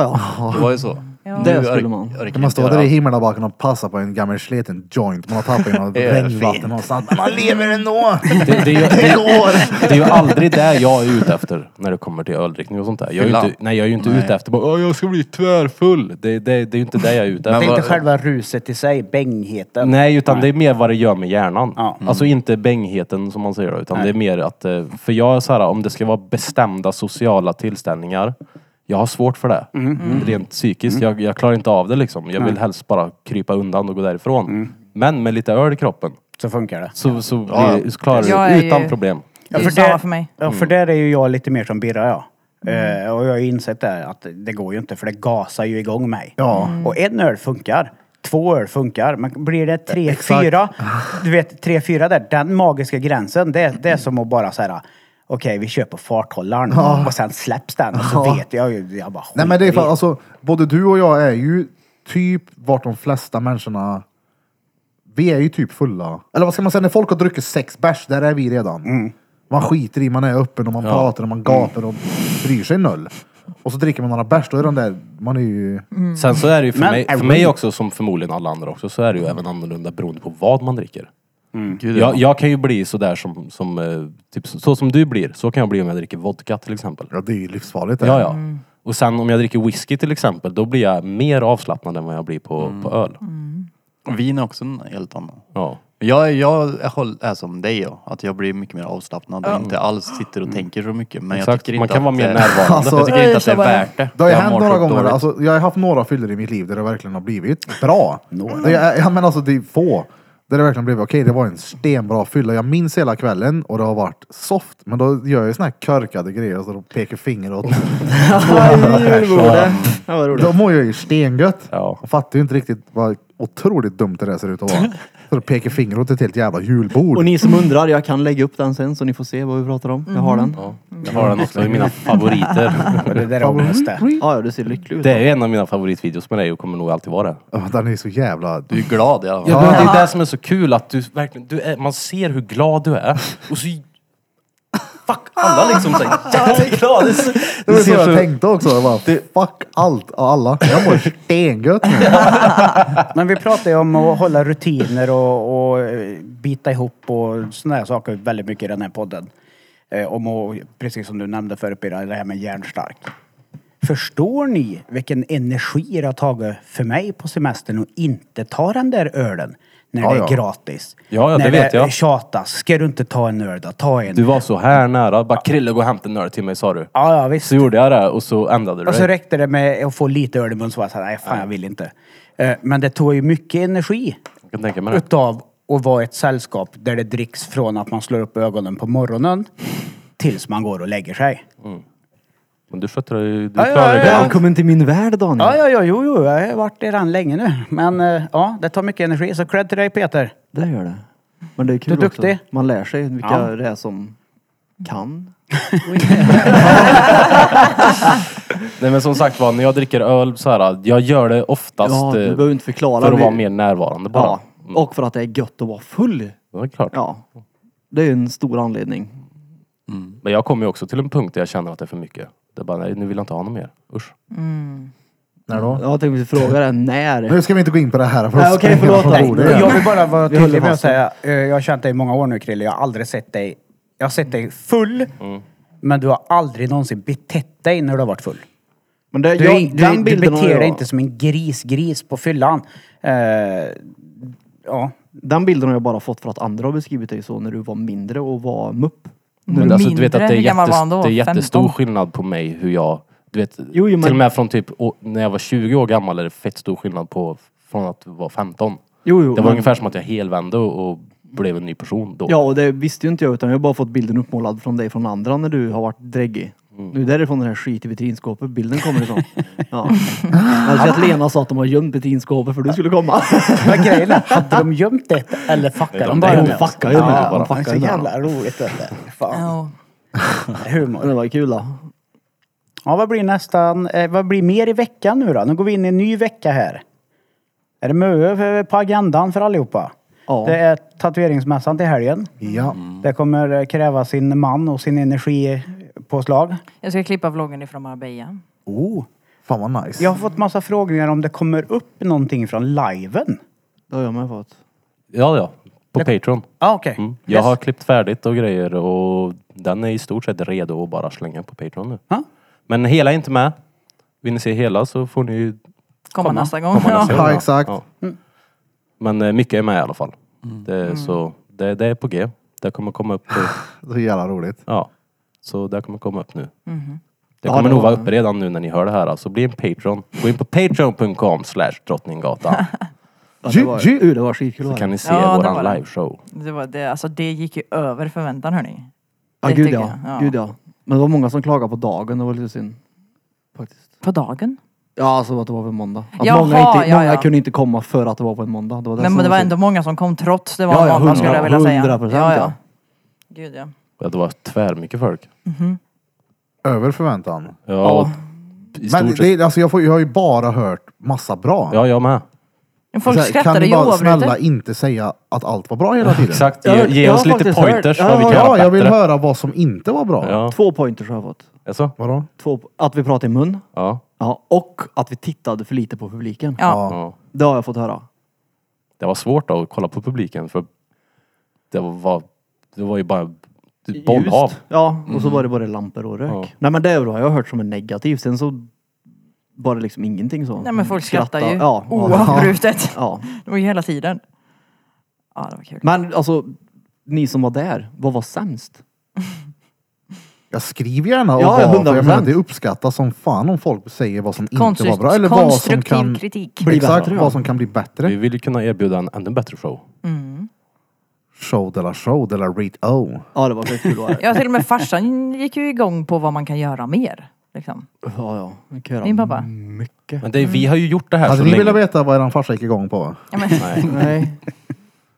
ja. Det var ju så. Ja. Det Nu skulle ork- man. orkar inte Man står där göra i allt. himlabacken och passar på en gammal sliten joint. Man har tappat i något Det är regnvatten någonstans. Men man lever ändå! Det, det, är ju, det, det är ju aldrig det jag är ute efter när det kommer till öldrickning och sånt där. Jag är ju Fyllan. inte, nej, jag är ju inte Nej. ute efter bara "Åh, jag ska bli tvärfull. Det, det, det är ju inte det jag är ute Men Det efter. är vad- inte själva ruset i sig, bängheten. Nej, utan det är mer vad det gör med hjärnan. Ja. Mm. Alltså inte bängheten som man säger då, utan det är mer att... eh, För jag är så här, om det ska vara bestämda sociala tillställningar, jag har svårt för det. Rent psykiskt. Jag, jag klarar inte av det liksom. Jag vill helst bara krypa undan och gå därifrån. Men med lite öl i kroppen Så funkar det. så, så, blir, Ja. så klarar Jag du är det utan ju- problem. det är Ja, ju för det- samma för mig. Mm. Ja, Mm. för där är ju jag lite mer som Birra, ja. Eh, och jag har ju insett det, här, att det går ju inte för det gasar ju igång mig. Ja. Mm. Och en öl funkar. Två öl funkar. Men blir det tre, Exakt. fyra, du vet tre, fyra där, den magiska gränsen, det, det är som att bara så här, okej vi köper farthållaren och sen släpps den och så Ja. vet jag ju, jag bara Nej men det är skiter i för, alltså, både du och jag är ju typ vart de flesta människorna vi är ju typ fulla. Eller vad ska man säga, när folk har druckit sex bärs, där är vi redan. Man skiter i, man är öppen och man pratar och man gapar och bryr sig noll. Och så dricker man några bärs, då är den där, man är ju... Sen så är det ju för, Men- mig, för mig också, som förmodligen alla andra också, så är det ju även annorlunda beroende på vad man dricker. Gud, ja. Jag, jag kan ju bli sådär som, som eh, typ, så, så som du blir, så kan jag bli om jag dricker vodka till exempel. Ja det är ju livsfarligt. det. Ja, ja. Och sen om jag dricker whisky till exempel, då blir jag mer avslappnad än vad jag blir på, på öl. Och Vin är också en helt annan. Ja. Jag, jag är håll- är som dig ja, att jag blir mycket mer avslappnad och inte alls sitter och tänker så mycket. Men jag Mm. Exakt. tycker Man inte kan att vara mer det- närvarande. Alltså- jag tycker Oj, inte att det är så var det. värt det. Det har ju Jag hänt mår några sjukt gånger. dåligt. Alltså, jag har haft några fyllor i mitt liv där det verkligen har blivit bra. Det, jag, jag menar alltså, det är få. Där det verkligen blivit, okej det var en stenbra fylla. Jag minns hela kvällen och det har varit soft. Men då gör jag såna här körkade grejer. Alltså, de pekar finger åt julbordet. Ja, vad roligt. Då mår jag ju stengött. Ja. Och fattar ju inte riktigt vad otroligt dumt det där ser ut att vara. Så de pekar finger åt ett helt jävla julbord. Och ni som undrar, jag kan lägga upp den sen så ni får se vad vi pratar om. Jag har den. Ja, Jag har den också i mina favoriter. det. Det där är ångest det. ja du ser lycklig ut. Det är ju en av mina favoritvideos med dig och kommer nog alltid vara det. Ja, Den är så jävla... Du är glad i alla fall. Ja, men Det är det som är så kul, att du verkligen, du är, man ser hur glad du är. Och så... Fuck, alla liksom så här jätteglada. Det är så- Det var det så jag ser så... tänkte också. Jag bara, fuck allt och alla. Jag mår stengött nu. Men vi pratar ju om att hålla rutiner och, och eh, bita ihop och sådana här saker väldigt mycket i den här podden. Eh, om att, precis som du nämnde förut Birra, det här med hjärnstark. Förstår ni vilken energi det har tagit för mig på semestern att inte ta den där ölen när Ja, det är ja. gratis? Ja, ja, när det vet jag. tjatas. Ska du inte ta en öl då? Ta en. Du var så här nära. Bara Krille, gå och hämta en öl till mig sa du. Ja, ja visst. Så gjorde jag det och så ändrade du Och så dig. räckte Alltså, det med att få lite öl i munnen så var jag såhär, nej fan jag vill inte. Eh, Men det tog ju mycket energi Jag kan tänka mig det. utav att vara i ett sällskap där det dricks från att man slår upp ögonen på morgonen tills man går och lägger sig. Mm. Men du skötte dig. Du Ja, ja, klarade dig. Välkommen till min värld Daniel. Ja, ja, ja, jo, jo, jag har varit i den länge nu. Men eh, ja, det tar mycket energi. Så cred till dig Peter. Det gör det. Men det är kul Du är duktig. också. Man lär sig vilka Ja. det är som kan. Nej men som sagt var, när jag dricker öl så här, jag gör det oftast Ja, du eh, behöver inte förklara. för att Vi- vara mer närvarande bara. Ja. Och för att det är gött att vara full. Det är klart. Ja. Det är ju en stor anledning. Men jag kommer ju också till en punkt där jag känner att det är för mycket. Det är bara, nej, nu vill jag inte ha något mer. Usch. När då? Jag tänkte fråga dig när. Nu ska vi inte gå in på det här. för Nej, att okej, spränga förlåt. från bordet igen. Jag vill bara vara Vi håller tydlig med att fast. säga, eh, jag har känt dig i många år nu Krille, jag har aldrig sett dig, jag har sett dig full, Mm. men du har aldrig någonsin betett dig när du har varit full. Men det, Du, jag, är- den du, du bilden har beter jag- dig inte som en gris-gris på fyllan. Eh, ja, Den bilden har jag bara fått för att andra har beskrivit dig så när du var mindre och var mupp. Men alltså, du vet mindre, att det är, hur gammal jättes- var han då? det är jättestor 15? skillnad på mig hur jag... Du vet, Jo, jo, men- till och med från typ å- när jag var 20 år gammal är det fett stor skillnad på från att vara 15. Jo, jo. Det var men- ungefär som att jag helvände och, och blev en ny person då. Ja, och det visste ju inte jag utan jag har bara fått bilden uppmålad från dig från andra när du har varit dräggig. Mm. Det är därifrån den här skit i vitrinskåpet bilden kommer ifrån. Ja. Alltså att Lena sa att de har gömt vitrinskåpet för du skulle komma. men grejen är, hade de gömt det eller fuckade Nej, de de bara dejade med oss. oss? Fuckade ju med det Ja, bara. det är så Fuckade med jävla roligt. vet du. Fan, Ja. Det humor. var ju kul då. Ja, vad blir nästan, eh, vad blir mer i veckan nu då? Nu går vi in i en ny vecka här. Är det Möö för- på agendan för allihopa? Ja. Mm. Det är tatueringsmässan till helgen. Ja. Det kommer eh, kräva sin man och sin energipåslag. Jag ska klippa vloggen ifrån Marbella. Oh. Fan vad nice. Jag har fått massa frågor om det kommer upp någonting från liven. Det har jag med fått. ja. ja. På Patreon. Ah, Okej. Mm. Jag har klippt färdigt och grejer och den är i stort sett redo att bara slänga på Patreon nu. Ja. Men hela är inte med. Vill ni se hela så får ni ju Komma nästa gång. komma nästa ja. Ja, gång, exakt. Men eh, mycket är med i alla fall. Det, Så det, det är på G. Det kommer komma upp. eh, Så jävla roligt. ja. Så det kommer komma upp nu. Det Ja, kommer det nog var- vara uppe redan nu när ni hör det här. Så bli en Patreon. Gå in på patreon.com slash drottninggatan. Ja, Ju- det var, ju- uh, det var skitkul. Så var det. kan ni se Ja, det var våran det. liveshow. Det, var, det, alltså, det gick ju över förväntan hörni. Ja, Det gud tycker ja. jag, ja. gud ja. Men det var många som klagade på dagen, det var lite synd. Faktiskt. På dagen. Ja, alltså att det var på en måndag. Att Jaha, många inte, ja, många ja. kunde inte komma för att det var på en måndag. Det var det Men som det var synd. ändå många som kom trots det var Ja, ja, måndag skulle jag vilja säga. 100%, ja, ja. ja. Gud ja. Ja, Det var tvärmycket folk. Över förväntan. Ja, i Men stort sett. det, är- alltså jag, får, jag har ju bara hört massa bra. Ja, jag med. Men Folk Så här, kan skrattade ni ju bara snälla oavbrutet. inte säga att allt var bra hela tiden? Exakt. Jag Ge, har- ge jag oss har lite faktiskt hört- pointers jag vad vi har- kan Ja, göra jag vill bättre. höra vad som inte var bra. Ja, Två pointers har jag fått. alltså? Vadå? Två, att vi pratade i mun. Ja. Ja, och att vi tittade för lite på publiken. Ja. ja. Det har jag fått höra. Det var svårt då att kolla på publiken för det var, det var ju bara bollhav. Ljust. Ja, och Mm. så var det bara lampor och rök. Ja. Nej men det har jag hört som en negativ. Sen så var det liksom ingenting så. Nej men folk skrattar ju Oh. Ja, ja, oavbrutet. ja. Det var ju hela tiden. Ja det var kul. Men alltså, ni som var där, vad var sämst? Jag skriver gärna och Ja, ja, vad, för jag 100%. menar det uppskattas som fan om folk säger vad som inte var Konstruk- bra. Eller vad som konstruktiv kan, kritik. Bli exakt, bättre, ja. vad som kan bli Vi bättre. vill ju kunna erbjuda en ännu bättre show. Show de la show de la read Oh. o. Alltså, Ja det var skitkul att vara där. Ja till och med farsan gick ju igång på vad man kan göra mer. Liksom. Ja ja, jag kan göra Min pappa. mycket. Men det, vi har ju gjort det här Mm. Hade så ni länge. velat veta vad eran farsa gick igång på? Ja, men, Nej.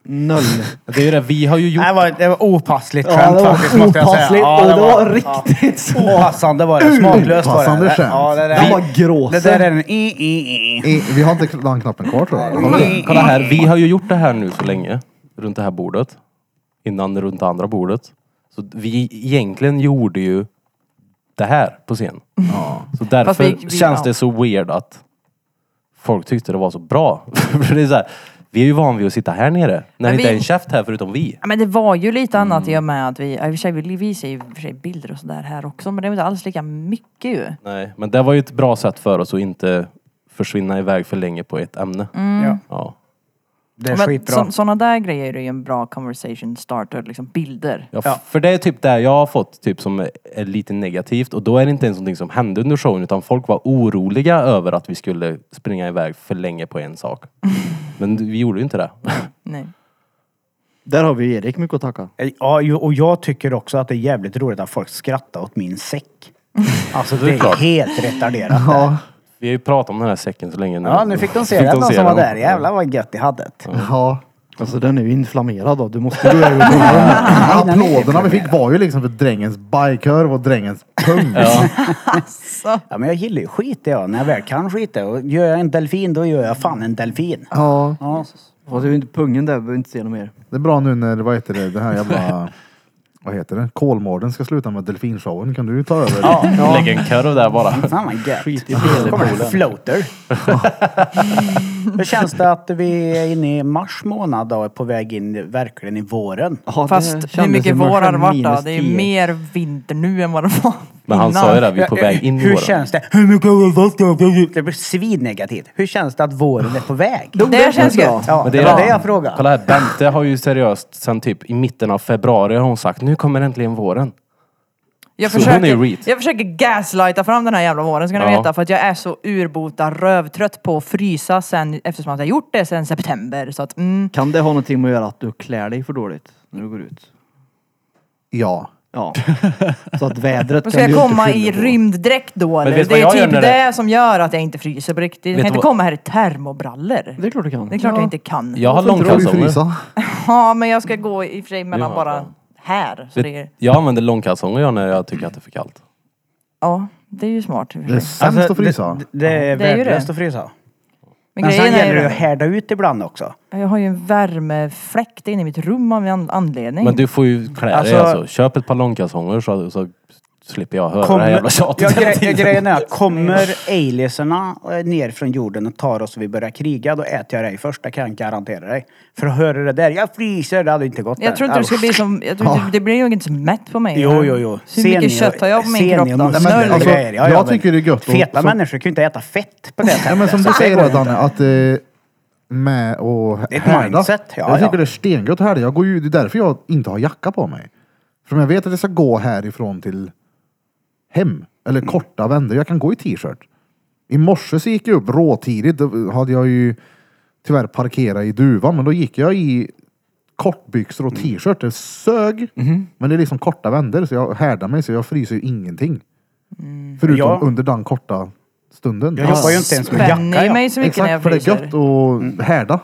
Noll. Det är ju det, vi har ju gjort. Det var, det var opassligt Ja, skämt det var faktiskt måste jag säga. opassligt Ja, och det var ja. riktigt så. Opassande var det. Smaklöst var det. Opassande Det- skämt. Ja, det, Han där, var gråsen. det där är en i, i, i. I, vi har inte den knappen kvar tror jag. Har vi det? Kolla här, vi har ju gjort det här nu så länge. Runt det här bordet. Innan runt det andra bordet. Så vi egentligen gjorde ju det här på scen. Så Fast därför vi- vi- känns ja. det så weird att folk tyckte det var så bra. För det är så här, vi är ju vana vid att sitta här nere. När det Men inte är vi- en käft här förutom vi. ja, men det var ju lite annat Mm. i och med att vi, ja, i och för sig, vi visar ju i och för sig bilder och sådär här också men det var inte alls lika mycket ju. Nej, men det var ju ett bra sätt för oss att inte försvinna iväg för länge på ett ämne. Mm. Ja, Ja. det är Men skitbra. så, sådana där grejer är ju en bra conversation starter, liksom bilder. Ja, f- För det är typ det jag har fått typ som är lite negativt och då är det inte ens någonting som hände under showen utan folk var oroliga över att vi skulle springa iväg för länge på en sak. Men vi gjorde ju inte det. Nej. Där har vi Erik mycket att tacka. Ja, ju- och jag tycker också att det är jävligt roligt att folk skrattar åt min säck. Alltså det är klart. helt retarderat. det. Vi har ju pratat om den här säcken så länge nu. Ja, nu fick de se den, de som var där. Jävlar vad gött de hade det. Ja. Alltså den är ju inflammerad då. Du måste gå över på den. Applåderna vi fick var ju liksom för drängens bajkorv och drängens pung. Så. Ja, men jag gillar ju skit jag, när jag väl kan skita. Och gör jag en delfin, då gör jag fan en delfin. Ja. Ja. Fast det är ju inte pungen där, vi behöver inte se något mer. Det är bra nu när, vad heter det, det här jävla... Vad heter det? Kolmården ska sluta med delfinshowen. Kan du ta över? Lägg en korv där bara. Fan vad gött. Skit i Då kommer det en floater. Hur känns det att vi är inne i mars månad och är på väg in verkligen i våren? Ja, det Fast hur kändes mycket som en vår har det varit skön då? minus Det är 10. mer vinter nu än vad det var Men han sa ju det, vi är på väg in i Hur våren. känns det? Hur mycket är Det blir svinnegativt. Hur känns det att våren är på väg? Det känns gött. Ja, Men det var det jag frågade. Kolla här, Bente har ju seriöst sen typ i mitten av februari har hon sagt nu kommer äntligen våren. Jag Så hon är ju reet. försöker, jag försöker gaslighta fram den här jävla våren ska ni Ja. veta för att jag är så urbota rövtrött på att frysa sen eftersom att jag gjort det sen september så att mm, Kan det ha någonting med att göra att du klär dig för dåligt när du går ut? Ja. Ja. Så att vädret Men ska jag kan du ju inte komma i skylla på. rymddräkt då Men eller? vet Det vad är jag gör typ det, när det- som gör att jag inte fryser på riktigt. Jag Vet kan inte vad- komma här i termobrallor. Det är klart du kan. Det är klart jag inte kan. Jag Ja. har Får inte du långkalsonger. frysa? men jag ska gå i och för sig mellan Ja. bara här. Så det är, Jag använder långkalsonger jag när jag tycker att det är för kallt. ja, det är ju smart. i och för Det är sig. sämst att frysa. Alltså, Det, det är Det är ju värdelöst det. att frysa. Men Men sen grejen gäller det är att ju, härda ut ibland också. jag har ju en värmefläkt inne i mitt rum av en anledning. Men du får ju klä Alltså- dig alltså. Köp ett par långkalsonger så, så slipper jag höra det här jävla tjatet ja, hela gre- tiden. grejen är att kommer aliaserna eh, ner från jorden och tar oss och vi börjar kriga, då äter jag dig först. Det kan jag garantera dig. För att höra det där, jag fryser, det hade inte gått. där. Jag tror inte det ska bli som, jag tror, det, det blir nog inte så mätt på mig. Jo, jo, jo. Hur Ser ni- mycket kött har jag på min ser kropp ni då? muskler Nej, men och alltså, grejer? jag tycker det är gött att- Feta så- människor kan ju inte äta fett på det sättet. Ja, men som Så du det säger går det inte. Danne, att eh, med och Det är ett härda. mindset, ja, jag tycker ja. det är stengött att härda. Jag går ju, det är därför jag inte har jacka på mig. För om jag vet att jag ska gå härifrån till hem, eller Mm. korta vändor, jag kan gå i t-shirt. I morse så gick jag upp råtidigt, då hade jag ju tyvärr parkerat i duvan, men då gick jag i kortbyxor Mm. och t-shirt. Det sög, Mm-hmm. men det är liksom korta vändor, så jag härdar mig så jag fryser ju ingenting. Förutom Mm. Ja. under den korta stunden. Jag jobbar ju inte ens med Spänner jacka. ju jag. mig så mycket när jag Exakt, för det är fryser. Mm. Ah. gött att härda.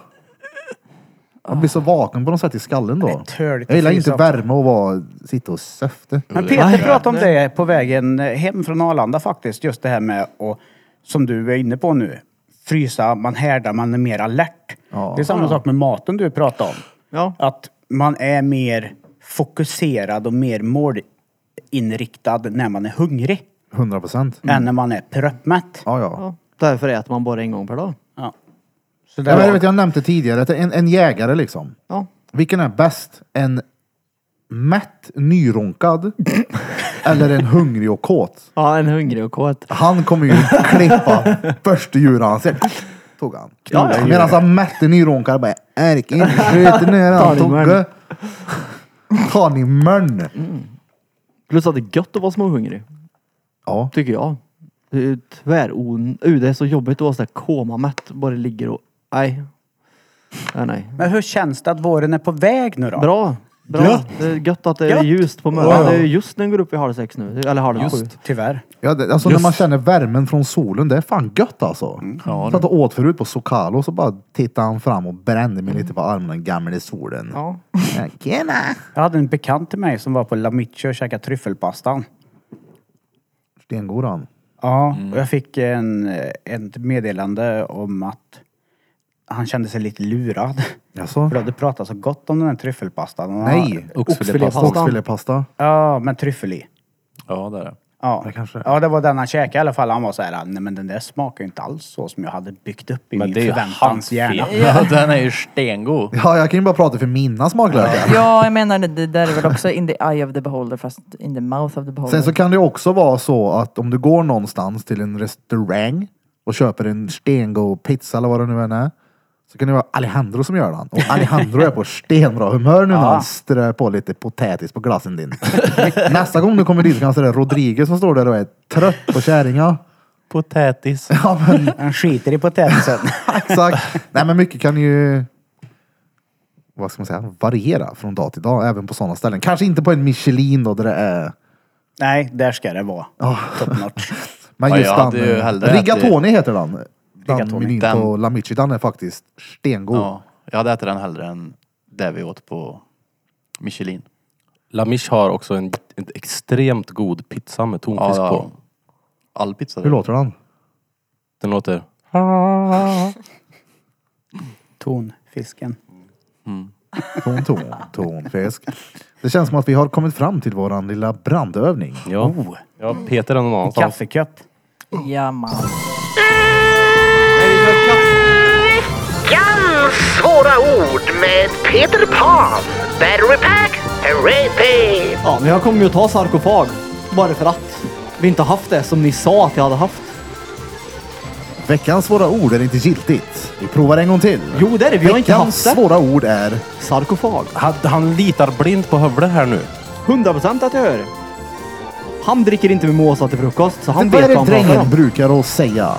Man blir så vaken på något sätt i skallen då. Det är törligt Jag gillar att inte frysa också. värme och vara, sitta och söfte. Men Peter pratade om det på vägen hem från Arlanda faktiskt. Just det här med, och, som du är inne på nu, frysa, man härdar, man är mer alert. Ja. Det är samma sak med maten du pratade om. Ja. Att man är mer fokuserad och mer målinriktad när man är hungrig 100 procent. än när man är proppmätt. Mm. Ja, ja. Ja. Därför äter man bara en gång per dag. Ja. Så Jag, där vet, jag nämnde tidigare att en, en jägare liksom. Ja. Vilken är bäst? En mätt, nyronkad eller en hungrig och kåt? Ja, en hungrig och kåt. Han kommer ju klippa första djuret han ser. Tog han. Ja, ja. Medan han mätte nyronkar bara ärken, skjut ner Ta han ni mörn. Togge. Ta ni mörn. Plus att det är gött att vara småhungrig. Ja. Tycker jag. Det är tväron... Uh, det är så jobbigt att vara sådär komamätt. Bara ligger och... Nej. Nej, nej. Men hur känns det att våren är på väg nu då? Bra. Bra. Det är gött att det är Gött. ljust på morgonen. Det är ju just när den går upp i halv sex nu. Eller halv sju. Tyvärr. ja det, alltså när Just. man känner värmen från solen, det är fan gött alltså. Ja, Satt och åt förut på Socalo så bara tittade han fram och brände mig lite på armen, den gamle solen. Ja. Tjena! Jag hade en bekant till mig som var på La Micho och käkade tryffelpastan. Stengod han. Ja, Mm. och jag fick en, ett meddelande om att han kände sig lite lurad. Jaså? För du hade pratat så gott om den här tryffelpastan. Och han- Nej! Oxfilépasta. Oxfilépasta. Oxfilépasta. Ja, men tryffel i. Ja, det är det. Ja. Det kanske- ja, det var den han käkade i alla fall. Han var så här, nej men den där smakar ju inte alls så som jag hade byggt upp i Men min det är ju förväntans hans hjärna. fel. Ja, den är ju stengod. Ja, jag kan ju bara prata för mina smaklökar. Ja, jag menar det, det där är väl också in the eye of the beholder fast in the mouth of the beholder. Sen så kan det också vara så att om du går någonstans till en restaurang och köper en stengod pizza eller vad det nu än är. Så kan det vara Alejandro som gör den. Och Alejandro är på stenbra humör nu när han strör på lite potatis på glassen din. Nästa gång du kommer dit så kanske det är Rodriguez som står där och är trött på kärringa. Potätis. Ja men Han skiter i potatisen. exakt. Nej men mycket kan ju vad ska man säga, variera från dag till dag även på sådana ställen. Kanske inte på en Michelin då där det är nej, där ska det vara. Top notch. Men Ja, just jag den, hade ju eh, hellre Rigatoni heter den. Den Rigatoni. menyn Den- på La Michi, den är faktiskt stengod. Ja, jag hade ätit den hellre än där vi åt på Michelin. Lamish har också en, en extremt god pizza med tonfisk på. All pizza. Hur låter den? Den låter... Tonfisken. Ton, ton, ton, fisk. Det känns som att vi har kommit fram till våran lilla brandövning. Ja, Oh. ja Peter är någon annanstans. Kaffekopp. Ja, man. Veckans svåra ord med Peter Pan. Battery pack, repeat. Ja, men jag kommer ju att ta sarkofag. Bara för att vi inte haft det som ni sa att jag hade haft. Veckans svåra ord är inte giltigt. Vi provar en gång till. Jo, det är det. Vi har inte Veckans haft det. svåra ord är... Sarkofag. Han, han litar blint på hövlet här nu. 100% att jag gör det. Han dricker inte mimosa till frukost, så han Vad är vet det vad han pratar drängen om. brukar att säga?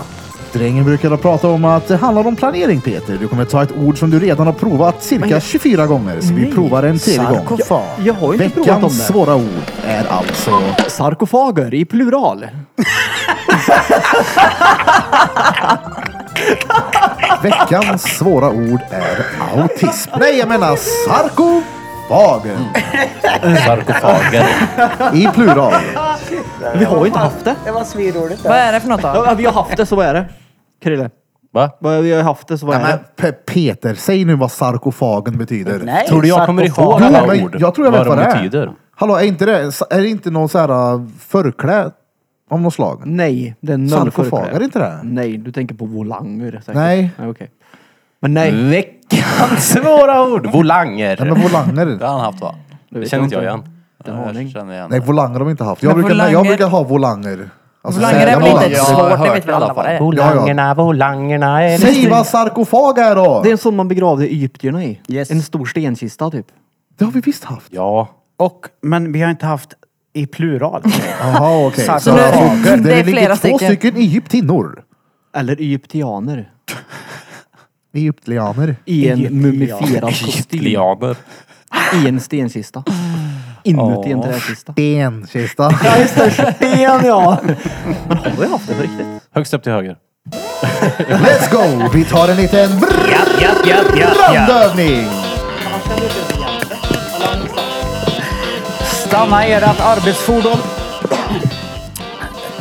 Drängen brukar att prata om att det handlar om planering Peter. Du kommer ta ett ord som du redan har provat cirka 24 gånger. Så vi provar en till gång. Jag- jag har ju inte Veckans provat om det. svåra ord är alltså... Sarkofager i plural. Veckans svåra ord är autism. Nej, jag menar sarkofagen. Äh. Sarkofagen. I plural. Vi har ju inte haft det. Det var svinroligt. Vad är det för något då? Ja, vi har haft det, så vad är det? Krille? Va? Vad- Vi har haft det, så vad Nej, är men det? Pe- Peter, säg nu vad sarkofagen betyder. Nej, Tror du jag kommer sarkofag. ihåg alla men ord? jag tror jag vet vad de det är. betyder. Hallå, är inte det, är det inte någon så här äh, förkläd av något slag? Nej, det är noll Sarkofag, är det inte det? Nej, du tänker på volanger säkert. Nej. Nej okej. Men nej. Mm, Veckans svåra ord! Nej, Volanger. men volanger. Det har han haft va? Det Det vet känner inte jag inte. igen. Den Ja, har jag ni. känner igen Nej, det. volanger har vi inte haft. Jag Men brukar, nej, jag volanger- brukar ha volanger. Alltså, Volanger säga är väl inte volanger. ett Jag har svårt, det hört vet i väl alla alla vad det fall. är. Volangerna, volangerna är... Säg vad sarkofag är då! Det är en sån man begravde egyptierna i. Yes. En stor stenkista typ. Det har vi visst haft. Ja. Och, men vi har inte haft i plural. Jaha, okej. Sarkofager. Så alltså, Det är ligger flera två stycken. stycken egyptinnor. Eller egyptianer. Egyptlianer. I en mumifierad kostym. Egyptlianer. I en stenkista. Inuti en träkista. Stenkista. Ja just det, sten ja! Men har vi haft det på riktigt? Högst upp till höger. Let's go! Vi tar en liten Japp, japp, japp, japp, japp. brandövning. Stanna ert arbetsfordon.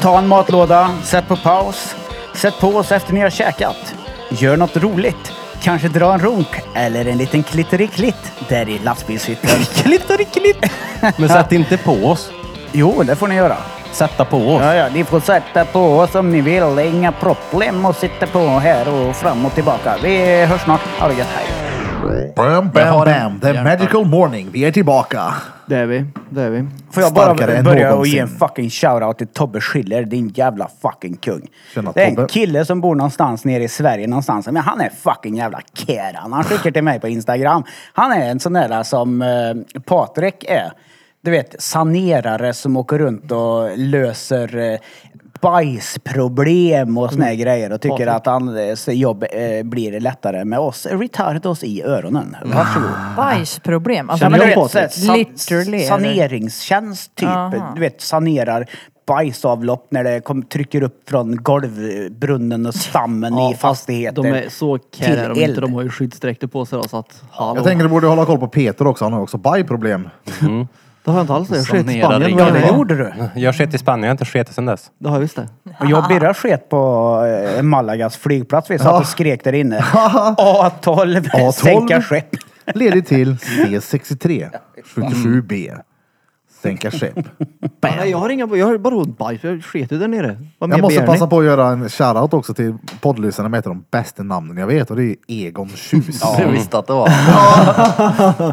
Ta en matlåda, sätt på paus. Sätt på oss efter ni har käkat. Gör något roligt. Kanske dra en runk eller en liten klitteriklitt där i lastbilshytten. klitteriklitt? Men sätt inte på oss. Jo, det får ni göra. Sätta på oss. Ja, ja, ni får sätta på oss om ni vill. Det är Inga problem att sitta på här och fram och tillbaka. Vi hörs snart. Ha det gött. Hej. Bam, bam, bam. The magical morning. Vi är tillbaka. Det är vi, det är vi. Får jag bara Starkare än börja och någonsin. ge en fucking shoutout till Tobbe Schiller, din jävla fucking kung. Tjena, det är en Tobbe. kille som bor någonstans nere i Sverige någonstans. Men han är fucking jävla keran. Han skickar till mig på Instagram. Han är en sån där som eh, Patrik är. Du vet, sanerare som åker runt och löser eh, bajsproblem och såna Mm. här grejer och tycker att hans jobb eh, blir lättare med oss retardos i öronen. Varsågod. Bajsproblem. Alltså, Ja, men du vet, jag på så här, det? Literally, san eller? saneringstjänst typ. Aha. Du vet, sanerar bajsavlopp när det kom, trycker upp från golvbrunnen och stammen i fastigheter. De är så kära om Till inte eld. de har ju skyddsdräkter på sig då så att hallå. Jag tänker du borde hålla koll på Peter också. Han har också bajproblem. Det har jag inte alls det. Jag sket i Sanera Spanien. ryggen. Ja, vad jag det var. gjorde du. Jag har skett i Spanien, jag har inte sketit sedan dess. Det har jag visst det. Och jag och Birra sket på eh, Malagas flygplats. Vi satt och skrek där inne. A12, A12. sänka skepp. Ledig till C63 77B. Sänka skepp. Nej, jag har inga, jag har bara ont bajs. Jag sket ju där nere. Vad mer Jag måste begär passa ni? på att göra en shoutout också till poddlyssnarna med ett av de bästa namnen jag vet och det är Egon Tjus. Du visste att det var.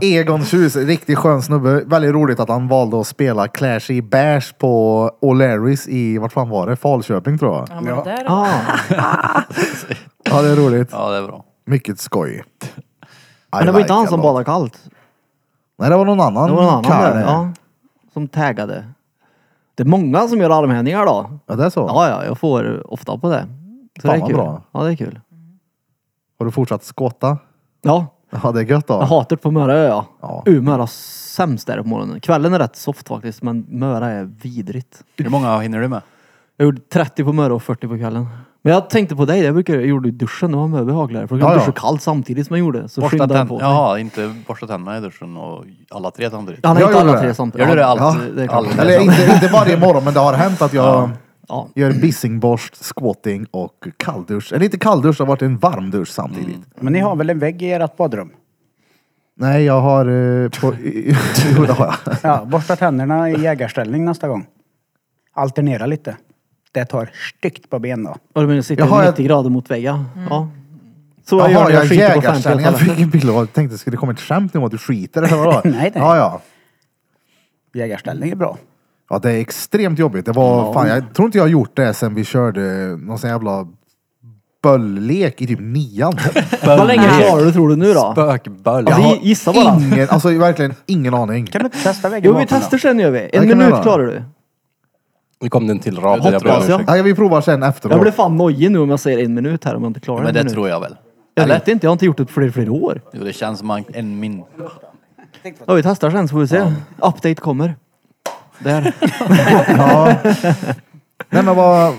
Egon Tjus, riktigt skön snubbe. Väldigt roligt att han valde att spela Clash i Bash på O'Larrys i, vart fan var det? Falköping tror jag. Ja, men det där- Ah, Ja, det är roligt. Ja det är bra. Mycket skoj. men det var inte han som badade kallt. Nej, det var någon annan. Det var någon annan karl. där. Ja, som taggade. Det är många som gör armhävningar då. Ja, det är så. Ja, ja, jag får ofta på det. Så Fan, det är vad kul. bra. Ja, det är kul. Har du fortsatt skotta? Ja, Ja, det är gött då. jag hatar det på Möra ö ja. Ja. Uh, Möra sämst där på morgonen. Kvällen är rätt soft faktiskt, men Möra är vidrigt. Hur många hinner du med? Jag gjorde 30 på Möra och 40 på kvällen. Men jag tänkte på dig, det brukar jag gjorde i duschen, det var mycket behagligare. För jag kunde Ja, ja. duscha kallt samtidigt som jag gjorde. Så Borsta skyndade jag på tänderna. mig. Jaha, inte borsta tänderna i duschen och alla tre samtidigt. Han har Jag inte alla gjorde tre det. samtidigt. Gör du det Ja. Ja. alltid? alltid? Eller inte, inte varje morgon, men det har hänt att jag Ja. gör bissingborst, squatting och kalldusch. Eller inte kalldusch, det har varit en varm dusch samtidigt. Mm. Men ni har väl en vägg i ert badrum? Nej, jag har... Eh, på, jo, det har jag. Ja, borsta tänderna i jägarställning nästa gång. Alternera lite. Det tar styggt på ben då. Och du menar sitta Jaha, jag- 90 grader mot väggen? Ja. Så jag gör Jaha, när jag jag skiter på offentliga jägarställning. Jag fick toaletter. en bild av jag tänkte, skulle det komma ett skämt nu om att du skiter eller vadå? Nej, nej. Ja, ja. Jägarställning är bra. Ja, det är extremt jobbigt. Det var, fan, jag tror inte jag har gjort det sen vi körde någon sån jävla bölllek i typ nian. Hur länge klarar du tror du nu då? Spökböld. Ja. Jag har gissa bara. Ingen, alltså verkligen ingen aning. Kan du inte testa väggen Jo vi bakom då? testar sen gör vi. kan En vi minut göra. klarar du. Nu kom det en till rad. Jag ber om Hoppas jag. ursäkt. Ja, vi provar sen efteråt. Jag blir fan nojig nu om jag säger en minut här om jag inte klarar Men en det minut. tror jag väl. jag Eller? vet inte, jag har inte gjort det på flera, flera år. Jo, det känns som en- en min... Ja, vi testar sen så får vi se. Update kommer. Där. Ja. Nej, men vad...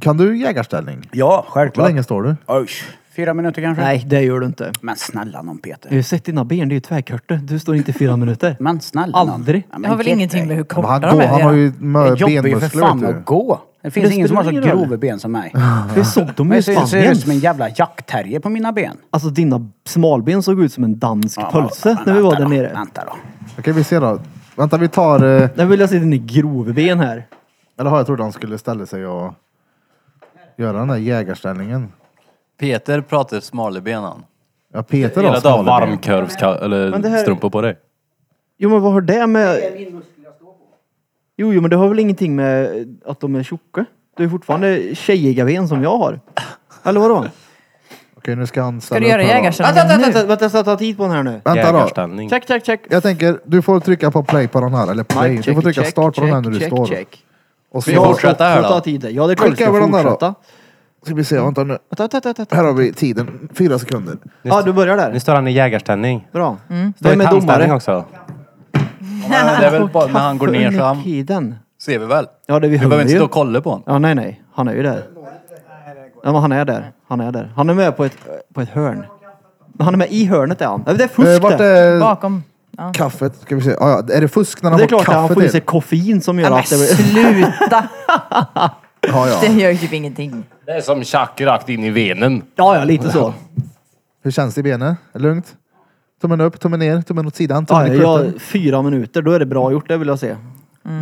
Kan du jägarställning? Ja, Hur självklart. länge står du? Oj, fyra minuter kanske? Nej, det gör du inte. Men snälla någon Peter. Jag har ju sett dina ben, det är ju tvärkörte. Du står inte i fyra minuter. Men snälla någon. Aldrig. Ja, Det men har väl get ingenting dig. med hur Men korta han, de går, är att han har göra. ju mö- Det jobbar ju för benmuskler. vet fan du. att gå. Det finns Det ingen som har så spelar ingen roll. grova ben som mig. Vi såg dem ju i Men jag ser Spanien. ut som en jävla jaktterrier på mina ben. Alltså dina smalben såg ut som en dansk Ja, pölse men när vi var vänta där då, nere. Vänta då. Okej, vi ser då. Vänta, vi tar... eh, Där vill jag se dina grovben här. Eller har jag trodde han skulle ställa sig och göra den där jägarställningen. Peter pratar smalbenan. Ja, Peter då. Gillar att som du har håller med. det varmkorvsstrumpor här- strumpor på dig? Jo men vad har det med... Jo, jo men det har väl ingenting med att de är tjocka? Du är fortfarande tjejiga ben som jag har. Eller vadå? Okej, nu ska han ställa Ska du göra upp här då. Vänta, vänta, jägarställning nu? vänta, vänta, jag tar tid på den här nu. Vänta då. Jägarställning. Check, check, check. Jag tänker, du får trycka på play på den här. Eller play. Check, du får trycka check, start på den här när check, du check, står. check. Och så Vi fortsätter här Får ta då. tid. Ja, det är klart vi Klicka ska över den där då. fortsätta. ska vi se, vänta nu. Vänta, vänta, vänta, Här vänta. har vi tiden. Fyra sekunder. Ja, du börjar där. Nu står han i jägarställning. Bra. Mm. Står i Vem är tandställning domare? också. Men det är väl bara när han går ner så Under han... tiden. Ser vi väl? Ja, det vi Vi behöver hör inte stå ju. och kolla på honom. Ja, nej, nej. Han är ju där. Ja, men han är där. Han är där. Han är med på ett, på ett hörn. Men Han är med i hörnet är han. Ja, Det är Eh, fusk vart det. är Bakom. Ja. kaffet? Ska vi se. Ah, ja. Är det fusk när han Det får är klart att han kaffe får i sig till? koffein som gör Men att det blir... sluta! Ja, Det ja. gör ju typ ingenting. Det är som tjack rakt in i venen. Ja, ja, lite så. Hur känns det i benet? Är det lugnt? Tummen upp, tummen ner, tummen åt sidan, Ja, tummen i ja, klutten. ja, fyra minuter, då är det bra gjort. Det vill jag se.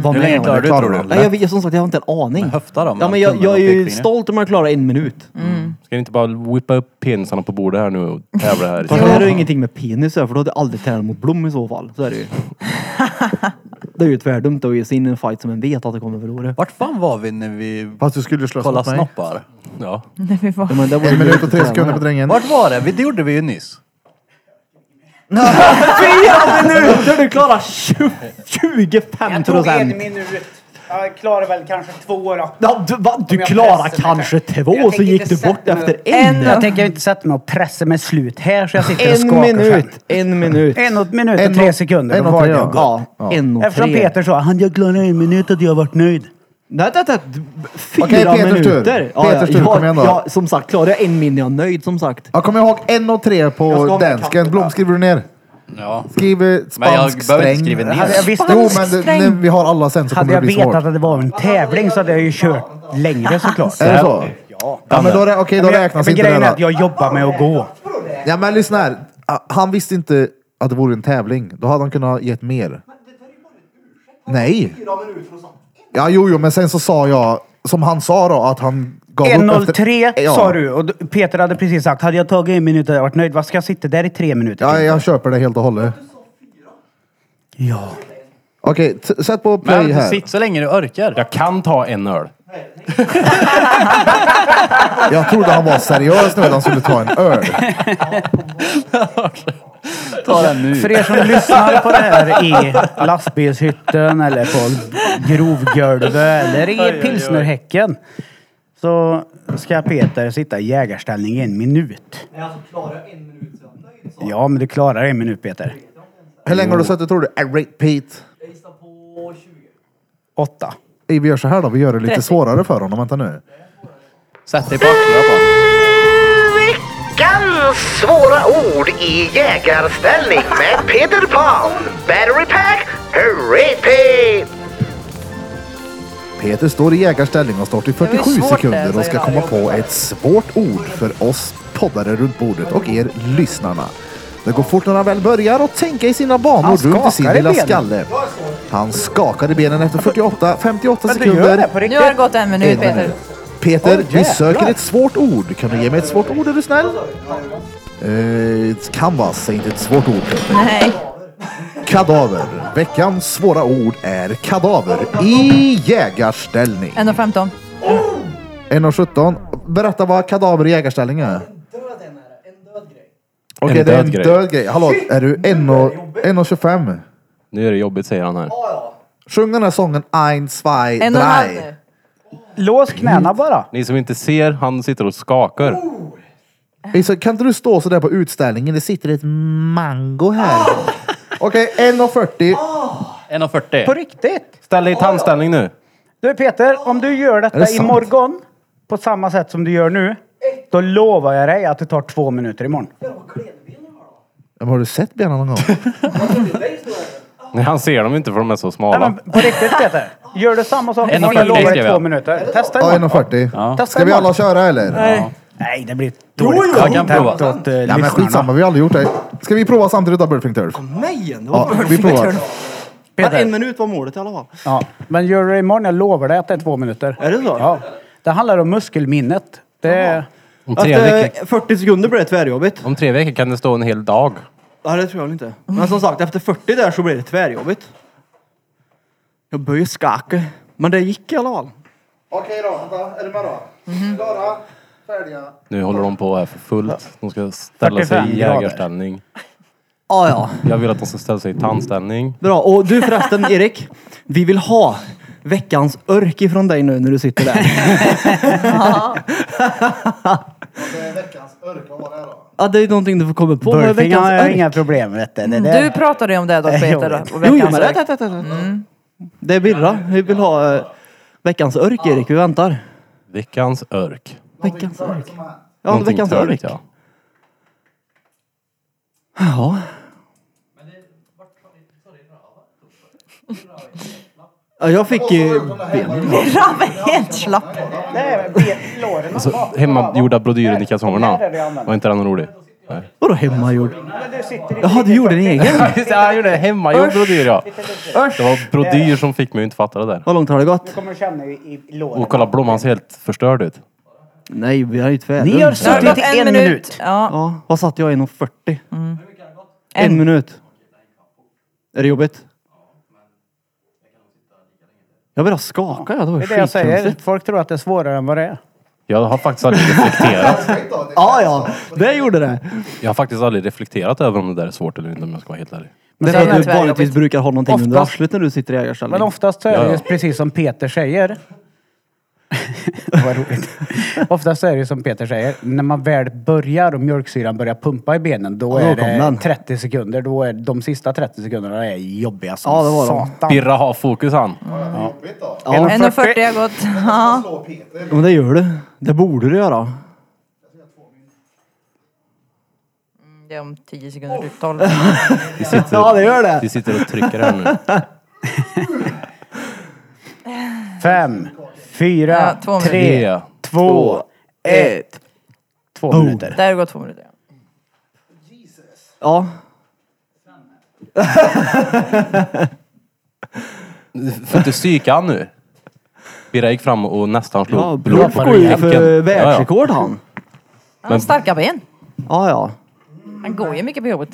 Vad Hur med länge om klarar det. du tror du? Klarar Nej, jag vet som sagt, jag har inte en aning. höfta då, Ja, mellan men jag, tummen jag är och ju pekfingret. stolt om jag klarar en minut. Ska ni inte bara whippa upp penisarna på bordet här nu och tävla här? Fast det här är ju ingenting med penis här, för då hade jag aldrig tävlat mot Blom i så fall. Så är det ju. Det är ju tvärdumt att ge sig in i en fight som en vet att det kommer förlora. Vart fan var vi när vi Alltså, Fast du skulle slåss kollade mot mig. snoppar? Ja. Nej, fy fan. Ja, men det var En ju- minut och tre sekunder på drängen. Vart var det? Vi- Det gjorde vi ju nyss. Fyra minuter! Du klarar 20 25 Jag tog en procent! minut. Jag klarar väl kanske två då. Ja, du, va, du jag pressar klarar mig kanske själv. två, Jag så tänker gick inte du bort sätta mig efter upp. en. Jag tänker inte sätta mig och pressa mig slut här så jag sitter och En skakar minut! själv. En minut! En och- minut En och tre och- sekunder. en då och var tre, det ja. gott. Ja, en och Eftersom tre. Peter sa han jag klarar en minut och jag varit nöjd. Nej, nej, nej. Fyra Okej, Peters tur. minuter! Peters tur, kom igen då. ja, som sagt, klarar jag en min är jag nöjd som sagt. Ja, kom ihåg en och tre ska på ha min kaffe dansken. Blom, skriver du ner? Ja. Skriv eh, spansk Men jag behöver inte sträng. skriva ner. Hade jag visst, jo, Spansk men det- sträng. när vi har alla sen så Hade kommer det jag bli vetat svårt. att det var en tävling så hade jag ju kört längre såklart. Är det så? Ja, men då, rä- okej, Eh, då Men jag- räknas men inte grejen det är att då. jag jobbar med att gå. Ja, men lyssna här. Ah, Han visste inte att det vore en tävling. Då hade han kunnat ha gett mer. Nej. Ja, jo, jo, men sen så sa jag, som han sa då, att han gav upp efter... 1.03 Ja. sa du och d- Peter hade precis sagt, hade jag tagit en minut hade jag varit nöjd. Vad ska jag sitta där i tre minuter Ja, till? jag köper det helt och hållet. Ja. Okej, t- sätt på play Men här. sitt så länge du orkar. Jag kan ta en öl. Jag trodde han var seriös nu att han skulle ta en öl. Ta den nu. För er som lyssnar på det här i lastbilshytten eller på grovgolvet eller i pilsnerhäcken. Så ska Peter sitta i jägarställning i en minut. Ja, men du klarar en minut Peter. Hur länge har du suttit tror du? Äh, I repeat. Åtta. Ey, Vi gör så här då, vi gör det lite 30. svårare för honom. Vänta nu. Sätt dig på axlarna på honom. Veckans svåra ord i jägarställning med Peter Pan. Battery pack, hurray pay! Peter står i jägarställning och står i var ju 47 svårt det, sekunder säger och ska jag. komma på ett svårt ord för oss poddare runt bordet och er lyssnarna. Det går fort när han väl börjar och tänka i sina Han banor runt i sin skakar i lilla benen. skalle. Han skakade benen efter 48, 58 Men du gör det sekunder. på Nu riktigt? har det gått en minut En Peter. minut. Peter, Åh, vi söker jävlar. ett svårt ord. Kan du ge mig ett svårt ord är du snäll? Eh, canvas är inte ett svårt ord Peter. Nej. Kadaver. Veckans svåra ord är kadaver i jägarställning. 1.15. 1,17. Berätta vad kadaver i jägarställning är. Okej, En det är en död grej. död grej. Hallå, är du 1,25? Nu är det jobbigt säger han här. Sjung den här sången Ein, zwei, En och en halv drei. nu. Lås knäna bara. Ni som inte ser, han sitter och skakar. Isa, Kan inte du stå sådär på utställningen? Det sitter ett mango här. Ah! Okej, 1,40. 1.40. På riktigt? Ställ dig i tandställning nu. Du Peter, om du gör Är detta det sant? imorgon på samma sätt som du gör nu, då lovar jag dig att det tar två minuter imorgon. Men har du sett benen någon gång? Nej, han ser dem inte för de är så Nej, smala. men på riktigt Peter. Gör du samma sak imorgon, jag 1,40 lovar skrev dig två jag. minuter. Testa Ja, imorgon. 1,40. Testa Ska vi imorgon. alla köra eller? Nej, det blir dåligt Jag kan content prova. åt eh, Ja, men skitsamma, lyssnarna. vi har aldrig gjort det. Ska vi prova samtidigt av Burfing Turf? Nej, det Ja, var vi provar. Bara en Peter, minut var målet i alla fall. ja. men gör du det imorgon, jag lovar dig att det är två minuter. Är det så? Ja. Det handlar om muskelminnet. Det är... Om tre, veckor, Efter 40 eh, sekunder blir det tvärjobbigt. om tre veckor kan det stå en hel dag. Ja, det tror jag väl inte. Men som sagt, efter 40 där så blir det tvärjobbigt. Jag började skaka. Men det gick i alla fall. Okej då, vänta. Är du med då? Klara, färdiga. Nu håller de på här för fullt. De ska ställa 45 sig i grader. jägarställning. Ah, ja. Jag vill att de ska ställa sig i tandställning. Bra. Och du förresten, Erik. Vi vill ha veckans örk ifrån dig nu när du sitter där. Veckans örk, vad var det då? ja, det är någonting du får komma på. Vad är Burfing veckans har örk? inga problem med detta. Det där- Du pratade ju om det då Peter. då, och Jo, jo, veckans men örk. det, det, det, det är Birra. Vi vill ha eh, veckans örk, Erik. Vi väntar. Veckans örk. Veckans örk. Ja, Någonting veckans törligt, örk. ja. Ja. Ja, jag fick ju... Birra var helt slapp. Det är ben- låren. Alltså, hemmagjorda brodyren i kalsongerna. Var inte den rolig? Nej. Vadå hemmagjord? Men du sitter i Jaha, du gjorde en egen? Han gjorde hemmagjord brodyr ja. Det var brodyr som fick mig att inte fatta det där. Hur långt har det gått? kommer känna i, i låren. Och kolla Blom, han ser helt förstörd ut. Nej, vi har ju tvärlund. Ni har Nu har det suttit gått i en minut. Ja. Ja, vad satt jag? 1.40? En. En minut. Är det jobbigt? Jag började skaka, ja. Det var Det är det jag säger. skitkonstigt. Folk tror att det är svårare än vad det är. Jag har faktiskt aldrig reflekterat. Ja, ja. Det gjorde det. Jag har faktiskt aldrig reflekterat över om det där är svårt eller inte om jag ska vara helt ärlig. Det är sen för är att det du vanligtvis tvärjobbigt. brukar ha någonting under Oftast- arslet när du sitter i ägarställning. Men oftast så är det Ja, ju ja. precis som Peter säger. Vad roligt. Oftast så är det ju som Peter säger. När man väl börjar och mjölksyran börjar pumpa i benen, då är kom den. det 30 sekunder. Då är de sista 30 sekunderna är jobbiga som Ja, det var de. satan. Birra har fokus han. Ja. 1.40 har gått. Ja. Ja, Men det gör du. Det borde du göra. Det är om 10 sekunder, typ 12. Vi sitter, Ja, det gör det. vi sitter och trycker här nu. Fem, fyra, Ja, två minuter. tre, två, ett. Två minuter. Där har det gått två minuter. Ja. Du får inte psyka han nu. Birra gick fram och nästan slog ja Blom Blom går ju kuken. för Ja, ja. världsrekord han. Han har starka ben. Ja, ja. Han går ju mycket på jobbet.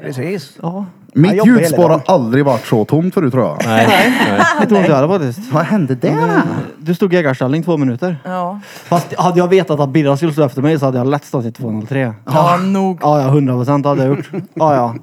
Precis. ja. Mitt Jag jobbar ljudspår hela har aldrig varit så tomt förut tror jag. Mm. Nej, nej. Jag tror inte jag hade faktiskt. Vad hände där? Du stod i ägarställning två minuter. Ja. Fast hade jag vetat att Birra skulle stå efter mig så hade jag lätt stått i 2.03. Ja, nog. Ja, ja. 100 procent hade jag gjort. Ja, ja.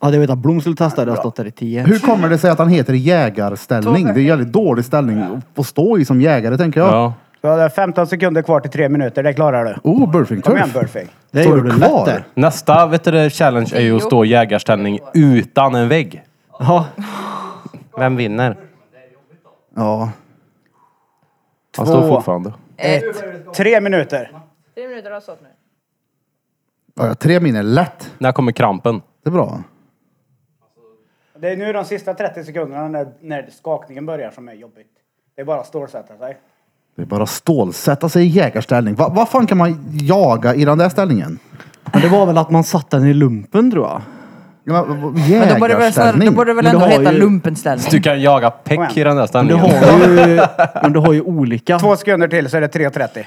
Hade jag vetat att Blom skulle testa hade jag stått där i 10. Hur kommer det sig att han heter jägarställning? Det är en jävligt dålig ställning att stå i som jägare tänker jag. Ja. Du har 15 sekunder kvar till tre minuter. Det klarar du. Oh, Burfing Kom igen Turf. Burfing. Det Står gjorde du du kvar? lätt där. Nästa vet du, det, challenge är ju att stå i jägarställning utan en vägg. Ja. Vem vinner? Ja. Han står två, fortfarande. ett. Tre minuter. Tre minuter har stått nu. Ja, tre miner, lätt. När kommer krampen? Det är bra. Det är nu de sista 30 sekunderna när, när skakningen börjar som är jobbigt. Det är bara att stålsätta sig. Det är bara stålsätta sig i jägarställning. Va- Vad fan kan man jaga i den där ställningen? Men det var väl att man satte den i lumpen tror jag. Ja, men vad- Men då borde det väl, snarare- då Jägarställning? borde det väl Men du ändå har heta ju- lumpenställning. Du kan jaga peck i den där Men du ställningen. har ju, men du har ju olika. Två sekunder till så är det 3.30.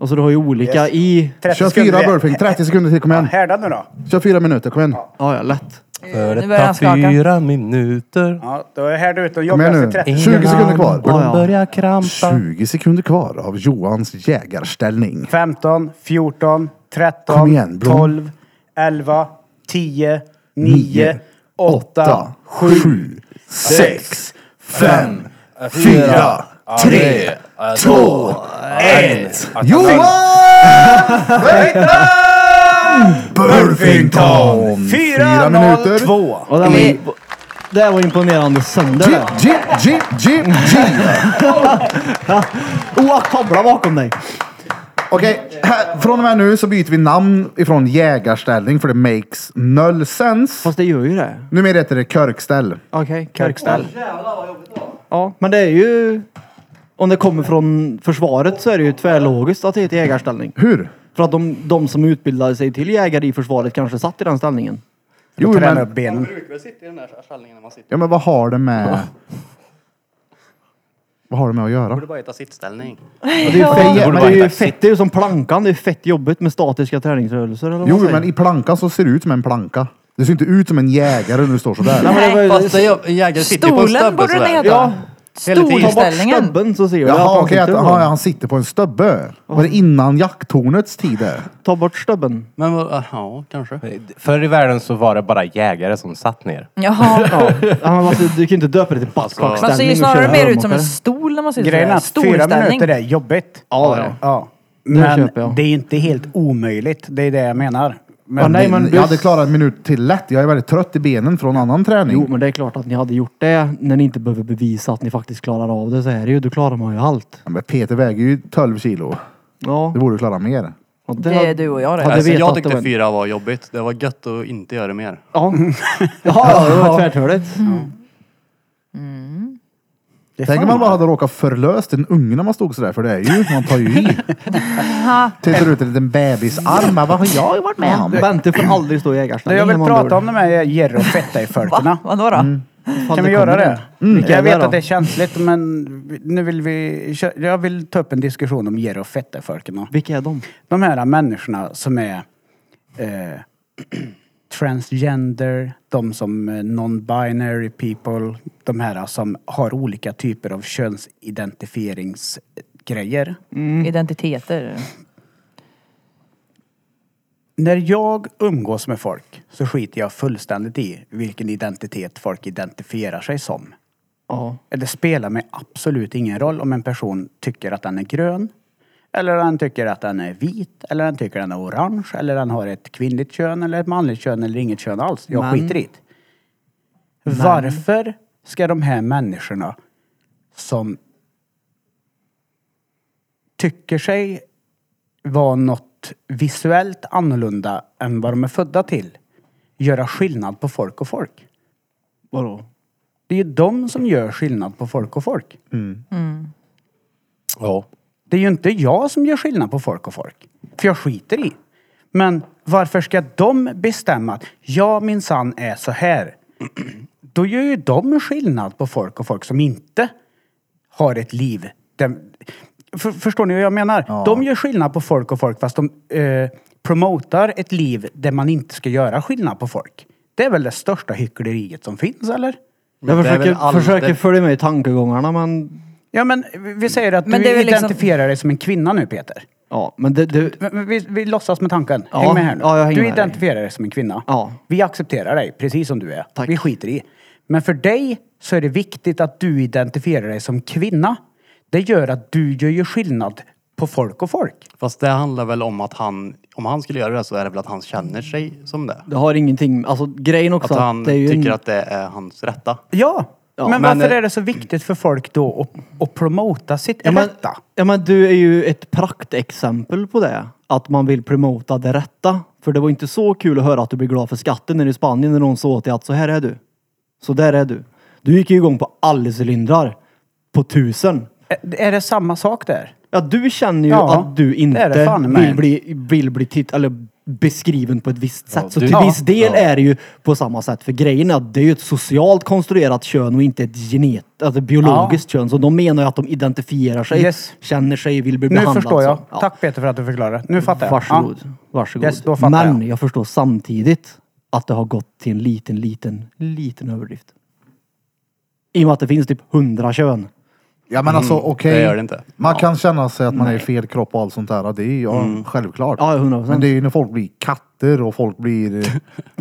Alltså du har ju olika i... 30 Kör sekunder fyra igen. burfing, 30 sekunder till, kom igen. Härda nu då. Kör fyra minuter, kom igen. Ja, ja, lätt. För Nu börjar han skaka. fyra minuter. Ja, då är härda ut de Kom igen jobbigaste nu. 30 20 sekunder kvar. Ja, ja. börjar krampa. 20 sekunder kvar av Johans jägarställning. 15, 14, 13, Kom igen, Blom. 12, 11, 10, 9, 8, 7, 7, 6, 5, 4, 3, 2, 1. Johan! Burfington! 4, 0, 2. Och den var, imp- det här var imponerande sönder Jip, det. jip, jip, jip, jip. Oh, att tavla bakom dig! Okej, här- från och med nu så byter vi namn ifrån jägarställning för det makes noll sense. Fast det gör ju det. Numera heter det körkställ. Okej, okay, kärkställ. Ja, men det är ju... Om det kommer från försvaret så är det ju tvärlogiskt att det heter jägarställning. Hur? För att de, de som utbildade sig till jägare i försvaret kanske satt i den ställningen. Jo, Träna upp men, benen. brukar väl sitta i den där ställningen när man sitter. ja, men vad har det med... Vad har det med att göra? Borde bara heta sittställning. Och det är ju Det fett, borde men det vara är ju helt fett, det är ju som plankan. Det är fett jobbigt med statiska träningsrörelser eller vad Jo, man säger. men i plankan så ser det ut som en planka. Det ser inte ut som en jägare när du står sådär. Nej, men det var ju- Fast det är- jägare sitter ju på en Stolen stubbe borde den sådär. heta. Ja. Ta bort Stolställningen. stubben så ser jag att Jaha, han okej. sitter att- på aha, den. ja, han sitter på en stubbe. Var det innan jakttornets tid? det? Ta bort stubben. Men vad- ja, kanske. Förr i världen så var det bara jägare som satt ner. Jaha. Ja, men alltså, du kan ju inte döpa det till backpackställning. Man ser ju och snarare köra mer ut som rörmokare. en stol när man sitter Grejen är sådär. att fyra Stolställning. minuter är jobbigt. Ja, ja. Ja. Det Men köper jag. det är inte helt omöjligt. Det är det jag menar. Men Ja, nej, men Jag hade klarat en minut till lätt. Jag är väldigt trött i benen från annan träning. Jo, men det är klart att ni hade gjort det när ni inte behöver bevisa att ni faktiskt klarar av det. Så är det ju. Då klarar man ju allt. Ja, Men Peter väger ju 12 kilo. Ja. Du borde klara mer. och Det är du och jag det. Ja, det Alltså, vet jag att det tyckte var- fyra var jobbigt. Det var gött att inte göra det mer. Ja. ja, det var tvärtöligt. det Tänk om man bara hade råkat förlöst en unge när man stod sådär. För det är ju, man tar ju i. Tittar ut en liten bebisarm. Vad har jag varit med om? Bente får aldrig stå i Det ägarställning. jag vill med andra prata ord. om de här Jerry och Fetta-effekterna. Vadå då? Fan, Kan det vi göra kommer det? inte. Vilka Jag är vet det att det då? är känsligt men nu vill vi... kö- Jag vill ta upp en diskussion om Jerry och Fetta-effekterna. Vilka är de? De här människorna som är eh, transgender, de som är non-binary people, de här som har olika typer av könsidentifieringsgrejer. Mm. Identiteter. När jag umgås med folk så skiter jag fullständigt i vilken identitet folk identifierar sig som. Ja. Det spelar mig absolut ingen roll om en person tycker att den är grön, eller den tycker att den är vit, eller den tycker att den är orange, eller den har ett kvinnligt kön, eller ett manligt kön, eller inget kön alls. Jag Men- skiter i det. Varför ska de här människorna som tycker sig vara något visuellt annorlunda än vad de är födda till, göra skillnad på folk och folk? Vadå? Det är ju de som gör skillnad på folk och folk. Ja. Det är ju inte jag som gör skillnad på folk och folk. För jag skiter i. Men varför ska de bestämma att jag minsann är så här? Då gör ju de skillnad på folk och folk som inte har ett liv. Dem- för, förstår ni vad jag menar? De gör skillnad på folk och folk fast de eh, promotar ett liv där man inte ska göra skillnad på folk. Det är väl det största hyckleriet som finns, eller? Jag det är försöker, väl all- försöker det- följa med i tankegångarna men... Ja, men vi- vi säger att Men du det är väl liksom- identifierar dig som en kvinna nu, Peter. Ja, men det... det Men Vi, vi låtsas med tanken. Ja. Häng med här nu. Ja, jag hänger du med dig. identifierar dig som en kvinna. Ja. Vi accepterar dig precis som du är. Tack. Vi skiter i. Men för dig så är det viktigt att du identifierar dig som kvinna. Det gör att du gör ju skillnad på folk och folk. Fast det handlar väl om att han, om han skulle göra det så är det väl att han känner sig som det. det har ingenting... Alltså grejen också Att han det är ju tycker en, att det är hans rätta. Ja, Ja, men, men, varför eh, är det så viktigt för folk då att, att promota sitt Ja, men, rätta? ja, men du är ju ett praktexempel på det. Att man vill promota det rätta. För det var inte så kul att höra att du blir glad för skatten nere i Spanien när någon sa åt dig att så här är du. Så där är du. Du gick ju igång på alla cylindrar. På tusen. Ä- Är det samma sak där? Ja, du känner ju Ja, att du det är inte det fan i mig. vill bli, vill bli titt, eller beskriven på ett visst sätt. så du- till Ja. viss del är det ju på samma sätt. För grejen är att det är ju ett socialt konstruerat kön och inte ett genet, alltså biologiskt kön. Så de menar ju att de identifierar sig, Yes. känner sig, vill bli Nu behandlade. förstår jag. så. alltså- Ja. Tack Peter för att du förklarade. Nu fattar jag. Varsågod. Ja. Varsågod. Yes, då fattar Men jag. jag. förstår samtidigt att det har gått till en liten, liten, liten överdrift. I och med att det finns typ hundra kön. Ja men alltså okej. det gör det inte. Man Ja. kan känna sig att man är i fel kropp och allt sånt där. Det är ju ja, självklart. Ja, 100%. Men det är ju när folk blir katter och folk blir...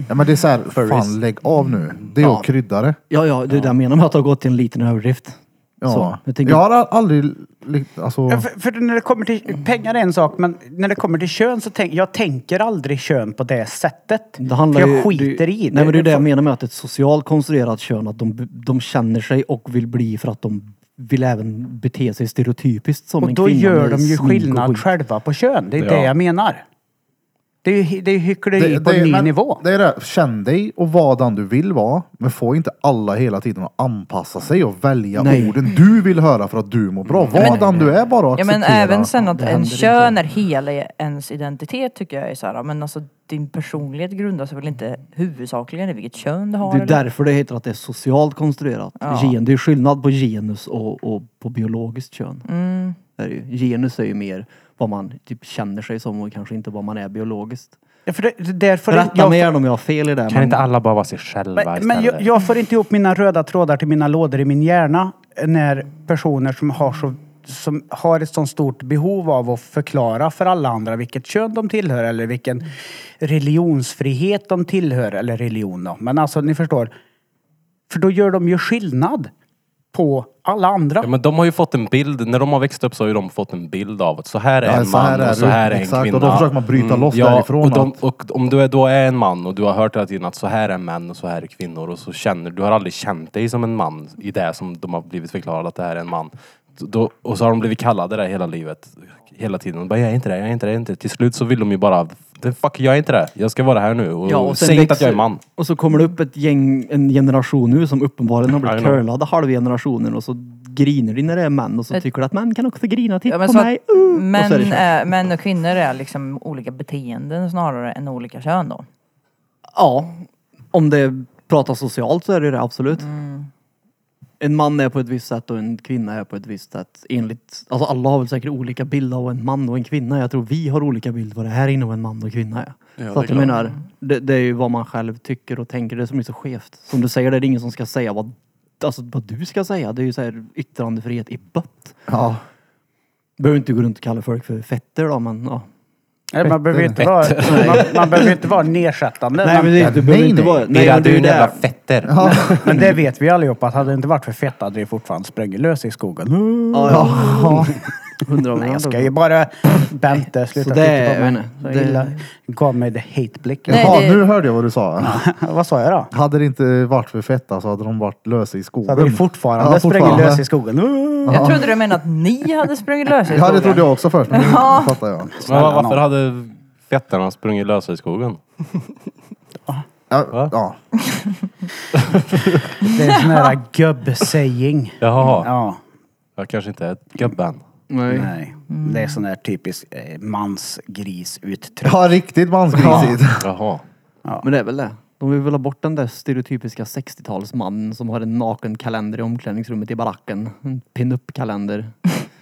ja men det är såhär, fan lägg av nu. Det är ju att krydda det. Ja, ja, det är det jag menar med att det har gått till en liten överdrift. Ja. Så, jag jag, tänker- har al- aldrig... li- Alltså, Ja, För, för när det kommer till, pengar är en sak, men när det kommer till kön så tänk, jag tänker aldrig kön på det sättet. Det handlar för ju- jag skiter det, i det. Nej men det är det jag menar med att ett socialt konstruerat kön, att de, de känner sig och vill bli för att de vill även bete sig stereotypiskt som Och en då kvinna gör med de ju smink och skillnad skit. själva på kön. Det är det Ja. jag menar. Det är, ju- det är hyckleri på en ny men nivå. Det är det. Känn dig och var den du vill vara. Men få inte alla hela tiden att anpassa sig och välja Nej. orden du vill höra för att du mår bra. Var den du är bara och Ja acceptera. men även sen att Det en händer inte. kön är hela ens identitet tycker jag är så här, men alltså din personlighet grundar sig väl inte huvudsakligen i vilket kön du har? Det är eller? därför det heter att det är socialt konstruerat. Gen, det är ju skillnad på genus och, och på biologiskt kön. Mm. Det är det ju. Genus är ju mer vad man typ känner sig som och kanske inte vad man är biologiskt. Ja, för det, det där får Rätta jag, mig gärna om jag har fel i det. Kan men- inte alla bara vara sig själva men, istället? men jag, jag får inte ihop mina röda trådar till mina lådor i min hjärna när personer som har, så, som har ett sånt stort behov av att förklara för alla andra vilket kön de tillhör eller vilken religionsfrihet de tillhör. Eller religion då. Men alltså, ni förstår. För då gör de ju skillnad på alla andra. Ja, men de har ju fått en bild, när de har växt upp så har ju de fått en bild av att så här är Ja, en så här man är och så du. här är en Exakt, kvinna. Mm. och då försöker man bryta loss därifrån Och, de, att- och om du är, då är en man och du har hört hela tiden att så här är män och så här är kvinnor och så känner du har aldrig känt dig som en man i det som de har blivit förklarade att det här är en man. Då, och så har de blivit kallade det hela livet. Hela tiden. Och Bara, jag är inte det, jag är inte det, jag är inte det. Till slut så vill de ju bara, "The fuck jag är inte det. Jag ska vara här nu och, Ja, och sen säg inte att växer- jag är man. Och så kommer det upp ett gäng, en generation nu som uppenbarligen har blivit I know. curlade halva generationen och så griner de när det är män och så Ett- tycker de att män kan också grina. Titta Ja, men på så mig! att Uh! och män, så är det kört. är, män och kvinnor är liksom olika beteenden snarare än olika kön då. Ja, om det pratas socialt så är det det absolut. En man är på ett visst sätt och en kvinna är på ett visst sätt. Enligt, alltså alla har väl säkert olika bilder av en man och en kvinna. Jag tror vi har olika bild vad det här inom en man och kvinna är. Ja, så det att är jag klart. menar, det, det är ju vad man själv tycker och tänker. Det är som är så skevt. Som du säger, det är ingen som ska säga vad, alltså, vad du ska säga. Det är ju så här yttrandefrihet i bött. Ja. Behöver inte gå runt och kalla folk för fetter då, men ja. Nej, man, behöver inte vara, man, man behöver inte vara nedsättande. Nej, men det, nej, du behöver nej. inte vara... Nej, men det är ju det. fetter. Men det vet vi allihopa att hade det inte varit för fett hade det fortfarande sprungit lös i skogen. Ja, ja. Hundra Nej, jag ska ju bara... Bente, sluta Så det- titta på jag mig. vet inte. Så Det- illa. Gav mig det hateblicken. Nej, Jaha, det- nu hörde jag vad du sa. Vad sa jag då? Hade det inte varit för fetta så hade de varit lösa i Så hade skogen. vi fortfarande Ja, sprungit fortfarande. lös i skogen. Uh. Jag trodde du menade att ni hade sprungit lösa i Ja, det skogen. trodde jag också först, men nu fattar jag. Men Snälla varför nån. hade fettarna sprungit lösa i skogen? Ja, Va? ja. Det är en sån här gubb-saying. Jaha, Ja. jag kanske inte är gubben. Nej. Nej. Det är sån där typisk eh, mansgrisuttryck. ja riktigt mansgrisigt. Jaha. Men det är väl det. De vill väl ha bort den där stereotypiska 60-talsmannen som har en naken kalender i omklädningsrummet i baracken. En pin-up-kalender.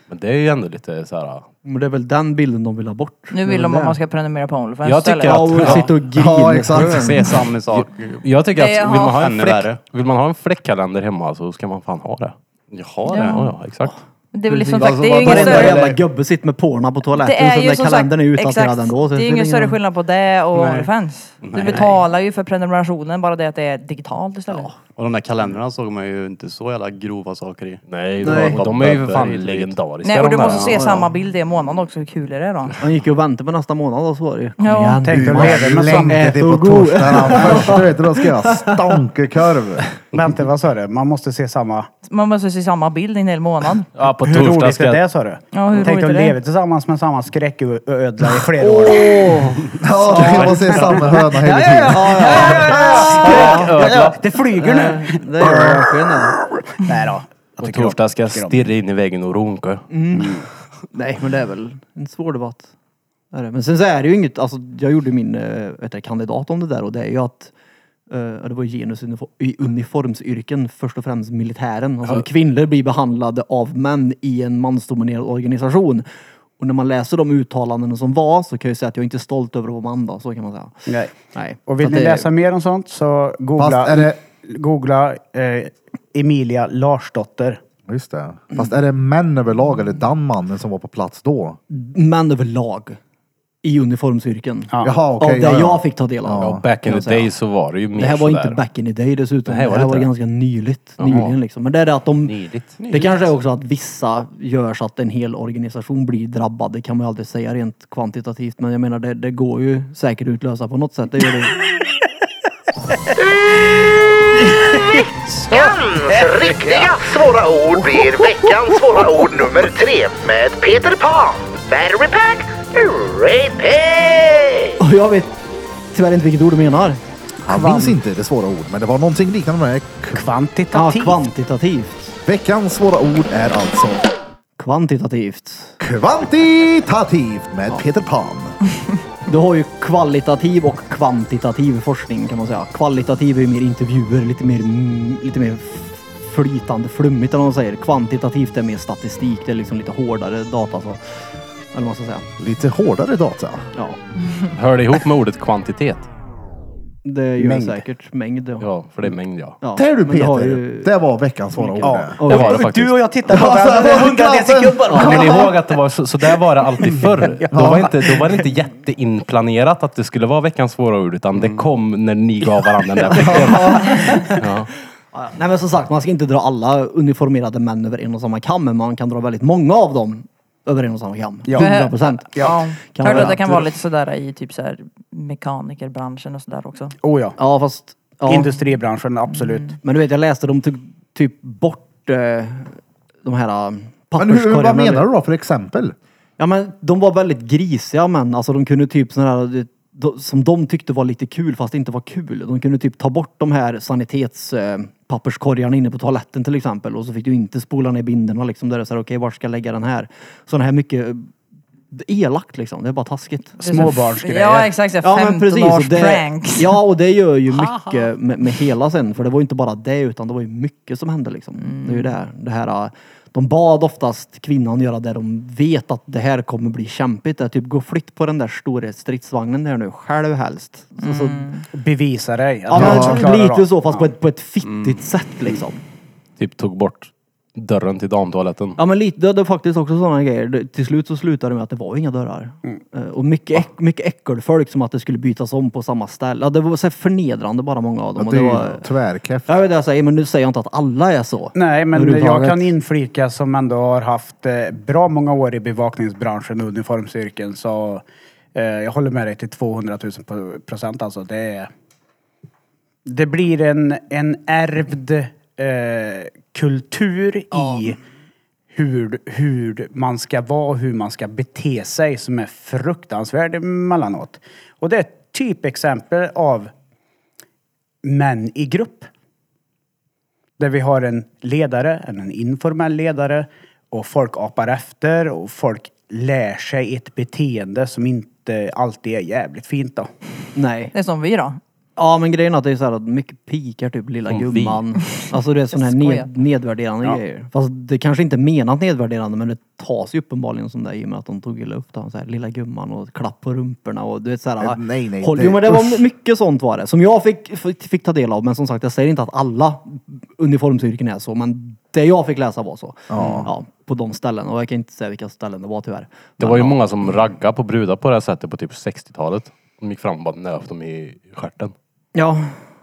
Men det är ju ändå lite så här. Men det är väl den bilden de vill ha bort. Nu vill de att man ska prenumerera på Onlyfans Jag istället. tycker Ja, att- och Ja. sitta och grina. Ja, exakt. Se samma sak. Jag tycker att Det vill man, ha en har- Ännu fläck, värre. vill man ha en fläckkalender hemma så ska man fan ha det. Jaha, Ja, det. ja, exakt. Det är väl Precis. som sagt, Alltså, det är ju ingen Varenda större... jävla gubbe sitter med porna på toaletten Det är så ju den som där kalendern är sagt, utdaterad exakt, ändå. det så är ju spelar ingen större roll. fans. skillnad på det och Nej. Onlyfans. Du Nej. betalar ju för prenumerationen, bara det att det är digitalt istället. Och de där kalendrarna såg man ju inte så jävla grova saker i. Nej, Nej. De, de är ju för fan Hit och dit. legendariska. Nej, och du de där. måste se ja. samma bild i månaden också, hur kul är det då? Han gick ju och väntade på nästa månad och så var det ju. Ja. Igen. Tänk dig Man att leva med samma... längtar till på Ät och god. torsdagen först, du vet, då ska jag stanka korv. Vänta, vad sa du? Man måste se samma... Man måste se samma bild i en hel månad. Ja, på Hur torsdag roligt ska är jag... det sa du? Ja, hur Tänk dig roligt att är det? leva tillsammans med samma skräcködla i flera år. Ja, man ser samma höna hela tiden. Skräcködla! Det flyger nu! Nej, Det är verkligen det. Nej då. På torsdag ska jag stirra in i väggen och runka. Nej, men det är väl en svår debatt. Det är det. Men sen så är det ju inget, alltså jag gjorde min eh, vet du, kandidat om det där och det är ju att eh, det var genus i uniformsyrken, först och främst militären. Alltså kvinnor blir behandlade av män i en mansdominerad organisation. Och när man läser de uttalanden som var så kan jag ju säga att jag inte är stolt över att vara man då, så kan man säga. Nej. Nej. Och vill Så ni att det- läsa mer om sånt så googla, Fast är det- googla eh, Emilia Larsdotter. Just det. Fast är det män överlag eller den mannen som var på plats då? män överlag i uniformsyrken. Ja. Jaha, okej. av det ja, ja. jag fick ta del av. Ja, back in kan jag the säga. day så var det ju mer Det här var inte sådär. back in the day dessutom. Det här Det här var var, det inte. ganska nyligt. Jaha. Nyligen liksom. Men det är det att de... Nyligt. Det kanske är också att vissa gör så att en hel organisation blir drabbad. Det kan man ju aldrig säga rent kvantitativt. Men jag menar det, det går ju säkert att utlösa på något sätt. Det gör det. Veckans riktiga svåra ord blir veckans svåra ord nummer tre med Peter Pan. Battery pack, repeat! Och jag vet tyvärr inte vilket ord du menar. Jag minns inte det svåra ord, men det var någonting liknande med det. Ja, Kvantitativ. kvantitativt. Veckans svåra ord är alltså Kvantitativt. kvantitativt med Peter Pan. Du har ju kvalitativ och kvantitativ forskning kan man säga. Kvalitativ är ju mer intervjuer, lite mer, mm, lite mer flytande, flummigt eller vad man säger. Kvantitativt är mer statistik, det är liksom lite hårdare data. Så. Eller vad man ska säga. Lite hårdare data. Ja, Hör det ihop med ordet kvantitet? det gör Mängd. säkert mängd. Ja. Ja, för det är mängd ja. Ja, Där du men har Peter! ju- Det var veckans svåra ord. det. Oj, Det var det Och faktiskt. Du och jag tittar på Alltså, varandra. Det är det är 100 klassen. decibel bara. Kommer ni ihåg att det var så, så där var det alltid förr? Då var, inte, då var det inte jätteinplanerat att det skulle vara veckans svåra ord utan det kom när ni gav varandra den där veckan. Ja. Ja, Nej men som sagt, man ska inte dra alla uniformerade män över en och samma kam, men man kan dra väldigt många av dem över en och samma kam. Ja. 100 procent. Ja. Kan Hörde vara att det kan att- vara lite sådär i typ såhär mekanikerbranschen och sådär också. Oh ja. Ja, fast... Ja. Mm. Industribranschen, absolut. Men du vet, jag läste de tog typ bort eh, de här eh, Men hur, papperskorgarna. vad menar du då för exempel? Ja, men de var väldigt grisiga män. Alltså de kunde typ sådana här, eh, de- som de tyckte var lite kul fast det inte var kul. De kunde typ ta bort de här sanitetspapperskorgarna eh, papperskorgarna inne på toaletten till exempel och så fick du inte spola ner binderna liksom. Där det är såhär, okej, var ska jag lägga den här? Sådana här mycket eh, elakt liksom. Det är bara taskigt. Det är så- Småbarnsgrejer. Ja exakt, Ja men precis. Och det, 15-års-pranks. ja och det gör ju mycket med, med hela sen. För det var ju inte bara det utan det var ju mycket som hände liksom. Det är ju det här. Det här äh, de bad oftast kvinnan göra det de vet att det här kommer bli kämpigt. Det är typ gå och flytt på den där stora stridsvagnen där nu själv helst. Så, så, Bevisa dig. att ja, du men, också klarar av. Lite så fast på, ett, på ett fittigt sätt liksom. Typ tog bort dörren till damtoaletten. Ja men lite, det, det är faktiskt också sådana grejer. Det, till slut så slutade det med att det var inga dörrar. Mm. Eh, och mycket, äck, mycket äckelfolk som att det skulle bytas om på samma ställe. Ja, det var så här förnedrande bara många av dem. Att Och det det är var, ju tvärkeft. jag vet det jag säger men nu säger jag inte att alla är så. Nej, men jag Överhuvudtaget. kan inflika som ändå har haft eh, bra många år i bevakningsbranschen och uniformsyrken så eh, jag håller med dig till 200 000 po- procent alltså. Det, är, det blir en, en ärvd eh, kultur i hur, hur man ska vara och hur man ska bete sig som är fruktansvärd emellanåt. Och det är ett typexempel av män i grupp. Där vi har en ledare, en en informell ledare och folk apar efter och folk lär sig ett beteende som inte alltid är jävligt fint då. Nej. Det är som vi då. Ja men grejen är att det är så här att mycket pikar typ lilla Som gumman. Alltså det är sådana här skojar. ned, nedvärderande Ja. grejer. Fast det kanske inte är menat nedvärderande men det tas ju uppenbarligen som det i och med att de tog illa upp det. Så här, lilla gumman och klapp på rumporna och du vet såhär. Eh, nej, nej, håll, det- jo men det usch. var mycket sånt var det. Som jag fick, fick, fick ta del av. Men som sagt jag säger inte att alla uniformsyrken är så. Men det jag fick läsa var så. Ja. på på de ställen och jag kan inte säga vilka ställen det var tyvärr. Det Men, var ju ja. många som raggade på brudar på det här sättet på typ 60-talet. De gick fram och bara nöp dem i stjärten. Ja,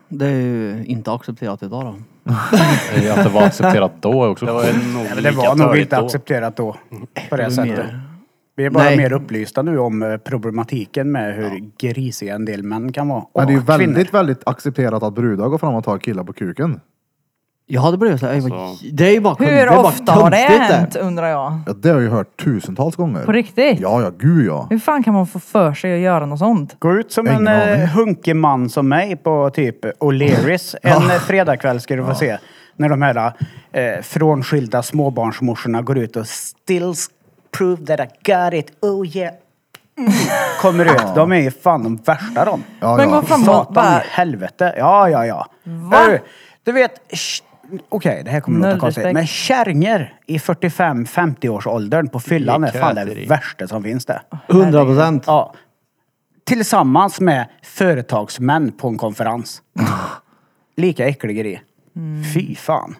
det är ju inte accepterat idag då. Eh, Att det var accepterat då är också Det var ju nog Eller det lika var nog töligt inte då. accepterat då. På det Det är sättet. mer- Vi är bara Nej. mer upplysta nu om eh, problematiken med hur grisiga en del män kan vara. Men det är ju Och kvinnor. väldigt, väldigt accepterat att brudar går fram och tar killar på kuken. Jag hade blivit såhär, det är ju bara det är Hur bara ofta har det töntigt hänt undrar jag? Ja, det har jag ju hört tusentals gånger. På riktigt? Ja, ja, gud ja. Hur fan kan man få för sig att göra något sånt? Gå ut som Ingen en aning. eh, hunkig man som mig på typ O'Learys en eh, fredagkväll ska du få se. När de här eh, frånskilda småbarnsmorsorna går ut och stills prove that I got it, oh yeah. Mm. Kommer ut. De är ju fan de värsta de. ja, Men ja. gå fram och Satan bara... i helvete. Ja, ja, ja. Va? Hör Du, du vet, sh- okej det här kommer Noll låta konstigt. respekt. Men kärringar i 45-50 års åldern på fyllan är fan det kräteri. värsta som finns det. 100 procent. Ja. Tillsammans med företagsmän på en konferens. Lika äcklig grej. Mm. Fy fan.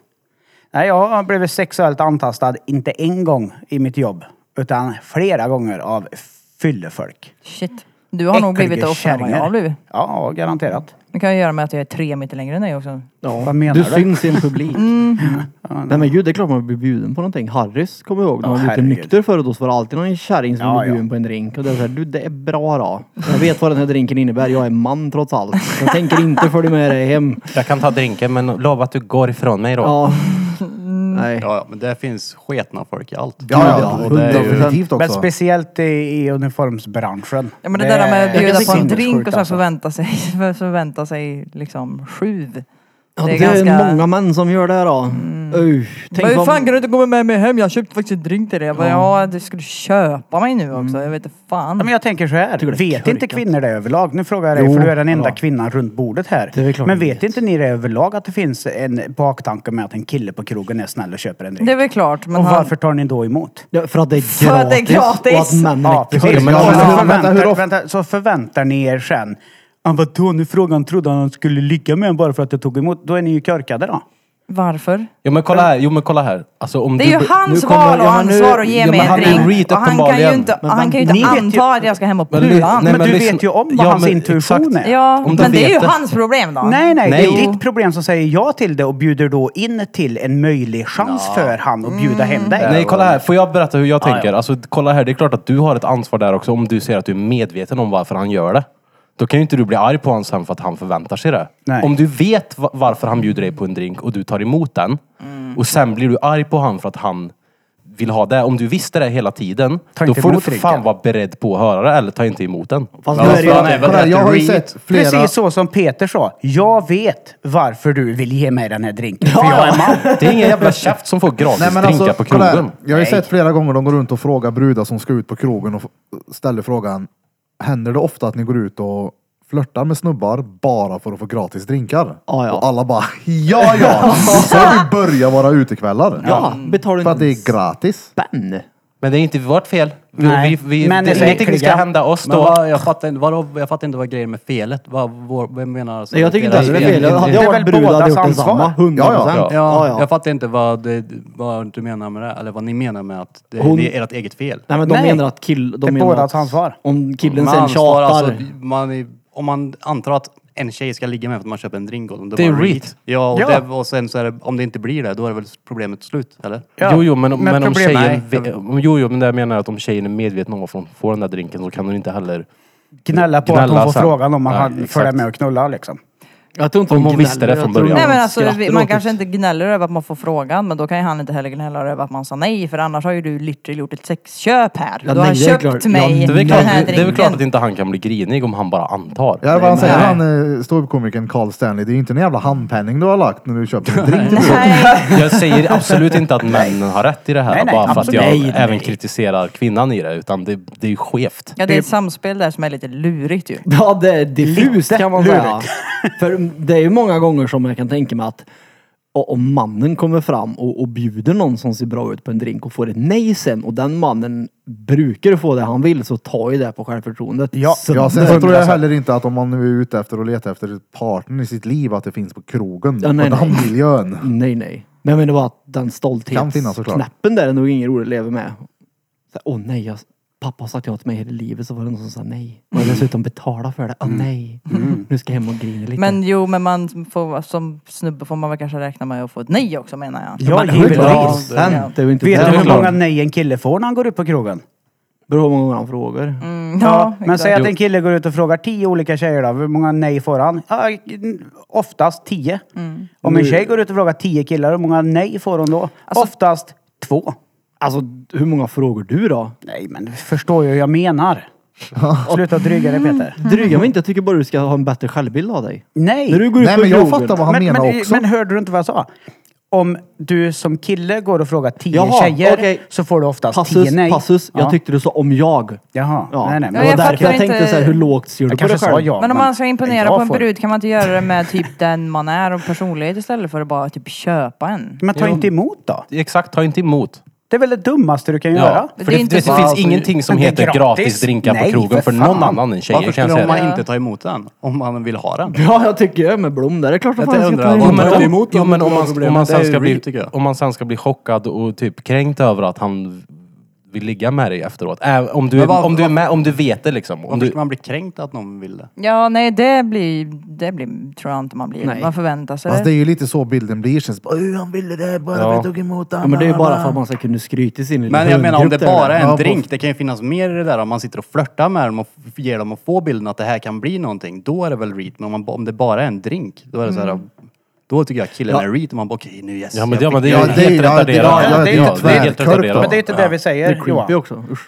Nej, jag har blivit sexuellt antastad, inte en gång i mitt jobb, utan flera gånger av fyllefolk. Shit. Du har nog Äckliga blivit det oftare än vad jag kärringar. har blivit. Ja, garanterat. Det kan ju göra med att jag är tre meter längre än dig också. Vad menar du? du? syns i en publik. Mm. Nej men gud, det är klart man blir bjuden på någonting. Harris kommer jag ihåg, när man Ja, var lite herregud. nykter förut då så var det alltid någon kärring som Ja, blev bjuden ja. på en drink. Och det är såhär, du det är bra då. Jag vet vad den här drinken innebär, jag är man trots allt. Jag tänker inte följa med dig hem. Jag kan ta drinken men lova att du går ifrån mig då. Ja. Mm. Nej. Ja, ja, men det finns sketna folk i allt. Ja, ja. Ja, ja. och det är ju- Definitivt Men också. speciellt i, i uniformsbranschen. Ja men det, där med att är bjuda på en sinnessjukt drink och sen alltså. förvänta sig, förvänta sig liksom sjuv. Ja, det, är många män som gör det då. Uj, Mm. Men tänk hur fan vad... kan du inte komma med mig hem? Jag köpte faktiskt en drink till dig. Jag bara, ja du skulle köpa mig nu också. Jag vet inte fan. Ja, Men jag tänker så här, tycker det är vet inte korkat. kvinnor det överlag? Nu frågar jag dig, Jo, för du är den enda ja. kvinnan runt bordet här. Det är väl klart Men jag vet vet. inte ni det överlag att det finns en baktanke med att en kille på krogen är snäll och köper en drink? Det är väl klart. Men och han- varför tar ni då emot? Ja, För att det är gratis. För att det är gratis. Och att männen Ja, är precis. men och hur- så, vänta, förväntar, hur vänta, ofta- så förväntar ni er sen, ah, vadå nu frågan trodde han att han skulle ligga med en bara för att jag tog emot. Då är ni ju körkade då. Varför? Jo men kolla här, jo men kolla här. Alltså, om Det du är ju be- hans nu kommer- val och ja, men nu- ansvar att ja, ge men mig en han är en drink. reet Och han kan ju uppenbarligen. inte, Men han man- kan ju ni inte vet ju- anta att jag ska hem och Men ly- pula nej, han. men, du lyssna- vet ju om vad Ja, hans men intuition exakt. är. Ja, om du men det är ju vet det. hans problem då. Nej, nej, Nej. det är Jo. ditt problem som säger ja till det och bjuder då in till en möjlig chans för han att bjuda hem dig. Nej kolla här, får jag berätta hur jag tänker? Alltså kolla här, det är klart att du har ett ansvar där också om du ser att du är medveten om varför han gör det. Då kan ju inte du bli arg på honom sen för att han förväntar sig det. Nej. Om du vet va- varför han bjuder dig på en drink och du tar emot den Mm. och sen blir du arg på honom för att han vill ha det. Om du visste det hela tiden, Ta då inte får du emot för drinken. fan vara beredd på att höra det eller ta inte emot den. Fast Ja, nu är det ju... fan, nej, Kolla, här, vad jag har ju heter sett flera... Precis så som Peter sa. Jag vet varför du vill ge mig den här drinken. För jag är man. Det är ingen jävla käft som får gratis Nej, men drinkar alltså, på kolla här. krogen. Jag har ju sett flera gånger de går runt och frågar brudar som ska ut på krogen och f- ställer frågan. Händer det ofta att ni går ut och flörtar med snubbar bara för att få gratis drinkar? Ja, ja. Och alla bara, ja ja! Så har vi börjat våra utekvällar. Ja, betalar För att det inte en är gratis. spänn. Men det är inte vårt fel. Nej, men det är ingenting ska äckliga. hända oss Men då. vad, jag, fattar inte, vadå, jag fattar inte vad grejen med felet. Vad, vår, vem menar alltså? Nej, jag tycker inte alls det är fel. Hade Det jag är varit väl brud hade jag bådas gjort ansvar. detsamma. 100 Ja, procent. ja. Ja, jag fattar inte vad, det, vad du menar med det, eller vad ni menar med att det, Hon- det är ert eget fel. Nej men de Nej. menar att kill... De Det är menar bådas att ansvar. Om killen Man sen antar tjatar. alltså, man, är- om man antar att en tjej ska ligga med för att man köper en drink åt dem, då Det är var reet. Ja, och, Ja. Det, och sen så är det, om det inte blir det, då är det väl problemet slut, eller? Ja, Jo, jo, men, men, men om problem- tjejen... nej. ve- Om, jo, jo, men det jag menar att om tjejen är medveten om varför hon får den där drinken så kan hon inte heller... Gnälla på att Gnälla hon får sen. frågan om Nej, han exakt. följer med och knullar liksom. Jag tror inte Om de hon visste gnäller, det från jag tror början. de Nej men alltså, skrattar vi, åt man det. kanske inte gnäller över att man får frågan men då kan ju han inte heller gnälla över att man sa nej för annars har ju du literally gjort ett sexköp här. Ja, du har nej, det är köpt klart. Ja, mig det Det är, väl klart, den här det är väl drinken. klart att inte han kan bli grinig om han bara antar. Ja, vad han säger, han eh, ståuppkomikern Carl Stanley, det är ju inte en jävla handpenning du har lagt när du köper en drink. Nej, Jag säger absolut inte att männen har rätt i det här Nej, nej, bara för att absolut. jag Nej, nej. även kritiserar kvinnan i det. Utan det, det är ju skevt. ja, det är ett samspel där som är lite lurigt ju. Ja, det är diffust Lite kan man säga. För det är ju många gånger som jag kan tänka mig att o- om mannen kommer fram och, och bjuder någon som ser bra ut på en drink och får ett nej sen och den mannen brukar få det han vill så tar ju det på självförtroendet. Ja, Sönder. Ja, sen så tror jag heller inte att om man nu är ute efter att leta efter partnern i sitt liv, att det finns på krogen, Ja, nej, på nej. den miljön. Nej, nej. Men jag menar bara att den Kan finnas såklart. stolthetsknäppen där är nog ingen rolig att leva med. Så här, Åh nej, jag, pappa har sagt ja till mig hela livet så var det någon som sa nej. Och jag dessutom betala för det. Mm. Åh nej, nu ska jag hem och grina lite. Men jo, men man får, som snubbe får man väl kanske räkna med att få ett nej också menar jag. Ja, Men 100%, givetvis. Det är ju inte Vet det. du hur klart. många nej en kille får när han går ut på krogen? Beror på hur många gånger han frågar. Mm. Ja, men exakt. säg att en kille går ut och frågar tio olika tjejer då. Hur många nej får han? Ja, oftast tio. Om en tjej går ut och frågar tio killar, hur många nej får hon då? oftast två. Alltså hur många frågor du då? Nej, men du förstår ju hur jag menar. Sluta dryga dig Peter. Dryga mig inte. Jag tycker bara du ska ha en bättre självbild av dig. Nej! När du går ut Nej, på men jag krogen- fattar vad han men, menar men, också. men hörde du inte vad jag sa? Om du som kille går och frågar tio Jaha, tjejer okej. så får du oftast tio Passus, nej. passus. Ja. Jag tyckte du sa om jag. Jaha. Ja. Nej, nej, men det var jag därför jag fattar tänkte inte- så här, hur lågt ser jag du på kanske dig sa själv? ja. Men om man ska imponera jag på en får- brud kan man inte göra det med typ den man är och personlighet istället för att bara typ köpa en? Men ta inte emot då. Exakt, ta inte emot. Det är väl det dummaste du kan göra? Ja. Men För det det, är inte det, bara- finns ingenting som Alltså, Men det är heter gratis, gratis. drinkar Nej, på krogen för, för fan. någon annan än tjejer Varför kan jag skulle säga. man det. inte ta emot den? Om man vill ha den? Ja, jag tycker jag är med Blom där. Det är klart som Jag fan jag ska undrar ta vad- emot. men ta om- emot jo, dem, men om det är man- problemet. om man sen Det är ska real, bli- tycker jag. Om man sen ska bli chockad och typ kränkt över att han vill ligga med dig efteråt. Äh, om, du, Men vad- om, du är vad- med, om du vet det liksom. Om Varför du, ska man bli kränkt att någon vill det? Ja, nej det blir, det blir, tror jag inte man blir. Nej. Man förväntar sig Alltså, det det. är ju lite så bilden blir. Känns bara, "Oj, han ville det bara för Ja. jag tog emot honom. Ja, men det är ju bara för att man ska kunna skryta i sin lilla Men jag menar om det hundgrupp där. bara är Ja, en på- drink, det kan ju finnas mer i det där om man sitter och flörtar med dem och f- ger dem och får bilden att det här kan bli någonting. Då är det väl reat. Men om, man, om det bara är en drink, då är det så här, då tycker jag killen Ja. är reat. Och man bara okej nu yes. ja men jag det, fick men det är Ja, ju det är- helt ja, det- retarderat. ja, Ja, det är inte det är tvärkorkat. helt Men retarderat. Men det är inte det vi säger Det är creepy Johan. också. Usch.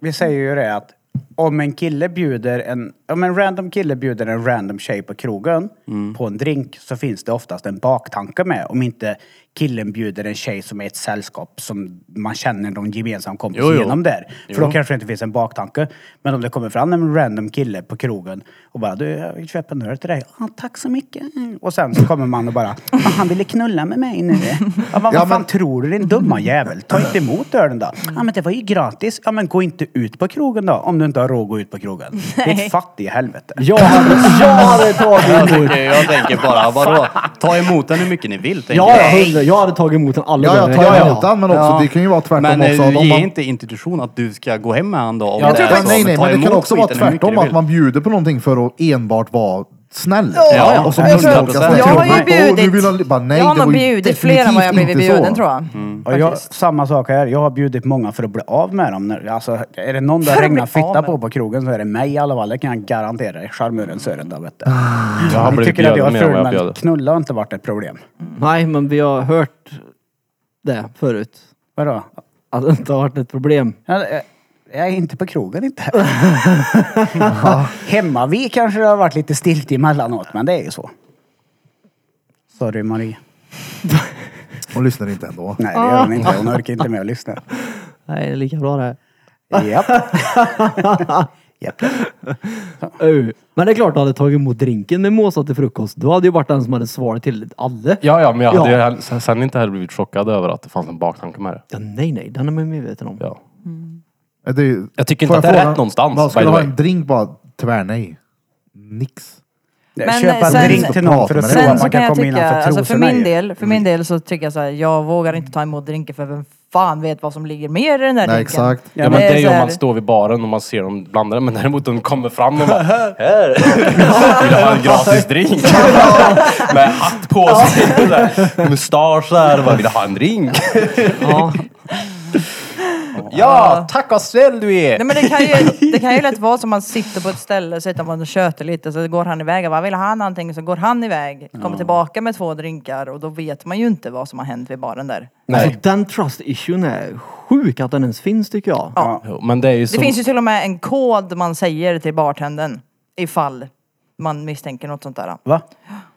Vi säger ju det att om en kille bjuder en, om en random kille bjuder en random tjej på krogen Mm. på en drink så finns det oftast en baktanke med. Om inte killen bjuder en tjej som är ett sällskap som man känner någon gemensam kompis Jo, jo. genom där. För då kanske det inte finns en baktanke. Men om det kommer fram en random kille på krogen och bara du, jag vill köpa en öl till dig. Ah, tack så mycket. Mm. Och sen så kommer man och bara, ah, han ville knulla med mig nu. Ja, men Ja, vad fan men- tror Mm-hmm. du din dumma jävel? Ta inte emot ölen då. Ja men det var ju gratis. Ja men gå inte ut på krogen då. Om du inte har råd att gå ut på krogen. Det är ett fattigt helvete. Jag hade, jag hade Jag tagit emot. tänker, jag tänker bara, vadå? Ta emot den hur mycket ni vill. tänker Ja, jag. jag, hundra. jag hade tagit emot den alla Ja, jag gånger. tar emot den, men också, det kan ju vara tvärtom men, också. Men Om ge man- inte institution att du ska gå hem med han då. Om Ja, det är så. nej, nej, Ta men det kan emot också vara skiten hur mycket tvärtom. du vill. Att man bjuder på någonting för att enbart vara snäll. Ja, ja. och så Jag tror- muntolkas det. jag har ju Åh, du bjudit- vill ha- bara, nej, jag har det nog var ju bjudit fler än vad jag blivit definitivt inte bjuden så. Mm. tror jag. Och jag, Faktiskt. samma sak här. Jag har bjudit många för att bli av med dem. När- Alltså, är det någon För där att regnar bli av fitta med på på krogen så är det mig i alla fall. Det kan jag garantera dig. Charmören Sören då vet Ah. du. Jag har Ni blivit tycker att bjuden jag mer än vad jag är ful men bjöd. knulla har inte varit ett problem. Nej, men vi har hört det förut. Vadå? Att det inte har varit ett problem. Jag, jag- eh, jag är inte på krogen inte. Hemma vi kanske det har varit lite stilt emellanåt men det är ju så. Sorry Marie. Hon lyssnar inte ändå. Nej det gör hon inte. Hon orkar inte med att lyssna. Nej, det är lika bra det. här. Japp. Japp. Uh. Men det är klart du hade tagit emot drinken med Måsa till frukost. Du hade ju varit den som hade svarat till alla. Ja, ja, men jag hade Ja. ju hell- sen- sen inte heller blivit chockad över att det fanns en baktanke med det. Ja, nej, nej, den är man medveten om. Ja. Är det ju- Jag tycker Får inte att det fråga- är rätt någonstans. Man by skulle the ha way. en drink bara, tvär nej. Nix. Men eh, Köpa en sen- drink till någon för att prova Sen att så kan man kan jag komma tycka, innanför alltså för trosorna min i. del, för min del så tycker jag så här, jag vågar inte ta emot drinker för vem fan vet vad som ligger mer i den Nej, där drinken. exakt. Ja, men Det är det är ju så om här- man står vid baren och man ser dem blanda det, men däremot de kommer fram och bara Här! Vill ha en gratis drink? Med hatt på sig, sådär, mustasch såhär, och bara vill ha en drink? Ja. Ja, tack vad snäll du är! Nej, men det, kan ju, det kan ju lätt vara som man sitter på ett ställe, sitter man och tjötar lite, så går han iväg och bara, vill han någonting? Så går han iväg, kommer tillbaka med två drinkar och då vet man ju inte vad som har hänt vid baren där. Alltså, den trust issuen är sjuk att den ens finns tycker jag. Jo, Men det är ju Det som, finns ju till och med en kod man säger till bartendern ifall man misstänker något sånt där. Va?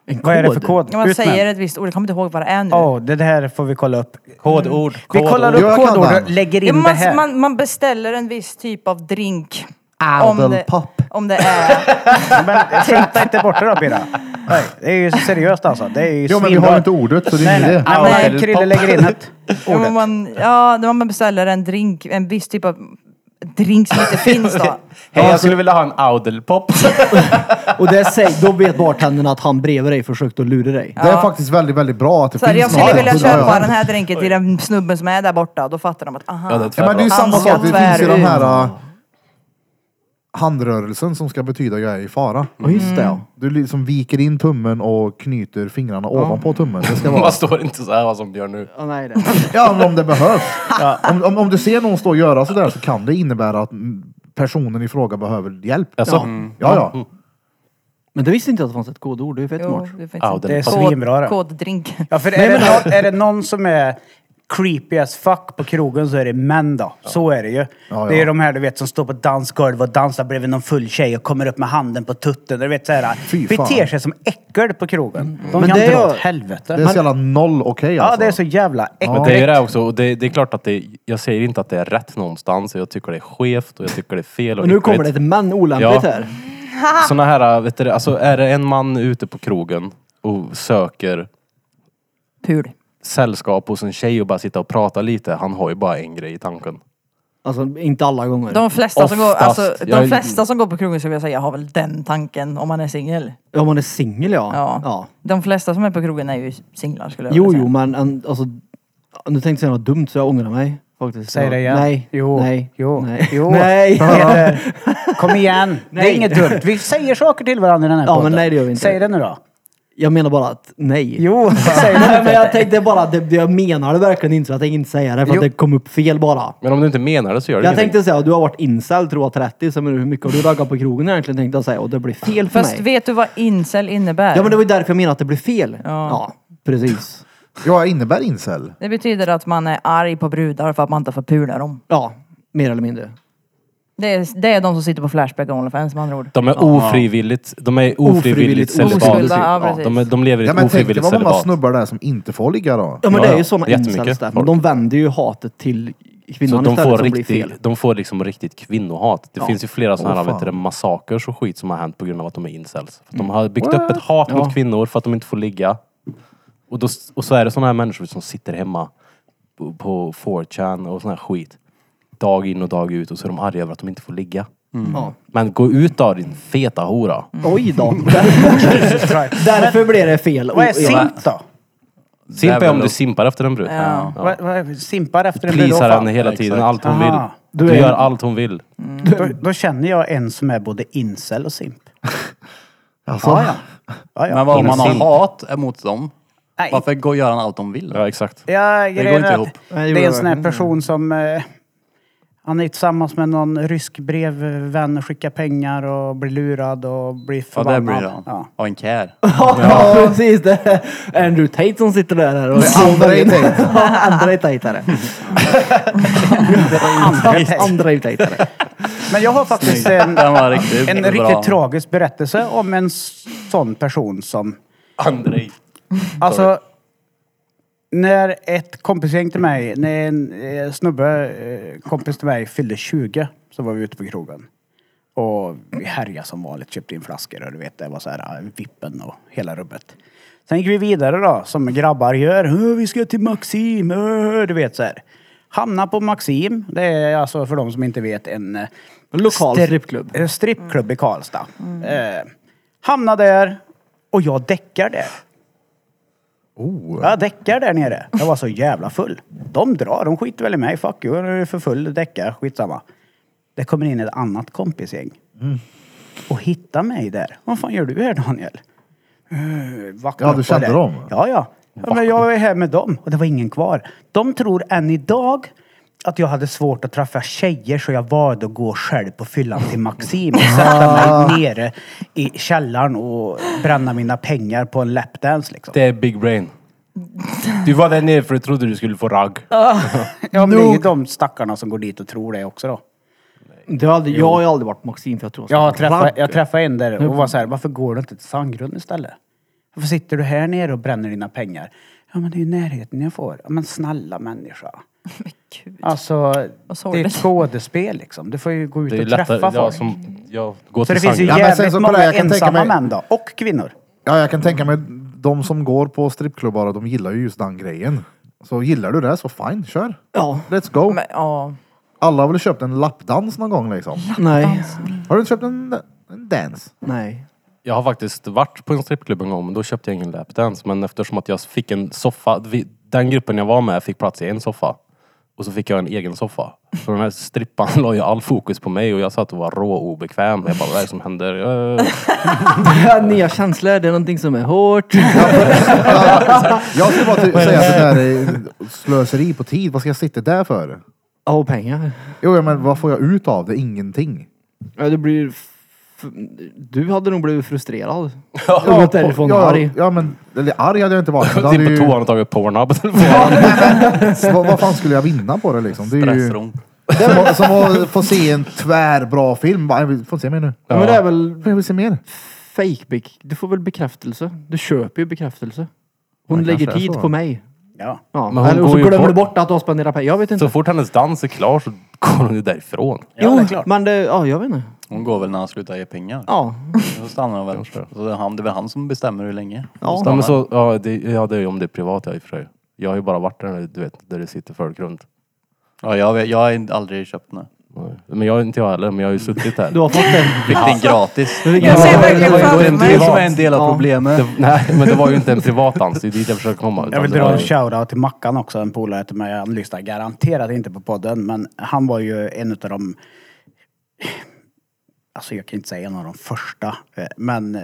En Vad är det för kod. kod? Ja, man Ut med säger den. ett visst ord, jag kommer inte ihåg vad det är nu. Åh, det här får Mm. vi kolla upp. kodord, Vi kodord. kollar Jo, upp jag kan kodord och den. lägger Ja, in men det man, här. man, man beställer en viss typ av drink. det, Adelpapp. om det är... Men skämta inte bort det då Birra. Nej, Det är ju seriöst alltså. Det är ju Jo, men vi svinbra. har inte ordet, så det är Nej, ju nej. det. Nej, Nej. men Krille lägger in ett Ja, men ordet. man, ja, när man beställer en drink, en viss typ av drink som inte finns då. Hej, jag skulle vilja ha en audelpop. Och det säger, då vet bartendern att han bredvid dig försökte att lura dig. Det är faktiskt väldigt, väldigt bra att det Så här, finns jag skulle något. vilja Ja, ja. köpa den här drinken till den snubben som är där borta. Då fattar de att aha. Ja, det är Ja, men det är ju Han samma ska sak. Det finns ju den tvär här äh, handrörelsen som ska betyda jag är i fara. Ja, just det ja. Du liksom viker in tummen och knyter fingrarna ovanpå tummen. Det ska vara. Man står inte så här vad som gör nu. ja nej, det. Ja, men om det behövs. Om, om, om du ser någon stå och göra sådär så kan det innebära att mm, personen i fråga behöver hjälp. Alltså, Ja, ja. Men det visste inte jag att det fanns ett kodord. Det är ju fett Jo, smart. det finns Ja, den- Det en är kod- svinbra det. Koddrink. Ja, för är, det någon, är det någon som är creepy as fuck på krogen så är det män då. Så är det ju. ja. Det är de här du vet som står på dansgolv och dansar bredvid någon full tjej och kommer upp med handen på tutten. Du vet såhär. Fy fan. Beter sig som äckel på krogen. De Mm. Men kan det är dra ju- åt helvete. Det är så jävla noll okej Ja, alltså. det är så jävla äckligt. Men det är ju det också. Och det, det är klart att det, jag säger inte att det är rätt någonstans. Jag tycker det är skevt och jag tycker det är fel. Och Och nu kommer det ett men olämpligt Ja. här. Såna här, vet du, det, alltså är det en man ute på krogen och söker Pul. sällskap hos en tjej och bara sitta och prata lite. Han har ju bara en grej i tanken. Alltså inte alla gånger. De flesta, som går, Oftast. alltså, de Jag- flesta som går på krogen skulle jag säga har väl den tanken om man är singel. Ja, Om man är singel ja. Ja. De flesta som är på krogen är ju singlar skulle jag vilja Jo, säga. jo, men en, alltså, nu tänkte jag säga något dumt så jag ångrar mig. Faktiskt. Säg det igen. Nej. Jo. Nej. Jo. Nej. Jo. Nej. Peter, kom igen. Det Nej. är inget dumt. Vi säger saker till varandra i den här Ja, podden. men nej, det gör vi inte. Säg det nu då. Jag menar bara att nej. Jo, säg det. Nej, men jag tänkte bara, att det, det jag menar det verkligen inte så jag tänker inte säga det för att Jo. det kom upp fel bara. Men om du inte menar det så gör det Jag ingenting. tänkte säga, du har varit incel tror jag 30, så men hur mycket har du raggat på krogen egentligen tänkte jag säga och det blir fel för Fast mig. vet du vad incel innebär? Ja men det var ju därför jag menade att det blir fel. Ja, precis. Ja, innebär incel. Det betyder att man är arg på brudar för att man inte får pula dem. Ja, mer eller mindre. Det är, det är de som sitter på Flashback och Onlyfans med andra ord. De är ofrivilligt, de är Ofrivilligt ofrivilligt celibat. oskulda, ja, Ja, precis. de, är- de lever i Ja, ett men tänk dig ofrivilligt vad många celibat. snubbar där som inte får ligga då. Ja men Ja, det är ju ja. sådana Jättemycket incels där. Men folk. de vänder ju hatet till Så kvinnan de istället får, som blir fel. riktigt, de får liksom riktigt kvinnohat. Det finns ju flera sådana här fan. vet du, det, massakers och skit som har hänt på grund av att de är incels. För att de har byggt upp ett hat Mm. Ja. mot kvinnor för att de inte får ligga. Och, då, och så är det sådana här människor som sitter hemma på- på 4chan och sån här skit. Dag in och dag ut och så är de arga över att de inte får ligga. Ja. Men gå ut då din feta hora. Oj då. Där- Därför blir det fel. Vad är Och- ja. simp då? Simpa väl är om du nog- simpar efter en brud. Ja. Vad, vad, simpar efter en Pleasar fan? henne hela tiden, exakt. allt hon vill. Aha. Du Du, är- gör allt hon vill. Mm. Då, då känner jag en som är både incel och simp. Alltså, Ja, ja. Men vad om man har Simp. hat emot dem? Nej. Varför går- gör han allt de vill? Ja, exakt. Ja, går grejen inte är ihop. att Nej, det Det är gör en det sån här verkligen. person som... Eh, han är tillsammans med någon rysk brevvän och skickar pengar och blir lurad och blir Ja, förbannad. där blir han. Ja. Ja, en care. Ja, precis. Det är Andrew Tate som sitter där och... Andrei Tate. Ja, Andra Tate är det. Andra- Andra Tate är det. Men jag har faktiskt en, Den var riktigt en bra. riktigt tragisk berättelse om en sån person som... Andrej. Alltså, när ett kompisgäng till mig, när en eh, snubbe, eh, kompis till mig, fyllde 20 så var vi ute på krogen. Och vi härjade som vanligt, köpte in flaskor och du vet, det var så här ah, vippen och hela rubbet. Sen gick vi vidare då, som grabbar gör. "Åh, Vi ska till Maxim, åh", du vet så här. Hamna på Maxim, det är alltså för de som inte vet en eh, Lokal stri- strippklubb. Mm. eh, Strippklubb i Karlstad. Eh, hamna där och jag däckar där. Oh. Jag däckar där nere. Jag var så jävla full. De drar, de skiter väl i mig. Fuck you, jag är för full, däckar, skitsamma. Det kommer in ett annat kompisgäng. Och hittar mig där. Vad fan gör du här Daniel? Eh, vakna Ja, upp du och kände där. dem? Ja, ja. ja men jag är här med dem och det var ingen kvar. De tror än idag att jag hade svårt att träffa tjejer så jag valde att gå själv på fyllan till Maxim och sätta Ah. mig nere i källaren och bränna mina pengar på en lapdance liksom. Det är big brain. Du var där nere för du trodde du skulle få ragg. Ja, men det är ju de stackarna som går dit och tror det också då. Det har aldrig, jag har ju aldrig varit på Maxim för jag tror Jag träffade, jag träffade en där och var så här, varför går du inte till Sandgrund istället? Varför sitter du här nere och bränner dina pengar? Ja, men det är ju närheten jag får. Ja, men snälla människa. Men gud. Alltså, Vad det är sorgligt. ett skådespel liksom. Du får ju gå ut Det är och ju lättare. träffa Ja, folk. som, ja, gå Så till det finns ju Ja, Sandgrund. men sen jävligt så kolla, många jag kan tänka ensamma mig- män då. Och kvinnor. Ja, jag kan tänka mig de som går på strippklubbar och de gillar ju just den grejen. Så gillar du det så fine, kör. Ja. Let's go. Men, ja. Alla har väl köpt en lappdans någon gång liksom? Nej. Har du inte köpt en, en dans? Nej. Jag har faktiskt varit på en strippklubb en gång, men då köpte jag ingen lapdance. Men eftersom att jag fick en soffa, vi- den gruppen jag var med fick plats i en soffa. Och så fick jag en egen soffa. Så den här strippan la ju all fokus på mig och jag satt och var rå obekväm. Jag bara, vad är det som händer? Eh, Nya känslor, det är någonting som är hårt. Jag skulle bara ty- säga att det där är slöseri på tid. Vad ska jag sitta där för? Ja, och pengar. Jo, ja, men vad får jag ut av det? Ingenting. Ja, det blir... f- Du hade nog blivit frustrerad. Ja, med telefon ja, arg. ja, men eller, arg hade jag inte varit. men då Jag hade sitter ju, typ på toan och tagit Pornhub på telefonen. vad, vad fan skulle jag vinna på det liksom? Det är ju som, Stressrom. att- som att få se en tvärbra film. Bara, Jag vill- får inte se mer nu. Men det är väl Jag vill se mer. fake bek- Du får väl bekräftelse. Du köper ju bekräftelse. Hon Ja, lägger kanske är tid så. på mig. Ja. Ja. Men hon Eller och så går ju glömmer du bort- bort att du har spenderat pengar. Jag vet inte. Så fort hennes dans är klar så går hon ju därifrån. jo, det är klart. men det... Ja, jag vet inte. Hon går väl när han slutar ge pengar. Ja. Då stannar hon väl. Så det är, han, det är väl han som bestämmer hur länge. Ja. Ja, men så, ja, det, ja, det är ju om det är privat ja, i och för sig. Jag har ju bara varit där, du vet, där det sitter folk runt. Ja, jag, vet, jag har inte- aldrig köpt den. Men jag, inte jag heller, men jag har ju suttit där. Du har fått den. Fick den gratis. Jag ser verkligen framför mig. en del av problemet. Det, nej, men det var ju inte en privat dans. Det är dit jag försöker komma. Jag Utan vill det dra var en ju- shoutout till Mackan också, en polare till mig. Han lyssnar garanterat inte på podden, men han var ju en av de... Alltså jag kan inte säga en av de första, eh, men eh,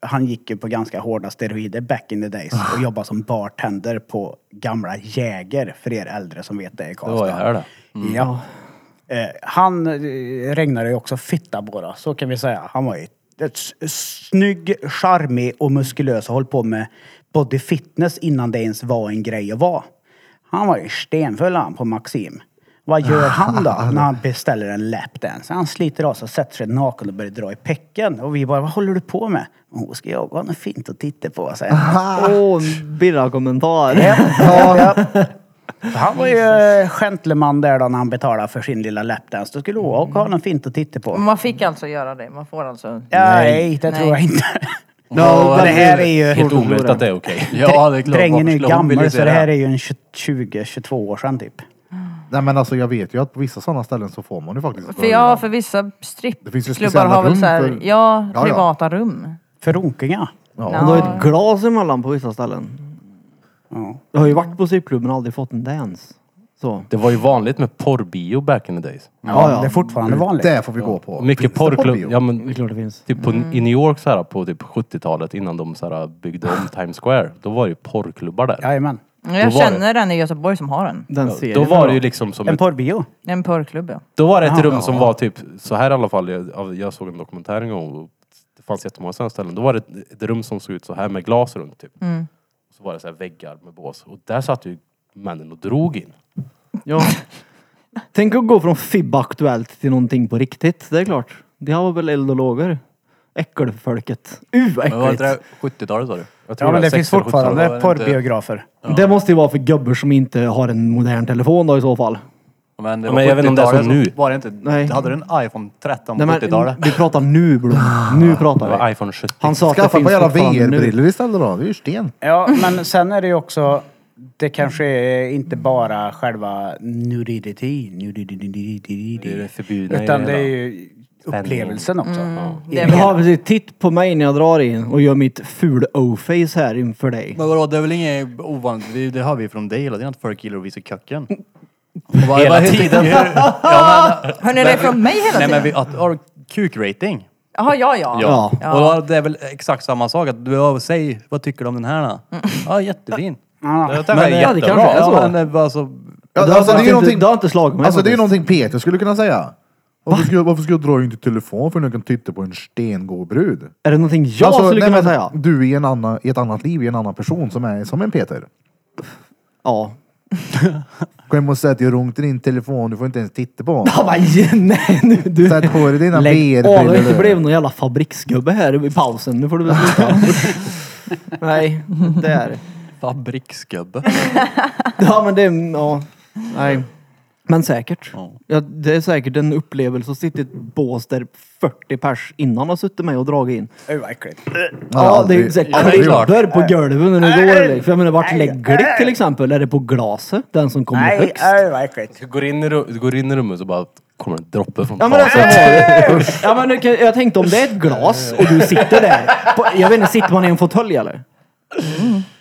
han gick ju på ganska hårda steroider back in the days Ah. och jobbade som bartender på gamla Jäger, för er äldre som vet det i Det var ju Karlstad. här det. Mm. Ja. Eh, han eh, regnade ju också fitta på det, så kan vi säga. Han var ju ett s- snygg, charmig och muskulös och höll på med body fitness innan det ens var en grej att vara. Han var ju stenfull han på Maxim. Vad gör han då när han beställer en lapdance? Han sliter av sig, sätter sig naken och börjar dra i pecken. Och vi bara, vad håller du på med? Hon ska jag ha något fint att titta på, säger han. Ah. Åh, en Birra-kommentar. Ja, ja. Han var ju eh, gentleman där då när han betalade för sin lilla lapdance. Då skulle Åke ha något fint att titta på. Man fick alltså göra det. Man får alltså... Nej, det tror jag inte. Ja, det här är ju... Helt omöjligt att det är okej. Ja, det är klart. Drängen är ju Varför skulle hon vilja gammal se så det här är ju en 20-22 år sedan typ. Nej, men alltså jag vet ju att på vissa sådana ställen så får man ju faktiskt. För ja, för vissa Det finns ju strippklubbar speciella har väl rum så här, för- ja, Ja, ja. privata rum. För runkingar. Om du Ja. har ett glas emellan på vissa ställen. Jag har ju varit på strippklubben och aldrig fått en dance. Så. Det var ju vanligt med porrbio back in the days. Ja, det är fortfarande vanligt. Det får vi gå på. Mycket Finns det porrklubb. bio? Ja, Det är men, klart det finns. typ på, I New York så här, på typ 70-talet innan de så här, byggde om Times Square. Då var det ju porrklubbar där. Jajamän. Då Jag var känner en i Göteborg som har en. Den Då serien var det då. ju liksom som En ett, porrbio. En porrklubb ja. Då var det ett rum som var typ så här i alla fall. Jag, av- jag såg en dokumentär en gång och det fanns jättemånga sådana ställen. Då var det ett, ett rum som såg ut så här med glas runt typ. Så var det så här väggar med bås. Och där satt ju männen och drog in. Ja. Tänk att gå från FIB Aktuellt till någonting på riktigt. Det är klart. Det här var väl eld och lågor. Äckelfolket. Uh, vad Men var inte äckligt. det 70-talet sa du? Jag tror Ja, men det 60 finns eller 70-talet. fortfarande var det inte- porrbiografer. Det måste ju vara för gubbar som inte har en modern telefon då i så fall. Men, det Ja, var men jag vet inte om det är 70-talet, som så nu. Var det inte, Nej. Hade du en iPhone 13 på Nej, men, 70-talet? vi pratar nu Blom. Nu Det pratar var vi. iPhone 70. Han sa att det Skaffa finns på jävla fortfarande nu. VR-brillor istället då. Det är ju sten. Ja, men sen är det ju också... Det kanske är inte bara själva nudity, nudity, Det är det förbjudna utan i det är hela. ju upplevelsen också. Mm. Det är Ja väl- precis, titt på mig när jag drar in och gör mitt ful o-face här inför dig. Men vadå, det är väl inget ovanligt? Det, det hör vi från dig hela tiden att folk gillar att visa köken. Bara, hela tiden! ja, men, Hör ni det från mig hela nej men tiden? vi, att, har kuk-rating. Jaha, ja, ja. Ja. Ja. Och då, är det är väl exakt samma sak. Att du, ja, säg, vad tycker du om den här? då? Mm. Ja, jättefin. Ja. Jag tycker den är Ja, det jättebra. kanske är så. Ja, men, det var så. Ja, Det har alltså, det, är inte- ju någonting, det har inte slagit mig alltså, det är ju faktiskt. någonting Peter skulle kunna säga. Varför ska, jag, varför ska jag dra in till telefon för när jag kan titta på en stengod brud? Är det någonting jag Alltså, skulle nej, kunna men säga? Du i, en annan, i ett annat liv, i en annan person som är som en Peter. Ja. Gå hem och säg att jag runkar din telefon, du får inte ens titta på honom. Ja, men, nej nu du. Sätt på dig dina Lägg av, du inte blev VR-brillor. någon jävla fabriksgubbe här i pausen. Nu får du väl sluta. Nej, det är Fabriksgubbe. Ja men det, är- ja. Nej. Men säkert. Ja, det är säkert en upplevelse att sitta i ett bås där 40 pers innan har suttit med och dragit in. Usch vad äckligt. Ja, det är ju aldrig- såhär aldrig gjort. klubbor på golvet när du går. eller- För jag menar, vart Nej. lägger du till exempel? Är det på glaset? Den som kommer Nej, högst? usch vad äckligt. Du går in i, ru- du går in i rummet så bara kommer en droppe från Ja men alltså, ja, men, det kan- jag tänkte om det är ett glas och du sitter där. På, jag vet inte, sitter man i en fåtölj eller?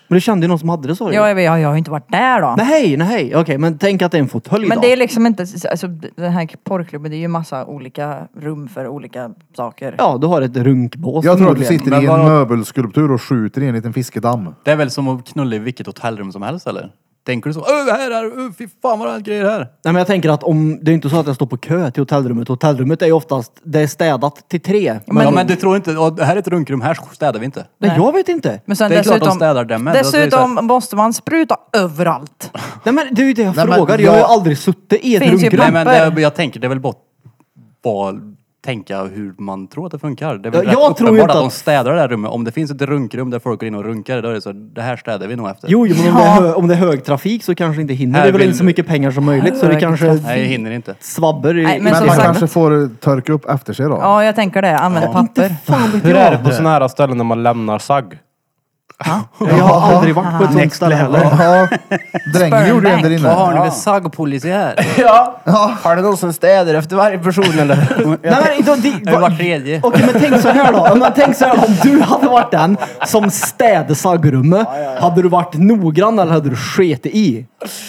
Men det kände ju någon som hade det så ju. Ja, jag, vet, jag har ju inte varit där då. Nej, nej, okej, men tänk att det är en fåtölj Men då. det är liksom inte, alltså den här porrklubben det är ju massa olika rum för olika saker. Ja, du har ett runkbås. Jag tror att du förmodligen. sitter Men i en vadå? möbelskulptur och skjuter i en liten fiskedamm. Det är väl som att knulla i vilket hotellrum som helst eller? Tänker du så? Öh, här, här, öh, fy fan vad det är grejer här. Nej men jag tänker att om, det är inte så att jag står på kö till hotellrummet. Hotellrummet är ju oftast, det är städat till tre. Men, ja, men du tror inte, åh, här är ett runkrum, här städar vi inte. Nej, jag vet inte. Men sen Det är klart de dessutom, städar där med. Det är dessutom så måste man spruta överallt. Nej men det är ju det jag Nej, men frågar. Jag har ju jag- aldrig suttit i ett Finns ju runkrum. Nej Papper. men det, jag tänker, det är väl bort vad tänka hur man tror att det funkar. Det är väl Ja, rätt jag tror uppenbart inte att de att- städar det här rummet. Om det finns ett runkrum där folk går in och runkar, då är det så det här städar vi nog efter. Jo, jo, men om, det är hö- om det är hög trafik så kanske inte hinner. Här Det är väl vill- inte så mycket pengar som möjligt så det Hög kanske trafik. Nej, jag hinner inte. svabbar i... Nej, men i- Men, som man sagt- kanske får törka upp efter sig då. Ja, jag tänker det. Använd papper. Fan vet Hur är det jag. på sådana här ställen när man lämnar sagg? Jag har aldrig varit på ett sånt ställe heller. Ja, drängen Sperm gjorde ju en bank. där inne. ni för saggpolicy här? Har det någon som städar efter varje person eller? Nej, men, då, det, Eller va, var tredje? Okej men tänk så här då. Men tänk så här, om du hade varit den som städade saggrummet. Hade du varit noggrann eller hade du skitit i?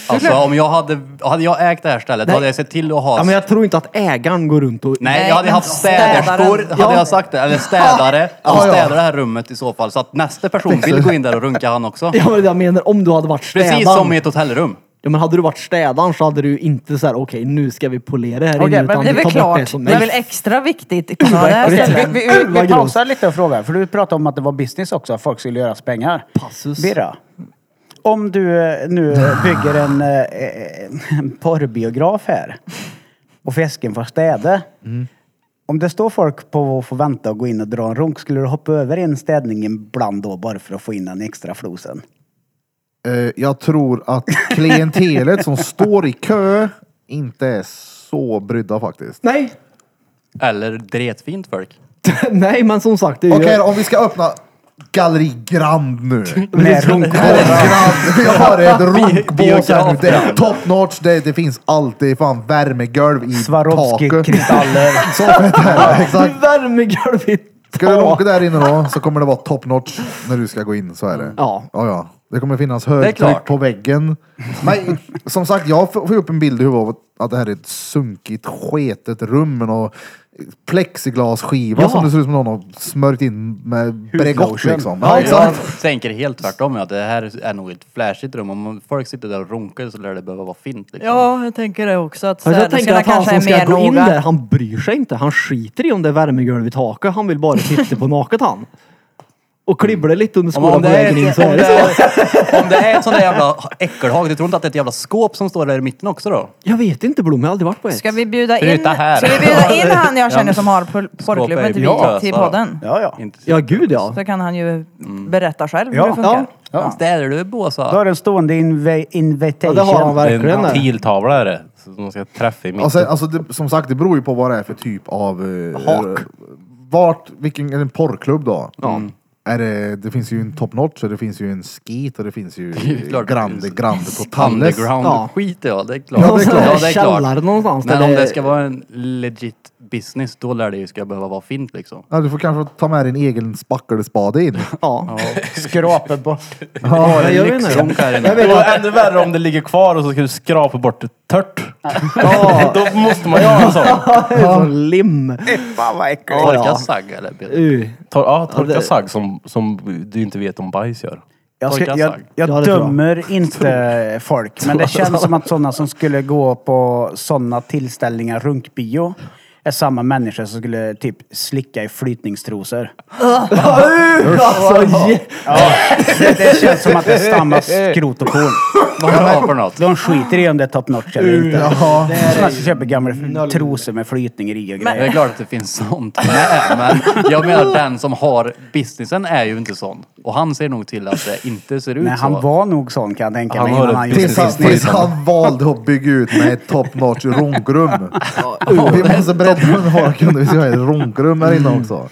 Alltså om jag hade, hade jag ägt det här stället, Nej. hade jag sett till att ha... Ja, men jag tror inte att ägaren går runt och... Nej, Nej, jag hade men haft städerskor, städaren. hade jag sagt det. Eller städare, som Ja, ja. städar det här rummet i så fall. Så att nästa person vill gå in där och runka han också. Ja, men det jag menar om du hade varit städaren. Precis som i ett hotellrum. Ja, men hade du varit städaren så hade du ju inte så här, okej nu ska vi polera här Okej, inne. men Utan Det är ta väl bort klart. som- Det är Nej, väl extra viktigt på sådana där verkligen. vi ställen. vi, vi, vi Vad pausar lite och frågar, för du pratade om att det var business också, att folk skulle göra pengar. Passus. Birra, om du eh, nu bygger en, eh, en porrbiograf här och fisken får städa. Mm. Om det står folk på att få vänta och gå in och dra en runk, skulle du hoppa över en städning ibland då bara för att få in den extra flosen? Eh, Jag tror att klientelet som står i kö inte är så brydda faktiskt. Nej. Eller dretfint folk. Nej, men som sagt. Det är ju... Okej då, om vi ska öppna Galleri Grand nu. Med runk. Här är Grand. Vi har ett Biograf runkbås här nu. Det är top notch. Det, det finns allt. Det är fan värmegolv i taket. Swarovski-kristaller. Så fett är det. Exakt. Värmegolv i Ska du tak. åka där inne då så kommer det vara top notch när du ska gå in. Så är det. Ja. Ja, ja. Det kommer finnas klart. högtryck på väggen. Men som sagt, jag får får upp en bild i huvudet av att det här är ett sunkigt, sketet rum med någon plexiglasskiva Ja. som det ser ut som någon har smörjt in med Bregott Hudlotion. liksom. Ja, Ja, exakt. Jag tänker helt tvärtom. Ja. Det här är nog ett flashigt rum. Om folk sitter där och runkar så lär det behöva vara fint. Liksom. Ja, jag tänker det också. Att Alltså, jag tänker städerskorna att han kanske som är ska mer gå in noga. där, han bryr sig inte. Han skiter i om det är värmegolv i taket. Han vill bara titta på naket han. Och klibblar det lite under Om, om, skolan på det är, vägen in så är det så. om det är ett sånt där jävla äckelhag, du tror inte att det är ett jävla skåp som står där i mitten också då? Jag vet inte Blom, jag har aldrig varit på ett. Ska vi bjuda in, Bryta här. ska vi bjuda in han jag känner som har por- Skåpa i porrklubben till, bilen. till Ja, så. podden? Ja, ja. Inte. Ja, gud ja. Så kan han ju berätta själv Ja. hur det funkar. ja. Städar du Då har båsa? du en stående inv- ja invitation. det har han Det är verkligen. en där. piltavla är det. Som man ska träffa i mitten. Och sen, alltså, det, som sagt, det beror ju på vad det är för typ av... Eh, Hak. Vart, vilken, är det en porrklubb då? Är det, det finns ju en top notch och det finns ju en skit och det finns ju är klart. Grande, Grande Totales. Ja. Underground-skit ja, det är klart. Ja, det är klart. Ja, det är Källare klart. någonstans. Men där om det ska vara en legit business, då lär det ju ska behöva vara fint liksom. Ja, du får kanske ta med din egen spackelspade in. Ja. Skrapa bort. ja, jag vet inte. Lyxrunk här Jag inne. vet Det att var ännu värre om det ligger kvar och så ska du skrapa bort det tört. Ja. Då måste man göra en sån. det är som lim. Fan vad äckligt. Ja, ja. Torka sagg eller? Uh. Tor ja, Ja, torka det- sagg som, som du inte vet om bajs gör. Jag, ska, Torka jag, sagg. jag Ja, det tror jag. dömer inte folk, men det känns som att sådana som skulle gå på sådana tillställningar, runkbio, är samma människor som skulle typ slicka i flytningstrosor. Alltså, je- Det, det känns som att det är samma skrot och korn. Vad har du för något? De skiter i om det är top notch eller inte. Jaha. Det är såna som köper gamla trosor med flytningar i och Det är grejer. klart att det finns sånt med, men jag menar den som har businessen är ju inte sån. Och han ser nog till att det inte ser ut Men han så. var nog sån kan jag tänka Han mig. har innan ett han gjorde Tills han, det. business- tills han valde att bygga ut med ett top notch runkrum. Vi måste berätta om några kunder vi ska ha ett runkrum här inne också.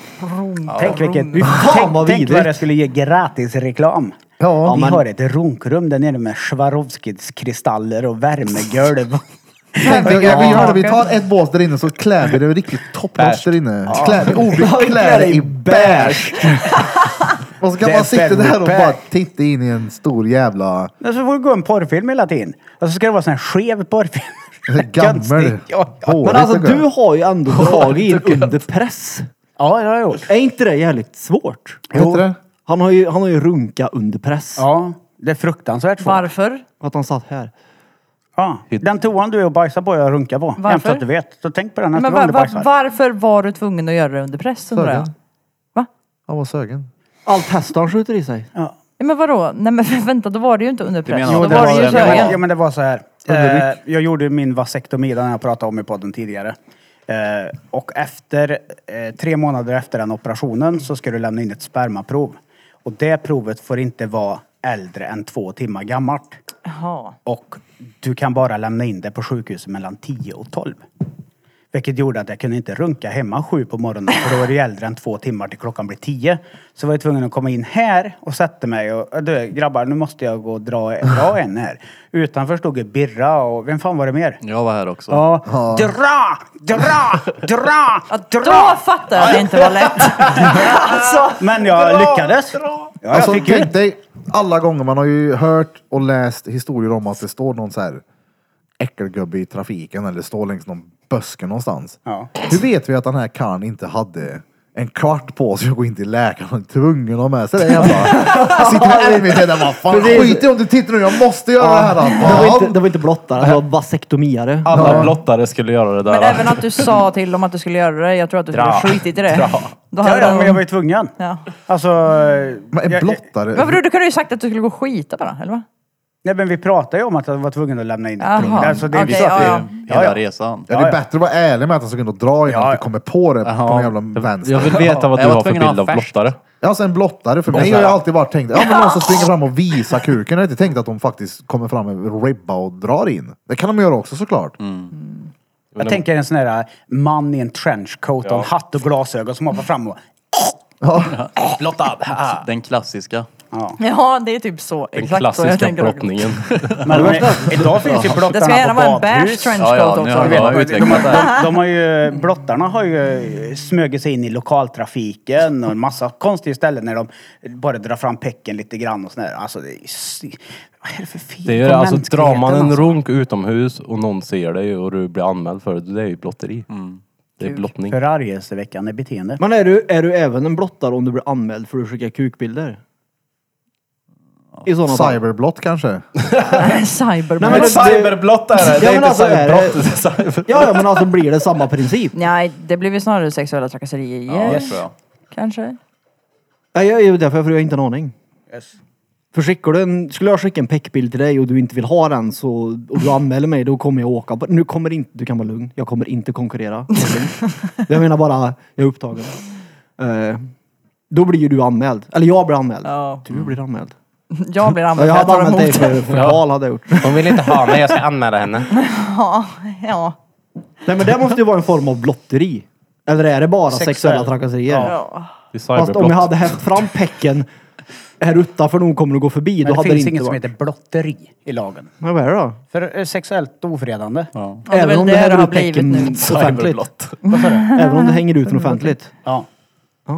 Tänk vilket... Fan vad Tänk, tänk vad vidrigt. det skulle ge gratis reklam. Ja, Vi men- har ett runkrum där nere med Swarovskis kristaller och värmegolv. Tänk dig, ja, vi, gör det. vi tar ett bås där inne så klär vi det riktigt top notch där inne. Klär, vi- oh, vi klär det i beige. Och så kan Det är man sitta där och Benny bara Pack. titta in i en stor jävla... Men så får det gå en porrfilm hela tiden. Och så ska det vara sån här skev porrfilm. Gammal. Konstigt. Ja, ja. Hårig, Men alltså tycker jag. du har ju ändå dragit in under press. ja, det har jag gjort. Är inte det jävligt svårt? Vad heter det? Han har ju, han har ju runka under press. Ja, det är fruktansvärt svårt. Varför? Att han satt här. Ja. Den toan du och bajsade på jag runkar på. Varför? Jämt att du vet. Så tänk på den nästa Men gång var, du var, bajsar. varför var du tvungen att göra det under press undrar jag? Sögen. Va? Han var sögen. Allt häst han skjuter i sig. Ja. Ja, Men vadå? Nej men vänta, då var det ju inte under press. menar då att det var det var ju det, men- Ja, sögen. men, ja, men det var så här. Eh, Undervikt. jag gjorde min vasektomi, den jag pratade om i podden tidigare. Eh, och efter, eh, tre månader efter den operationen så ska du lämna in ett spermaprov. Och det provet får inte vara äldre än två timmar gammalt. Jaha. Och du kan bara lämna in det på sjukhuset mellan 10 och 12. Vilket gjorde att jag kunde inte runka hemma sju på morgonen för då var det ju äldre än två timmar till klockan blir tio. Så var jag tvungen att komma in här och sätta mig och du grabbar nu måste jag gå och dra, dra en här. Utanför stod ju Birra och vem fan var det mer? Jag var här också. Ja. Dra! Dra! Dra! Ja, Dra! då fattar jag att det inte var lätt. alltså. Men jag lyckades. Ja, jag Alltså fick ut. tänk dig alla gånger man har ju hört och läst historier om att det står någon så här äckelgubbe i trafiken eller står längs någon buske någonstans. Ja. Hur vet vi att den här karln inte hade en kvart på sig att gå in till läkaren och tvungen att ha med sig det jävla... Jag Sitter med ärmen i tänderna bara fan skit i om du tittar nu, jag måste göra det här! då." Det var Fan. inte, det var inte blottare, det var vasektomiare. Alla blottare skulle göra det där. Men även att du sa till dem att du skulle göra det. Jag tror att du skulle ha skitit i det. Då Ja, hade ja, de- men jag var ju tvungen. Ja. Alltså... Men en jag- blottare... Men vadå, du kunde ju sagt att du skulle gå och skita bara, eller va? Nej men vi pratade ju om att jag var tvungen att lämna in ett Jaha. prov. Alltså det är Okej, så att det ja, Hela resan. Ja, det Ja, är ja. bättre att vara ärlig med att han ska kunna dra innan Ja, att ja. du kommer på det på någon Jaha. jävla vänster. Jag vill veta vad Jag du var har för tvungen att bild av ha färskt. blottare. Ja, alltså en blottare för mig har jag alltid varit tänkt, ja men någon som springer fram och visar kuken. Jag har inte tänkt att de faktiskt kommer fram med ribba och drar in. Det kan de göra också såklart. Jag tänker en sån här eh, man i en trenchcoat och en hatt och glasögon som hoppar fram och... Blottad! Den klassiska. Ja, det är typ så. Den Exakt så jag klassiska tänker också. brottningen. Men eh, idag finns ju blottarna Det ska gärna på vara en beige badhus. trenchcoat Ja, ja, nu också. har vet jag du. utvecklat det här. De har ju, eh, blottarna har ju eh, smugit sig in i lokaltrafiken och en massa konstiga ställen när de bara drar fram pecken lite grann och sådär. Alltså det är ju... sy- Vad är det för fel Det är ju det, på alltså drar man mänskligheten, en alltså? runk utomhus och någon ser dig och du blir anmäld för det, det är ju blotteri. Det är blottning. Förargelseväckande beteende. Men är du, är du även en blottare om du blir anmäld för att skicka kukbilder? I sådana fall. Cyberblott kanske? Nej, Cyberman. men det- Cyberblott är det! Ja, men alltså, är det- det är cyber... Ja, ja, men alltså blir det samma princip? Nej, det blir väl snarare sexuella trakasserier. tror jag. Kanske. Nej, jag är ju därför för jag har inte en aning. Yes. För skickar du en, skulle jag skicka en peckbild till dig och du inte vill ha den så, och du anmäler mig, då kommer jag åka. på- Nu kommer inte, du kan vara lugn. Jag kommer inte konkurrera. Var lugn. jag menar bara, jag är upptagen. Eh, då blir ju du anmäld. Eller jag blir anmäld. Ja. Du blir anmäld. Jag blir Ja, anmäld jag för att hade jag använt tar dig emot det. för förtal hade jag gjort. Hon vill inte ha mig, jag ska anmäla henne. Ja. Nej men det måste ju vara en form av blotteri. Eller är det bara Sexuell. sexuella trakasserier? Ja. Det är Fast om jag cyberblott. hade hävt fram pecken här utanför när hon kommer att gå förbi, Men då det hade det finns inte inget som varit... heter blotteri i lagen. Men vad är det då? För eh, sexuellt ofredande. Ja, det är väl det det hänger har ut pecken blivit nu. offentligt. Även om det hänger ut den offentligt. Ja. Ah.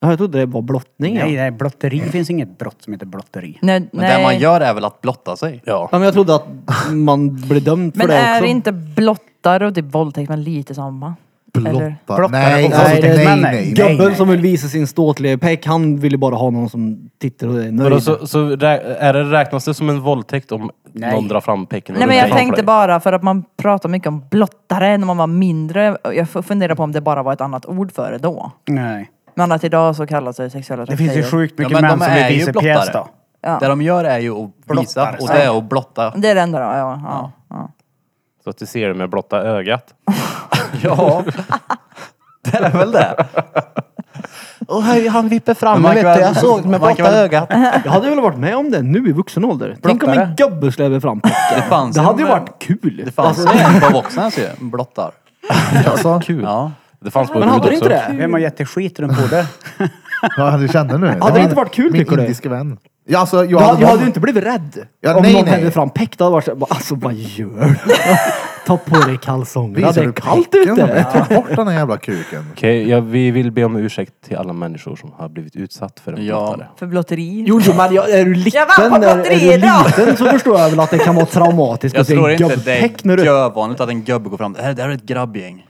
Ja, Jag trodde det var blottning. Nej, Ja. nej, blotteri finns inget brott som heter blotteri. Nej, Men det man nej. gör är väl att blotta sig? Ja, men jag trodde att man blir dömd för Men det också. är inte blottare och typ våldtäkt men lite samma? Eller? Blotta? Blottare Nej, och alltså, nej, nej, det- nej, men nej. nej. Gubben som vill visa sin ståtliga peck, han vill ju bara ha någon som tittar och är nöjd. Vadå, Så, så rä- är det, räknas det som en våldtäkt om Nej. någon drar fram pecken? och Nej men runkar jag framför tänkte dig? bara för att man pratar mycket om blottare när man var mindre. Jag f- funderar på om det bara var ett annat ord för det då. Nej. Men att idag så kallas det sexuella Det finns ju trakasserier. sjukt mycket men män de som är är ju vicepjäs blottare. då. Ja. Det de gör är ju att visa Blottar och sig. det är att blotta. Det är det enda då, ja. ja, ja. Så att du ser det med blotta ögat. Ja. Det är väl det. Och han vipper fram Man mig kan vet du. väl- Jag såg med man kan blotta väl- ögat. Jag hade väl varit med om det nu i vuxen ålder. Tänk om en gubbe släpper fram Det fanns Det hade ju en- varit kul. Alltså, Alltså, Det fanns ju en på boxen ju. En Blottar. Alltså, Kul. Ja. Det fanns på Men hade Gud du inte också. det? Vem har gett dig skit runt bordet? ja, du känner nu. Hade det inte varit kul, Min tycker du? indiske vän. Ja, alltså, jag, Jag hade, jag hade varit- ju inte blivit rädd. Ja, om nej, någon nej. hällde fram peck, då hade jag varit såhär, bara, alltså vad gör du? Ta på dig kalsongerna, det Visar är du kallt picken? ute. Ta bort den här jävla kuken. Okej, ja, vi vill be om ursäkt till alla människor som har blivit utsatt för en Ja. blottare. För blotteri. Jo, jo, men jag, är du liten, Jag vann på är, är du lotteriet, ja. liten så förstår jag väl att det kan vara traumatiskt Jag att se tror en inte det gubbpeck när är du... gövvanligt att en gubbe går fram. Det här, det här är ett grabbgäng.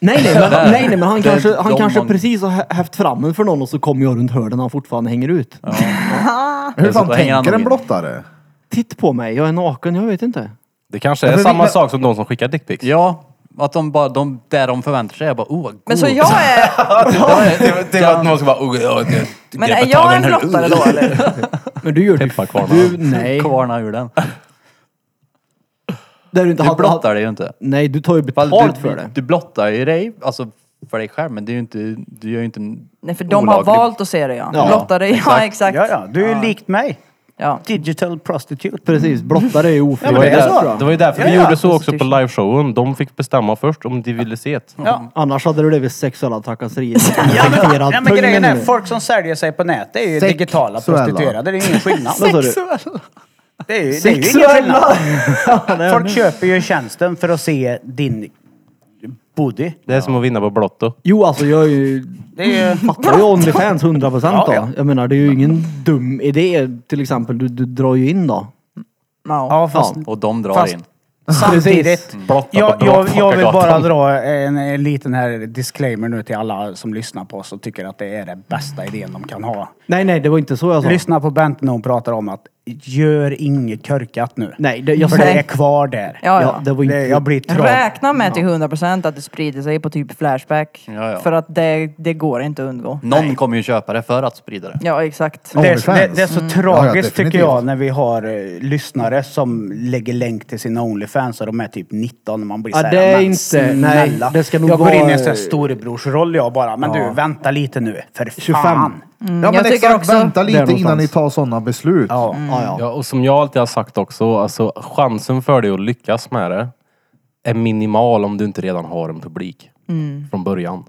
Nej, nej, men, nej, nej, men han Det är kanske, han de kanske man- precis har hä- hävt fram den för någon och så kommer jag runt hörnen och han fortfarande hänger ut. Hur är så fan att det hänger tänker analogen. en blottare? Titt på mig, jag är naken, jag vet inte. Det kanske är men samma vi- sak som de som skickar dickpics. Ja. Att de bara, de, där de förväntar sig är bara, oh vad god. Men så jag är, det, det var att någon ska bara... Oh, oh, det, men är jag en blottare då eller? Men du gör typ... Pepparkvarnar. Du, nej. Kvarna ur den. Där du inte Du hade- blottar dig ju inte. Nej, du tar ju Fast betalt du, för det. Du blottar ju dig, alltså för dig själv, men det är ju inte, du gör ju inte... Nej för de har valt att se det ja. Blottare, ja exakt. Ja, ja. Du är ju likt mig. Ja. Digital prostitute. Precis, blottare är ju ofrivilligt. Det var, ju det är så. där, det var ju därför Ja, vi ja. gjorde så också på liveshowen. De fick bestämma först om de ville se det. Ja. Annars hade det blivit sexuella trakasserier. Ja, men, Infekterad ja, men grejen är, pung. folk som säljer sig på nätet är ju Sex- digitala suella. prostituerade. Det är ju ingen skillnad. Vad sa du? Det är ju, det är ju ingen skillnad. Folk köper ju tjänsten för att se din body. Det är som att vinna på Blotto. Jo, alltså jag är ju... Det är ju... Fattar ju Onlyfans 100 procent Ja, ja. då. Jag menar, det är ju ingen dum idé till exempel. Du, du drar ju in då. Ja. Ja, fast Och de drar Fast- in. samtidigt. Blotta på Jag, jag, jag vill bara Blottmakargatan. dra en, en liten här disclaimer nu till alla som lyssnar på oss och tycker att det är den bästa idén de kan ha. Nej, nej, det var inte så jag sa. Lyssna på Bent när hon pratar om att gör inget körkat nu. Nej, det, jag sa... För det är kvar där. Ja, Ja, ja. det var inte... Det, jag blir trött. Räkna med till 100% att det sprider sig på typ Flashback. Ja, ja. För att det, det går inte att undgå. Någon kommer ju köpa det för att sprida det. Ja exakt. Det, är- Onlyfans. det, det är Mm. så Ja, ja, tragiskt definitivt. tycker jag när vi har eh, lyssnare som lägger länk till sina Onlyfans och de är typ 19 och man blir Ja, såhär, det är "Men inte- snälla." nej, det ska nog Jag går in i vara- en sån här storebrorsroll jag bara, men du vänta lite nu, för 25. fan. ja, Mm, men jag tycker exakt. också- vänta lite Där innan någonstans. ni tar sådana beslut. Ja. Ja, ja. Ja, och som jag alltid har sagt också, alltså chansen för dig att lyckas med det är minimal om du inte redan har en publik Mm. från början.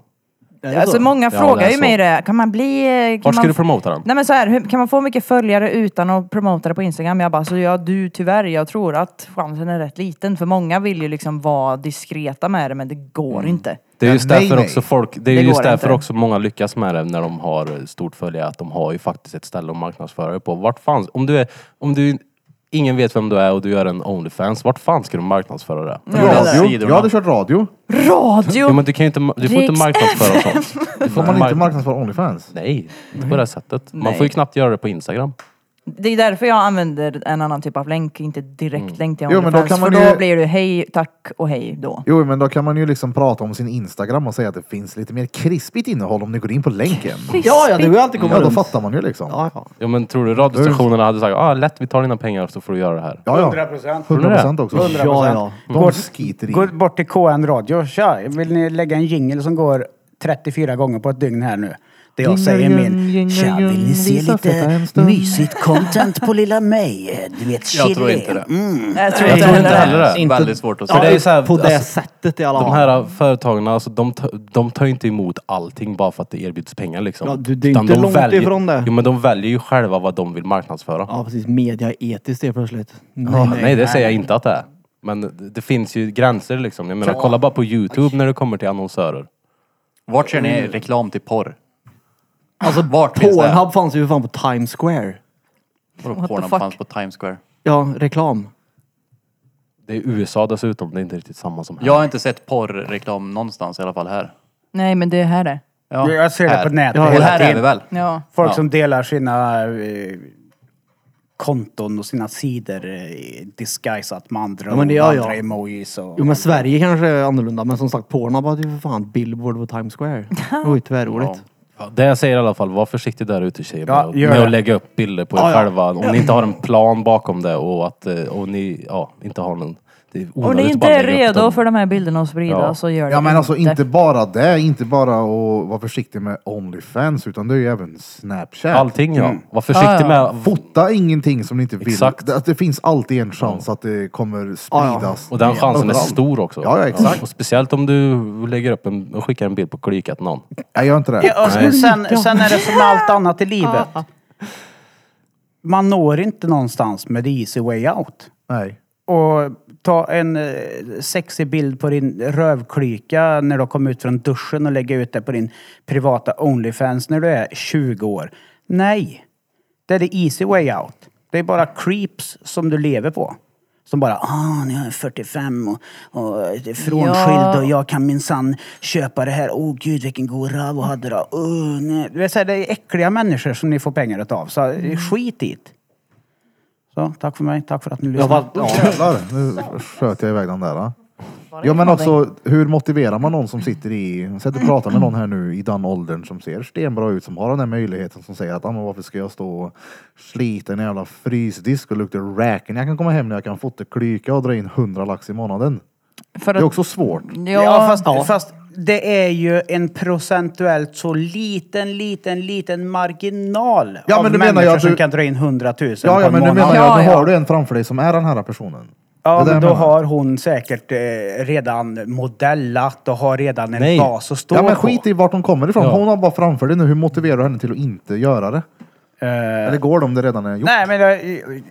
Är det Alltså så? många Ja, frågar det är ju så. mig det. Kan man bli... eh, Kan Vart ska man... du promota den? Nej men så här, hur, kan man få mycket följare utan att promota det på Instagram? Jag bara, så ja du tyvärr, jag tror att chansen är rätt liten. För många vill ju liksom vara diskreta med det, men det går inte. Det är just Nej, därför nej. också folk, det är Det just går därför inte. också många lyckas med det när de har stort följe, att de har ju faktiskt ett ställe att marknadsföra dig på. Vart fanns, om du är, om du, ingen vet vem du är och du gör en Onlyfans, vart fan ska du marknadsföra det? Mm. Radio. Jag hade kört radio. Jo Radio! men du kan ju inte, du får Riks inte marknadsföra sånt. Du Får man inte marknadsföra Onlyfans? Nej, inte på det här sättet. Man Nej. får ju knappt göra det på Instagram. Det är därför jag använder en annan typ av länk, inte direkt länk till Mm. Jo, men då kan OnlyFans. man För då ju- blir du hej, tack och hej då. Jo, men då kan man ju liksom prata om sin Instagram och säga att det finns lite mer krispigt innehåll om ni går in på länken. Ja, ja, det går ju alltid komma Ja, då runt. fattar man ju liksom. Ja, Ja, ja. Ja men tror du radiostationerna hade sagt ah lätt vi tar dina pengar så får du göra det här. ja. 100%. 100 procent också. Ja, ja. De skiter i. Gå bort till KN Radio. Tja, vill ni lägga en jingle som går 34 gånger på ett dygn här nu? Det jag Jingle, säger min. jingle, Tja, vill ni jingle, se visa fetta lite en stund. mysigt content på lilla mig? Du vet, Jag tror inte det. chili. Mm. Jag tror Jag inte tror inte heller det. heller det. Inte- Väldigt svårt att För det är ju så här, på det alltså, sättet i alla de fall. här företagen, alltså, de, ta- de tar ju inte emot allting bara för att det erbjuds pengar liksom. Ja, du, det är inte de långt väljer, ifrån det. Jo men de väljer ju själva vad de vill marknadsföra. Ja, precis. Media är etiskt helt plötsligt. Nej, Ja, nej, det säger jag inte att det är. Men det- det finns ju gränser liksom. Jag menar, kolla bara på Youtube när det kommer till annonsörer. Vart ser ni reklam till porr? Alltså vart finns det? Pornhub fanns ju för fan på Times Square. Vadå What the Pornhub fuck? fanns på Times Square. Ja, reklam. Det är USA dessutom, det är inte riktigt samma som här. Jag har inte sett porrreklam någonstans i alla fall här. Nej men det här är. Ja, Jag ser det här. på nätet Ja, hela här är tiden. vi väl? Ja. Folk Ja. som delar sina eh, konton och sina sidor eh, disguisat med andra Ja, men det- ord, ja, andra ja. emojis och... Jo men Sverige kanske är annorlunda men som sagt Pornhub hade ju för fan Billboard på Times Square. Det var ju tvärroligt. Ja, Det jag säger i alla fall, var försiktig där ute tjejer Ja, med, gör att- med det. att lägga upp bilder på er själva. Om ni inte har en plan bakom det och att eh, och ni ja, inte har någon... Det är Om ni typ onödigt att inte bara är lägga upp redo dem. för de här bilderna att sprida Ja. så gör det Ja men alltså inte bara det, inte bara att vara försiktig med Onlyfans utan det är ju även Snapchat. Allting ja. Mm. Var försiktig Ja, ja. med... Fota ingenting som ni inte vill. Exakt. Det, att det finns alltid en chans att det kommer spridas. Och den chansen är överallt. stor också. Ja, ja, exakt. Och speciellt om du lägger upp en, och skickar en bild på klykat någon. Jag gör inte det. Ja, och sen, sen, sen är det som med allt annat i livet. Man når inte någonstans med the easy way out. Nej. Och ta en eh, sexig bild på din rövklyka när du har kommit ut från duschen och lägga ut det på din privata Onlyfans när du är 20 år. Nej! Det är the easy way out. Det är bara creeps som du lever på. Som bara, ah, nu är jag 45 och, och är frånskild Ja. och jag kan minsann köpa det här. Åh oh, gud vilken god röv och hade då. Oh, nej. Det, är så här, det är äckliga människor som ni får pengar utav. Så eh, skit i det. Så, tack för mig. Tack för att ni lyssnade. Jävlar, nu sköt jag iväg den där. va? Ja men också, hur motiverar man någon som sitter i, sätt och pratar med någon här nu i den åldern som ser stenbra ut, som har den här möjligheten som säger att ah, men varför ska jag stå och slita en jävla frysdisk och lukta räken? Jag kan komma hem när jag kan fotaklyka och dra in 100 lax i månaden. För Det att, är också svårt. ja, Ja, fast, fast det är ju en procentuellt så liten, liten, liten marginal Ja, av men du menar människor jag att som du- kan dra in 100 000 Ja, på ja en men nu månad. menar jag, Ja, då ja. har du en framför dig som är den här personen. Det Ja, är det men jag då menar. har hon säkert eh, redan modellat och har redan en Nej. bas att stå Ja men på. skit i vart hon kommer ifrån. Ja. Hon har bara framför dig nu, hur motiverar du henne till att inte göra det? Eh, Eller går det om det redan är gjort? Nej, men jag,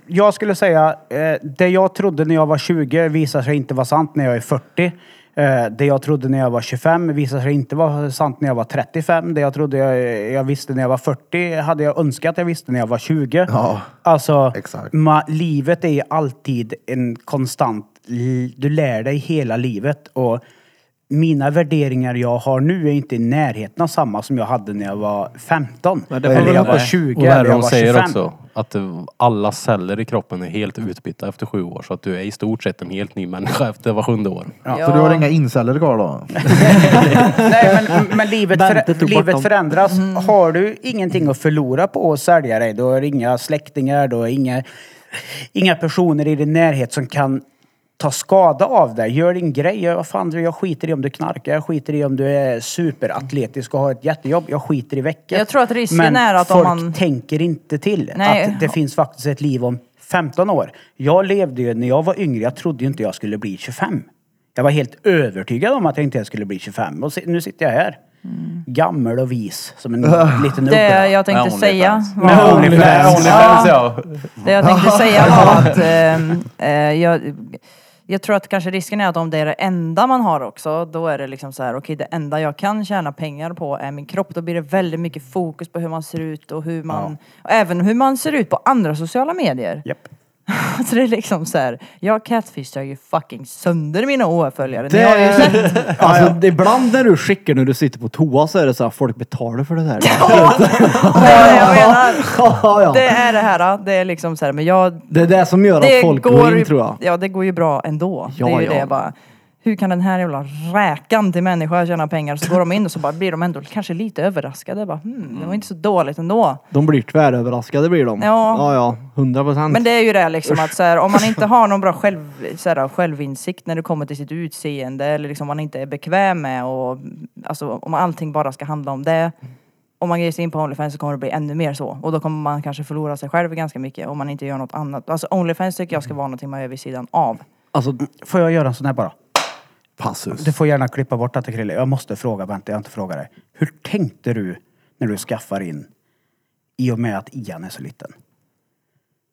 jag skulle säga, eh, det jag trodde när jag var 20 visar sig inte vara sant när jag är 40. Eh, det jag trodde när jag var 25 visar sig inte vara sant när jag var 35. Det jag trodde jag, jag visste när jag var 40 hade jag önskat jag visste när jag var 20. Ja. Alltså, Exakt. ma- livet är ju alltid en konstant... li- Du lär dig hela livet. Och mina värderingar jag har nu är inte i närheten av samma som jag hade när jag var 15. Nej, det får eller väl jag vara- var 20, Och det här eller jag hon var säger 25. också. Att eh, alla celler i kroppen är helt utbytta efter sju år. Så att du är i stort sett en helt ny människa efter var sjunde år. Så du har inga inceller kvar då? Nej, men, men livet, Bente för, tog bort livet dem. Mm. förändras. Har du ingenting att förlora på att sälja dig, då är det inga släktingar, då är det inga, inga personer i din närhet som kan ta skada av dig. Gör din grej. Jag, vad fan, jag skiter i om du knarkar, jag skiter i om du är superatletisk och har ett jättejobb. Jag skiter i veckan. Jag tror att risken Men är att om folk man- tänker inte till Nej. att det finns faktiskt ett liv om 15 år. Jag levde ju, när jag var yngre, jag trodde ju inte jag skulle bli 25. Jag var helt övertygad om att jag inte ens skulle bli 25. Och se- nu sitter jag här. Gammal och vis, som en liten det uggla. Mm. jag tänkte Onlyfans. säga Med var... Onlyfans. ja. Det jag tänkte säga var att ehm, eh, jag, jag tror att kanske risken är att om det är det enda man har också, då är det liksom så här, okej det enda jag kan tjäna pengar på är min kropp. Då blir det väldigt mycket fokus på hur man ser ut och hur man, och även hur man ser ut på andra sociala medier. Japp. Alltså det är liksom så här, jag catfishar ju fucking sönder mina OF-följare. Det Ni har ju sett Alltså, det är ibland när du skickar när du sitter på toa så är det så här, folk betalar för det där. det jag menar. ja, ja. Det är det här, det är liksom så här, men jag Det är det som gör att folk går in tror jag. Ja, det går ju bra ändå. det är Ja, ju ja. det bara. Hur kan den här jävla räkan till människa tjäna pengar? Så går de in och så bara blir de ändå kanske lite överraskade. Bara, hmm, det var inte så dåligt ändå. De blir tväröverraskade blir de. Ja. ja, ja. 100 procent. Men det är ju det liksom att så här, om man inte har någon bra själv, så här, självinsikt när det kommer till sitt utseende eller liksom man inte är bekväm med och alltså om allting bara ska handla om det. Om man ger sig in på Onlyfans så kommer det bli ännu mer så och då kommer man kanske förlora sig själv ganska mycket om man inte gör något annat. Alltså Onlyfans tycker jag ska vara någonting man gör vid sidan av. Alltså, Får jag göra en sån här bara? Passus. Du får gärna klippa bort detta Krille. Jag måste fråga Bente, jag har inte frågat dig. Hur tänkte du när du skaffar in i och med att Ian är så liten?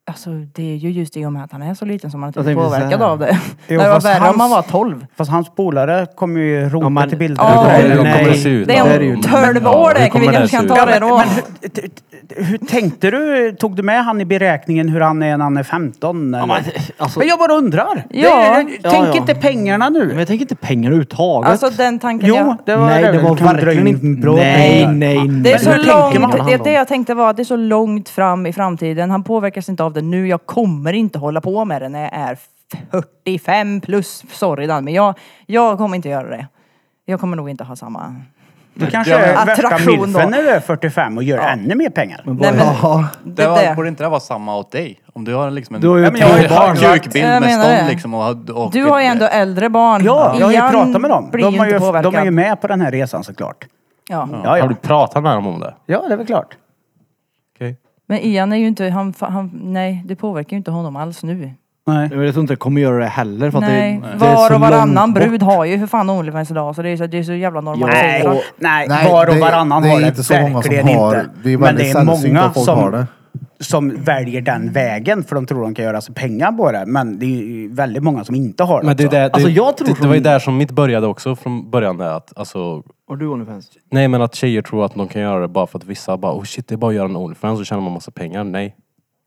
Alltså det är ju just i och med att han är så liten som man inte Jag blir tänkte så påverkad här. av det. det Jo, var fast värre om man var hans- 12. Fast hans polare kommer ju rota Ja, men- till bilder. Ja, på det dig. Hur nej. kommer det se ut? Det då? är det ju är om inte. 12 Ja, hur år det, kan kommer vi det kanske kan se ta ut? det då. T- t- t- Hur tänkte du? Tog du med han i beräkningen hur han är när han är 15? eller? men, alltså, Men jag bara undrar. Ja. Det är- Ja, Tänk ja. inte pengarna men nu. jag tänker inte pengar överhuvudtaget. Alltså den tanken Jo, jag... det var nej, det Kan var dra verkligen in inte bra Nej, pengar. nej, nej. Det är Men hur så tänker man? långt, det, det jag tänkte var att det är så långt fram i framtiden. Han påverkas inte av det nu. Jag kommer inte hålla på med det när jag är 45 plus. Sorry Dan, men jag, jag kommer inte göra det. Jag kommer nog inte ha samma Du kanske är värsta Attraktion då. milfen när du är 45 och gör ännu mer pengar. Nej, men, Ja, det, Det var, det. borde inte det vara samma åt dig? Om du har liksom en... Du har ju Nej, men jag två barn. ju en kukbild Jag med menar stånd det. liksom och, och Du har ju ändå äldre barn. Ja, jag har ju Ian pratat med dem. blir De, har ju, inte de är ju påverkad. med på den här resan såklart. Ja. Ja, Har ja. du pratat med dem om det? ja det är väl klart. Okej. Men Ian är ju inte, han, fa- han, nej det påverkar ju inte honom alls nu. Nej. Jag tror inte det kommer göra det heller för att Nej, det, det är var så och varannan långt bort. brud har ju för fan Onlyfans idag så det är så, det är så jävla Nej, normaliserat. Alltså, nej, Nej, var och det- varannan det är har det inte så många som verkligen har. inte. Det är Men väldigt det är sällsynt många att folk som, har det. som väljer den vägen för de tror de kan göra sig pengar på det. Men det är ju väldigt många som inte har det. Men det, är också. där, det, Alltså, jag tror det, det som- var ju där som mitt började också från början. Där, att, alltså, Har du Onlyfans? nej men att tjejer tror att de kan göra det bara för att vissa bara oh shit det är bara att göra en Onlyfans och tjänar man massa pengar. Nej.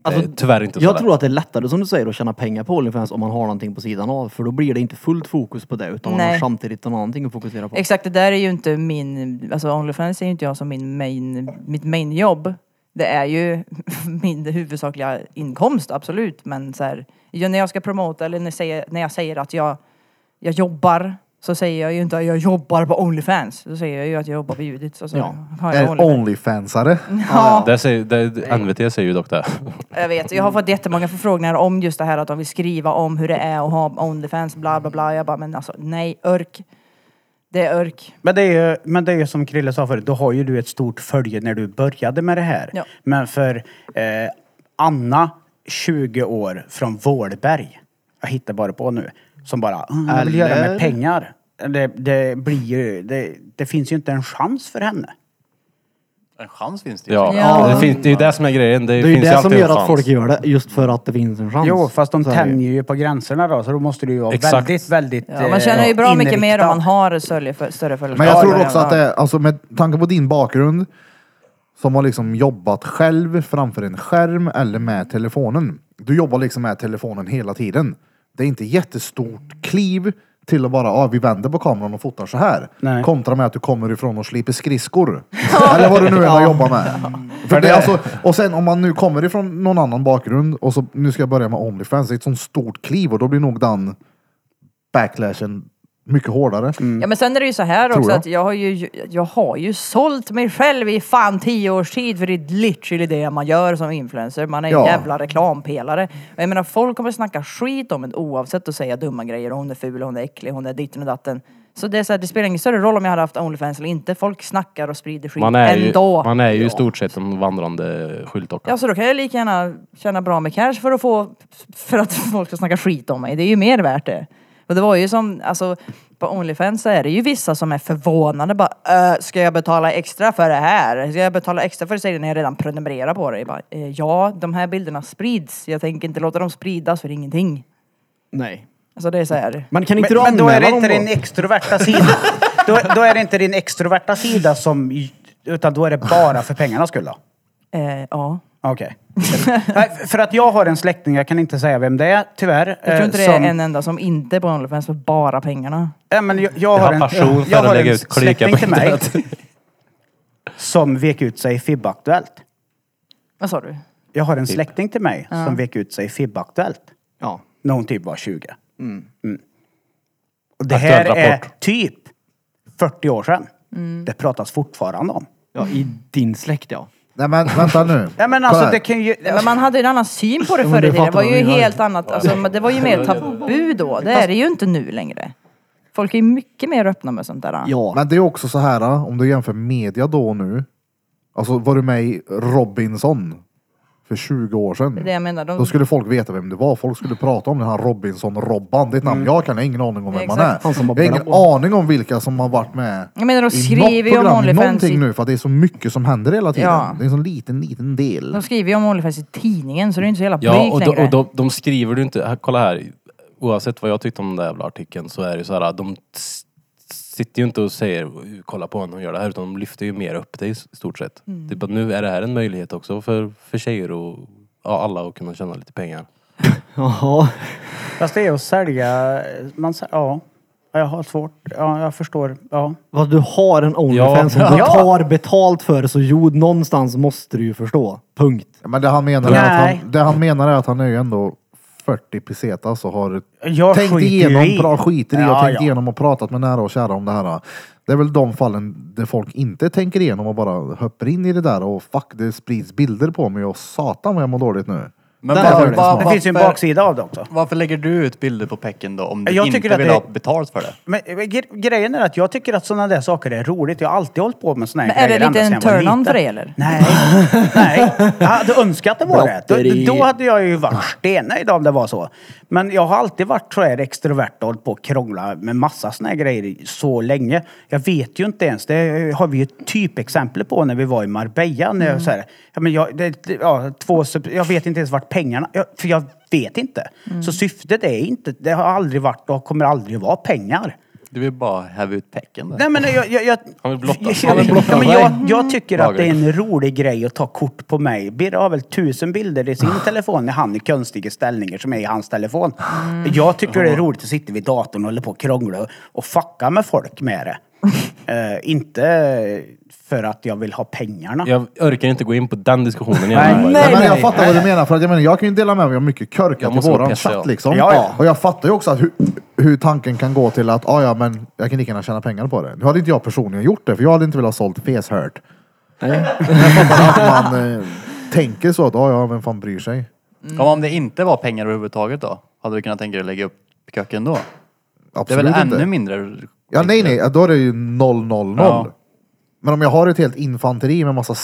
Alltså, det är tyvärr inte så Jag lätt. tror att det är lättare som du säger att tjäna pengar på Onlyfans om man har någonting på sidan av. För då blir det inte fullt fokus på det utan man har Nej. samtidigt något någonting att fokusera på. Exakt, det där är ju inte min, alltså Onlyfans är ju inte jag som min main, mitt mainjobb. Det är ju min huvudsakliga inkomst, absolut. Men så här, ju när jag ska promota eller när jag säger, när jag säger att jag, jag jobbar så säger jag ju inte att jag jobbar på Onlyfans. Då säger jag ju att jag jobbar på Judit. Så, så Ja. har jag är Onlyfans. Onlyfansare. Ja. Det säger, det, NVT säger ju dock det. Jag vet, jag har fått jättemånga förfrågningar om just det här att de vill skriva om hur det är att ha Onlyfans, bla bla bla. Jag bara, men alltså nej, örk. Det är örk. Men det, är ju, men det är ju som Krille sa förut, då har ju du ett stort följe när du började med det här. Ja. Men för eh, Anna, 20 år, från Vålberg, jag hittar bara på nu, som bara, "Mm, jag vill göra Eller? med pengar. Det, det blir ju, det, det finns ju inte en chans för henne. En chans finns det ju. Ja. Ja. Det, finns, det är ju det som är grejen. Det, Det är ju finns ju det alltid som gör en att chans. folk gör det, just för att det finns en chans. Jo, fast de Så är det ju. tänjer ju på gränserna då, så då måste du ju vara Exakt. väldigt, väldigt Ja, man känner ju eh, bra mycket mer om inriktad. man har större fö- större följare. Men jag Ja, tror ja, också ja. att det är, alltså med tanke på din bakgrund, som har liksom jobbat själv framför en skärm eller med telefonen. Du jobbar liksom med telefonen hela tiden. Det är inte jättestort kliv till att bara, ah, vi vänder på kameran och fotar så här. Nej. Kontra med att du kommer ifrån och sliper skridskor. eller vad du nu än har jobbat med. För det, är alltså, och sen om man nu kommer ifrån någon annan bakgrund och så, nu ska jag börja med Onlyfans, det är ett sånt stort kliv och då blir nog den backlashen mycket hårdare. Mm. Ja men sen är det ju så här också jag. att jag har ju, jag har ju sålt mig själv i fan tio års tid för det är literally det man gör som influencer. Man är en Ja. jävla reklampelare. Och jag menar folk kommer snacka skit om en oavsett och säga dumma grejer. Hon är ful, hon är äcklig, hon är ditten och datten. Så det, är så här, det spelar ingen större roll om jag hade haft Onlyfans eller inte. Folk snackar och sprider skit Man är ju, ändå. man är ju i stort sett en vandrande skyltdocka. Ja så då kan jag lika gärna tjäna bra med cash för att få, för att folk ska snacka skit om mig. Det är ju mer värt det. Och det var ju som, alltså på Onlyfans så är det ju vissa som är förvånade bara "Äh, Ska jag betala extra för det här? Ska jag betala extra för serien när jag redan prenumererar på det? Jag bara, "Eh, ja, de här bilderna sprids. Jag tänker inte låta dem spridas för ingenting. Nej. Alltså det är så här. Men kan inte Men, du men då är det anmäla inte dem din extroverta sida. då, då är det inte din extroverta sida som... Utan då är det bara för pengarnas skull då? Eh, ja. Okej. Nej, för att jag har en släkting, jag kan inte säga vem det är, tyvärr. Jag tror inte eh, det som- är en enda som inte är på Onlyfans för bara pengarna. Ja, men jag, jag har har en, passion för jag att har lägga en ut klikar släkting på till mig som vek ut sig i FIB-aktuellt. Vad sa du? Jag har en släkting till mig som vek ut sig i FIB-aktuellt Ja. när hon typ var 20. Mm. Och det här Aktuell är rapport. typ 40 år sedan. Det pratas fortfarande om. ja, i din släkt ja. Nej men vänta nu. Ja, men alltså, Kolla här. det kan ju... Ja, Men man hade ju en annan syn på det men förr i det tiden. Det fattar var ju man ju. helt annat. Alltså, men det var ju mer tabu då. Det är det ju inte nu längre. Folk är ju mycket mer öppna med sånt där. Ja. Men det är också så här, ah, om du jämför media då och nu. Alltså var du med i Robinson för 20 år sedan? Det är det jag menar. De, Då skulle folk veta vem du var. Folk skulle prata om den här Robinson-Robban. Det är ett namn jag kan, jag har ingen aning om vem man är. Exakt. Han som har Jag har ingen börjat på. aning om vilka som har varit med jag i menar de något skriver ju om program, Onlyfans någonting i, nu. För att det är så mycket som händer hela tiden. Ja. Det är en sån liten, liten del. de skriver ju om Onlyfans i tidningen så det är inte så jävla Ja, blygt och, de, längre. och de, de skriver du inte... Här, kolla här. Oavsett vad jag tyckte om den där jävla artikeln så är det ju så här, de s- sitter ju inte och säger kolla på henne och gör det här utan de lyfter ju mer upp dig i stort sett. Typ att nu är det här en möjlighet också för, för tjejer och ja, alla att kunna tjäna lite pengar. Jaha. Fast det är att sälja... Man, säl- ja. ja, jag har svårt. Ja, jag förstår. Ja. Vad du har en Onlyfans Ja. som du Ja. tar betalt för så jo, någonstans måste du ju förstå. Punkt. Men det han menar, är att Nej. han, det han menar är att han är ju ändå 40 pesetas och har Jag tänkt skiter ju i. igenom, bra skiter i och Ja, tänkt ja. igenom och pratat med nära och kära om det här. Det är väl de fallen där folk inte tänker igenom och bara hoppar in i det där och fuck det sprids bilder på mig och satan vad jag mår dåligt nu. Men Där varför- har du det. var- Det finns ju en varför- baksida av det också. Varför lägger du ut bilder på pecken då om du Jag inte tycker vill att det- ha betalt för det? Men eh, gre- grejen är att jag tycker att sådana där saker är roligt. Jag har alltid hållit på med såna här Men är det grejer ända lite sedan en jag var turn-on liten. för dig eller? Nej, nej. Jag hade önskat att det var det. Batteri. Då, då hade jag ju varit stennöjd om det var så. Men jag har alltid varit så här extrovert och hållit på och krångla med massa såna här grejer i så länge. Jag vet ju inte ens. Det har vi ju ett typexempel på när vi var i Marbella. När jag, så här, ja, men jag, det, ja, två, sub- jag vet inte ens vart pengarna... Jag, för jag vet inte. Så syftet är inte... Det har aldrig varit och kommer aldrig vara pengar. Du vill bara häva ut pecken där. Nej men jag... jag, jag Han vill blotta. jag, Han vill jag, blotta ja, men mig. jag, jag tycker att det är Lagret. en rolig grej att ta kort på mig. Birre har väl tusen bilder i sin telefon när han i konstiga ställningar som är i hans telefon. Jag tycker det är roligt att sitta vid datorn och hålla på och krångla och- och fucka med folk med det. Eh, inte för att jag vill ha pengarna. Jag orkar inte gå in på den diskussionen igen. Nej. Bara, Nej, men jag nej. fattar vad du menar. För att jag, menar, jag kan ju dela med mig av mycket Jag körkat i måste vara våran pissig, chatt ja. liksom. Ja, ja. Och jag fattar ju också att hur, hur tanken kan gå till att ah, ja, men jag kan lika gärna tjäna pengar på det. Nu hade inte jag personligen gjort det, för jag hade inte velat ha sålt feshört. Jag fattar att man eh, tänker så att ah, ja, vem fan bryr sig? Ja, men om det inte var pengar överhuvudtaget då? Hade du kunnat tänka dig att lägga upp köken då? Det är Absolut väl ännu inte. mindre? Ja, nej, nej, då är det ju 000. Ja. Men om jag har ett helt infanteri med massa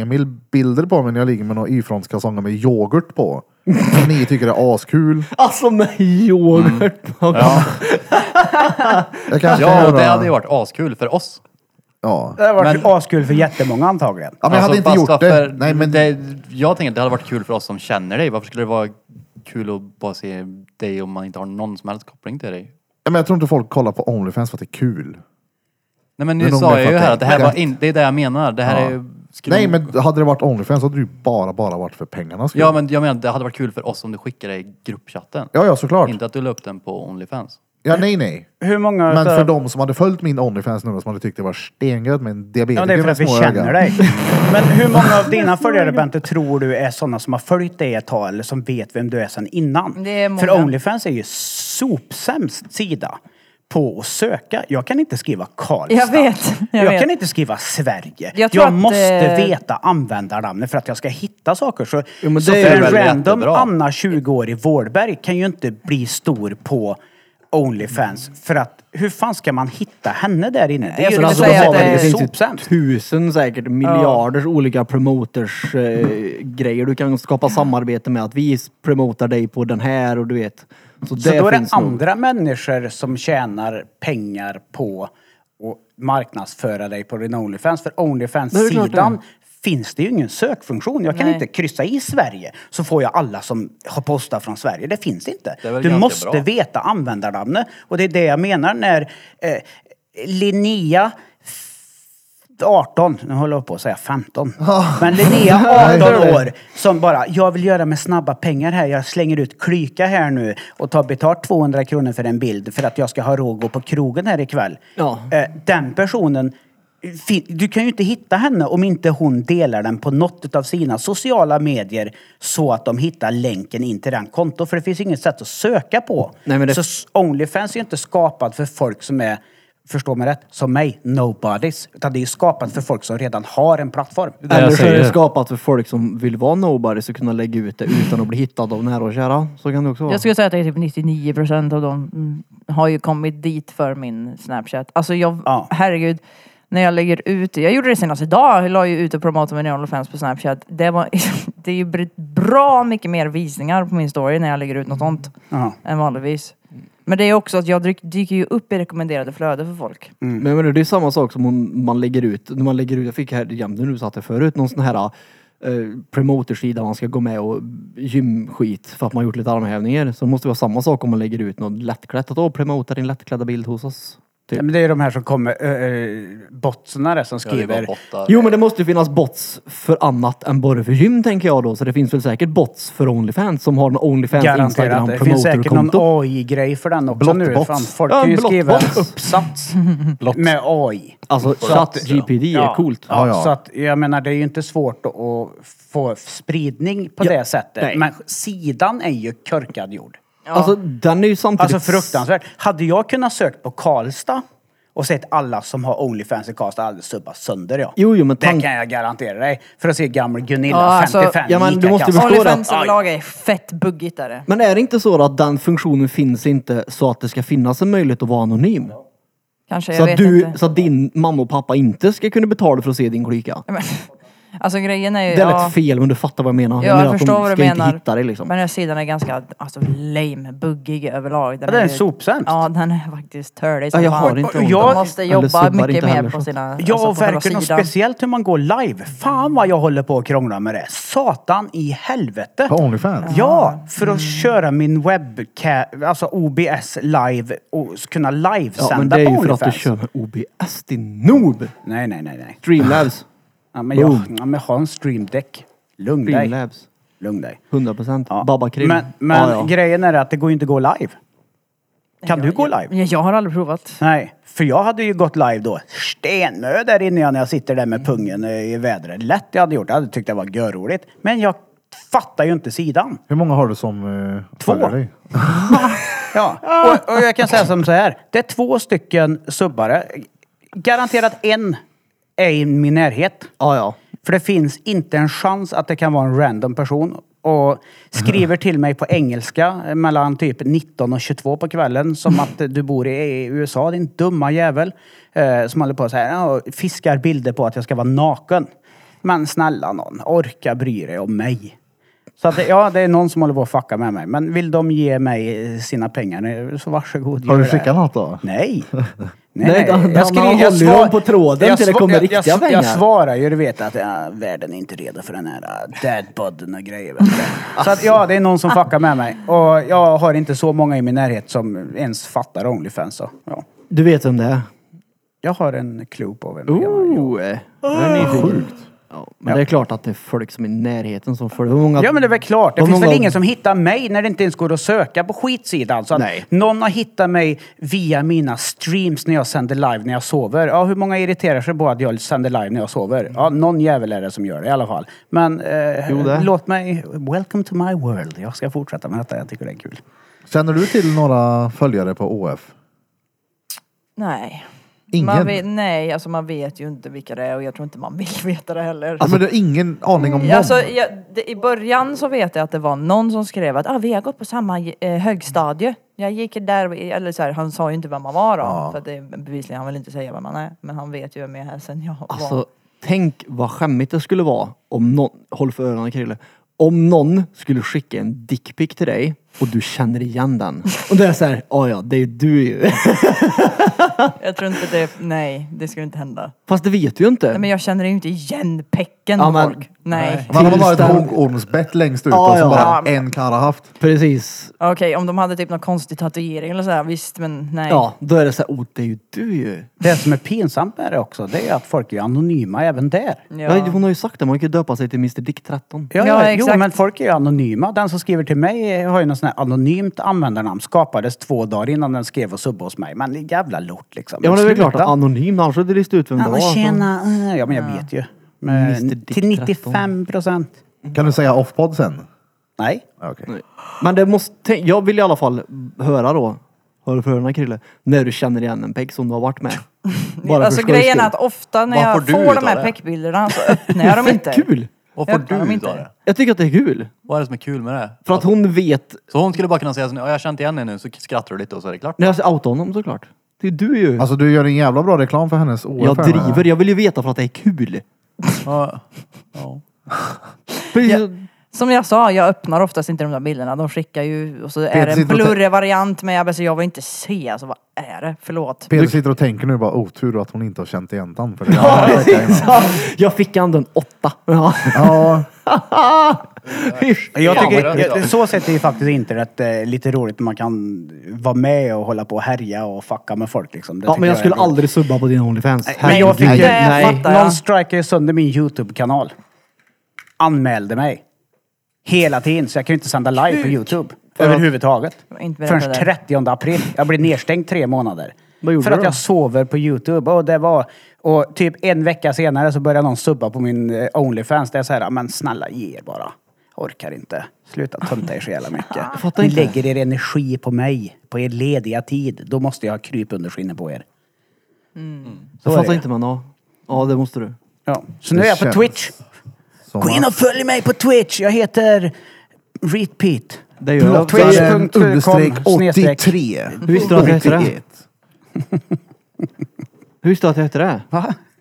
string-Emil-bilder på mig när jag ligger med några Y-frontskalsonger med yoghurt på. Som ni tycker är askul. Alltså med yoghurt. Ja, Jag kanske kan ja och det göra- hade ju varit askul för oss. Ja. Det har varit Men- askul för jättemånga antagligen. Ja, men jag hade inte Alltså, fast gjort varför- det. Nej, men det. Jag tänker att det hade varit kul för oss som känner dig. Varför skulle det vara kul att bara se dig om man inte har någon som helst koppling till dig? Ja, men jag tror inte folk kollar på Onlyfans för att det är kul. Nej men Det är nu nog sa mer jag för ju att här det- att det här det- var in, det är det jag menar. Det här Ja. är ju... skulle- Nej, men hade det varit Onlyfans så hade det ju bara, bara varit för pengarnas skull. Ja men jag menar det hade varit kul för oss om du skickade i gruppchatten. ja, ja, såklart. Inte att du la upp den på Onlyfans. Ja, nej, nej. Hur många... Men för de som hade följt min Onlyfans nu som hade tyckt det var stengött med en diabetiker Ja, det är för med att vi små känner ögon. dig. Men hur många av dina följare, Bente, tror du är sådana som har följt dig ett tag eller som vet vem du är sedan innan? Det är många. För Onlyfans är ju sopsämst sida på att söka. Jag kan inte skriva Karlstad. Jag vet, jag Jag, vet. kan inte skriva Sverige. Jag Jag, tror att, måste eh, veta användarnamnet för att jag ska hitta saker. Så, Jo, men så det för är en väl random jättebra. Anna, 20 år, i Vårberg kan ju inte bli stor på Onlyfans. För att hur fan ska man hitta henne där inne? Det är Jag ju skulle Men alltså, de de säga som har att har väl, det det är finns sopsämst. ju tusen säkert miljarders olika promoters eh, grejer. Du kan skapa samarbete med att vi promotar dig på den här och du vet. Så, Så det då är det finns nog. andra människor som tjänar pengar på att marknadsföra dig på din Onlyfans. För klart det Onlyfans-sidan finns det ju ingen sökfunktion. Jag kan Nej. inte kryssa i Sverige så får jag alla som har postat från Sverige. Det finns inte. Det är väl du ganska måste bra. veta användarnamnet. Och det är det jag menar när eh, Linnea 18, nu håller jag på att säga 15. Men Linnea 18 år som bara, jag vill göra med snabba pengar här. Jag slänger ut klyka här nu och tar betalt 200 kronor för en bild för att jag ska ha råd att gå på krogen här ikväll. Ja. Eh, Den personen, fin- du kan ju inte hitta henne om inte hon delar den på något av sina sociala medier så att de hittar länken in till den konto. För det finns inget sätt att söka på. Nej, men det- Så s- Onlyfans är ju inte skapad för folk som är, förstå mig rätt, som mig, nobodies. Utan det är ju skapat för folk som redan har en plattform. Det jag Eller så är det säger. skapat för folk som vill vara nobody så kunna lägga ut det utan att bli hittad av nära och kära. Så kan det också vara. Jag skulle säga att det är typ 99 procent av dem mm, har ju kommit dit för min Snapchat. Alltså jag, Ja. herregud. När jag lägger ut, jag gjorde det senast idag, jag la ju ut och promotade mina Onlyfans på Snapchat. Det, var, det är ju br- bra mycket mer visningar på min story när jag lägger ut något sånt Ja. än vanligtvis. Men det är också att jag dyk, dyker ju upp i rekommenderade flöde för folk. Men jag menar, det är samma sak som om man lägger ut, när man lägger ut, jag fick här jämte nu satt det förut, någon sån här eh, promotersida man ska gå med och gymskit för att man har gjort lite armhävningar. Så det måste vara samma sak om man lägger ut något lättklätt. Att då promota din lättklädda bild hos oss. Typ. Ja, men det är de här som kommer, äh, botsnare som Ja, det var skriver. bottar. Jo men det måste ju finnas bots för annat än bara för gym tänker jag då. Så det finns väl säkert bots för Onlyfans som har en Onlyfans Instagram Garanterat. Det finns säkert någon promotorkonto. AI-grej för den också nu. Blottbots. Fan, folk Ja, kan ju en skriva en blottbots. uppsats med AI. Alltså chatt GPD är coolt. Ja, Ja, ja. Så att, jag menar, det är ju inte svårt att- att få spridning på Ja, det sättet. nej. Men sidan är ju körkad gjord. Alltså den är ju samtidigt... Alltså fruktansvärt. Hade jag kunnat sökt på Karlstad och sett alla som har Onlyfans i Karlstad alldeles subbat sönder ja. Jo, jo, men Det tank- kan jag garantera dig. För att se gammal Gunilla, Ja, alltså, 55, ja, men du Ica-kassa. måste förstå- Onlyfans det. överlag är fett buggigt är det. Men är det inte så då att den funktionen finns inte så att det ska finnas en möjlighet att vara anonym? Kanske, Så jag att, vet du, inte. så att din mamma och pappa inte ska kunna betala för att se din klyka? Ja, men- Alltså grejen är ju... Det lät ja. fel men du fattar vad jag menar. Ja, menar jag att förstår de vad du ska inte menar. Hitta dig, liksom. Men den här sidan är ganska alltså, lame, buggig överlag. Den Ja, den är ju- sopsämst. Ja, den är faktiskt törlig. Ja, som jag fan. har inte ont. De Jag- måste eller jobba subbar mycket inte mer heller, på så. sina... Ja, alltså, på och själva verkligen. Och sidan. speciellt hur man går live. Fan vad jag håller på att krångla med det. Satan i helvete. På Onlyfans? Ja, för att Mm. köra min webcam, alltså OBS live och kunna livesända ja, men det är på ju för att du Onlyfans. kör med OBS din noob! Nej, nej, nej. nej. Streamlabs. Ja, men jag, Boom. ja, men jag har en streamdeck. Lugn dig. Streamlabs. Lugn dig. 100 procent. Ja. Babba Krim. Men, men ja, ja. grejen är att det går ju inte att gå live. Kan du gå live? Ja, jag har aldrig provat. Nej, för jag hade ju gått live då. Stenmö där inne jag när jag sitter där med pungen eh, i vädret. Lätt jag hade gjort. Jag hade tyckt det var görroligt. Men jag fattar ju inte sidan. Hur många har du som uh, Två. dig? Ja, och, och jag kan säga som så här. Det är två stycken subbare. Garanterat en är i min närhet. ja, ja. För det finns inte en chans att det kan vara en random person. Och skriver till mig på engelska eh, mellan typ 19 och 22 på kvällen. Som att eh, du bor i i USA, din dumma jävel. Eh, som håller på så här ja, och fiskar bilder på att jag ska vara naken. Men snälla någon, orka bry dig om mig. Så att, det- ja, det är någon som håller på att fucka med mig. Men vill de ge mig eh, sina pengar eh, så varsågod. Har gör du det. skickat något då? Nej. Nej, Nej, han- han håller ju svar- dem på tråden till det sva- kommer jag, riktiga jag, jag, pengar. Jag svarar ju, du vet att ja, världen är inte redo för den här uh, dadbodden och grejer. vet du. så att ja, det är någon Ah. som fuckar med mig. Och jag har inte så många i min närhet som ens fattar Onlyfans. Så, ja. Du vet vem det är? Jag har en clue på vem det är. Oh, eh. jag är Ah. nyfiken. Ja, men det är klart att det är folk som är i närheten som följer. Hur många... Ja men det är väl klart. Det Om finns någon väl gång- ingen som hittar mig när det inte ens går att söka på skitsidan. Så att Nej. någon har hittat mig via mina streams när jag sänder live när jag sover. Ja, hur många irriterar sig på att jag sänder live när jag sover? Ja, någon jävel är det som gör det i alla fall. Men eh, Jo, det. låt mig... Welcome to my world. Jag ska fortsätta med detta. Jag tycker det är kul. Känner du till några följare på OF? Nej. Man Ingen? vet, nej, alltså man vet ju inte vilka det är och jag tror inte man vill veta det heller. Alltså, men du har ingen aning Mm, om någon? Alltså, jag, det, I början så vet jag att det var någon som skrev att ah, vi har gått på samma eh, högstadie. Jag gick där, eller så här, han sa ju inte vem man var då. För att det, bevisligen, han vill inte säga vem man är. Men han vet ju vem jag är sen jag var. Alltså, tänk vad skämmigt det skulle vara om någon, håll för öronen Krille, om någon skulle skicka en dickpic till dig och du känner igen den. Och det är såhär, ja ja, det är du ju. Jag tror inte det, nej det skulle inte hända. Fast det vet du ju inte. Nej, men jag känner ju inte igen pecken Ja, på men- folk. Nej. Man har bara ett Tillställning. huggormsbett längst ut Ja, och så ja. bara Ja. en karl har haft. Precis. Okej, om de hade typ någon konstig tatuering eller sådär, visst men nej. Ja, då är det såhär, oh det är ju du ju. Det som är pinsamt med det också, det är att folk är anonyma även där. Ja. Ja. hon har ju sagt det, man kan ju döpa sig till Mr Dick 13. Ja, Ja, ja, jo, exakt. men folk är ju anonyma. Den som skriver till mig har ju något sån här anonymt användarnamn. Skapades två dagar innan den skrev och subbade hos mig. Men det är jävla lort liksom. Ja men det är väl klart, Sluta. att anonym, annars hade du listat ut vem det Ja, var. men så- tjena. eh, Ja, men jag vet ju. Men Mr. Dick till 95 procent. Kan du säga off-podd sen? Nej. Ja, Okej. Men det måste, jag vill i alla fall höra då, hör för öronen Krille, när du känner igen en peck som du har varit med. Bara för alltså skojs grejen är skull. att ofta när Vad jag får får, du ut de av här det? peckbilderna så öppnar jag dem inte. Kul! Vad får Jag öppnar dem du ut inte. av det? Jag tycker att det är kul. Vad är det som är kul med det? För att hon vet, Så hon skulle bara kunna säga så här, "Ja, jag har känt igen dig nu, så skrattar du lite och så är det klart. när jag ser outa honom såklart. Det är du ju. Alltså du gör en jävla bra reklam för hennes OF. jag här nu. driver, jag vill ju veta för att det är kul. Ja. Ja. Precis, Som jag sa, jag öppnar oftast inte de där bilderna. De skickar ju och så är det sitter och en tä- blurrig variant men jag, alltså, jag vill inte se. Alltså vad är det? Förlåt. Peter sitter och tänker nu bara otur att hon inte har känt igen den. För det ja, precis. Ja. Jag fick ändå en åtta. Ja. ja, Jag Fan, tycker, vad roligt. jag, så sett är ju faktiskt internet eh, lite roligt. Man kan vara med och hålla på och härja och fucka med folk liksom. Det Ja, tycker men jag skulle är roligt. aldrig subba på din Onlyfans. Men jag fick ju, Herregud. Det Nej. fattar jag. någon strikade ju sönder min YouTube-kanal. Anmälde mig. Hela tiden, så jag kan ju inte sända live på YouTube. Överhuvudtaget. Inte berätta Förrän det. 30 april. Jag blev nedstängd tre månader. Vad gjorde För du att då? jag sover på YouTube. Och det var... Och typ en vecka senare så började någon subba på min eh, Onlyfans. Det är så här, men snälla ge er bara. Orkar inte. Sluta tönta er så jävla mycket. fattar Ni inte. lägger er energi på mig. På er lediga tid. Då måste jag ha kryp under skinnet på er. Det är fattar det. inte man. Ja. ja, det måste du. Ja. Så nu är jag på känns Twitch. Som Gå in och följ mig på Twitch. Jag heter Repeat. Det gör jag. Twitch. Så- Plattaren understreck Kom, snedstreck. 83. Hur visste du att jag hette det? 81. Hur visste du att jag hette det?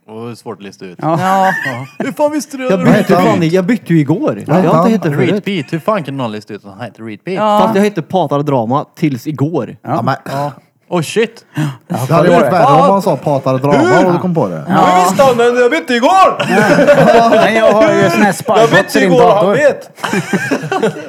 Och det är svårt att lista ut. Ja, Hur fan visste du Jag det? bytte, fan, jag bytte ju igår. Jag har inte hette förut. Readbeat, hur fan kan någon lista ut att han heter Readbeat? Fast jag hette Patar Drama tills igår. Ja, men, Oh shit! det hade varit värre om man sa patar drama och du kom på det. Jag visste han men jag bytte igår! Men jag har ju sån här spybots i din dator. vet!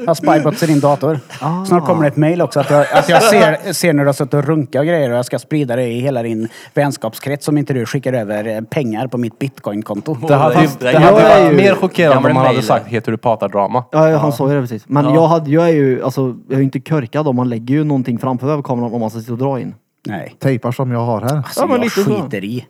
Jag har spybots i din dator. Ah. Snart kommer det ett mail också att jag, att jag ser, ser när du har suttit och runkat och grejer och jag ska sprida det i hela din vänskapskrets om inte du skickar över eh, pengar på mitt bitcoinkonto. Det hade, ju- Fast det det hade här är varit ju- mer chockerande gamla om man hade mailer. sagt heter du patardrama. Ja, han sa ju det precis. Men jag, hade, jag är ju alltså, jag är ju inte körkad om man lägger ju någonting framför webbkameran om man ska sitta och dra in. Nej. Tejpar som jag har här. Alltså, Ja, men jag lite så. skiter i.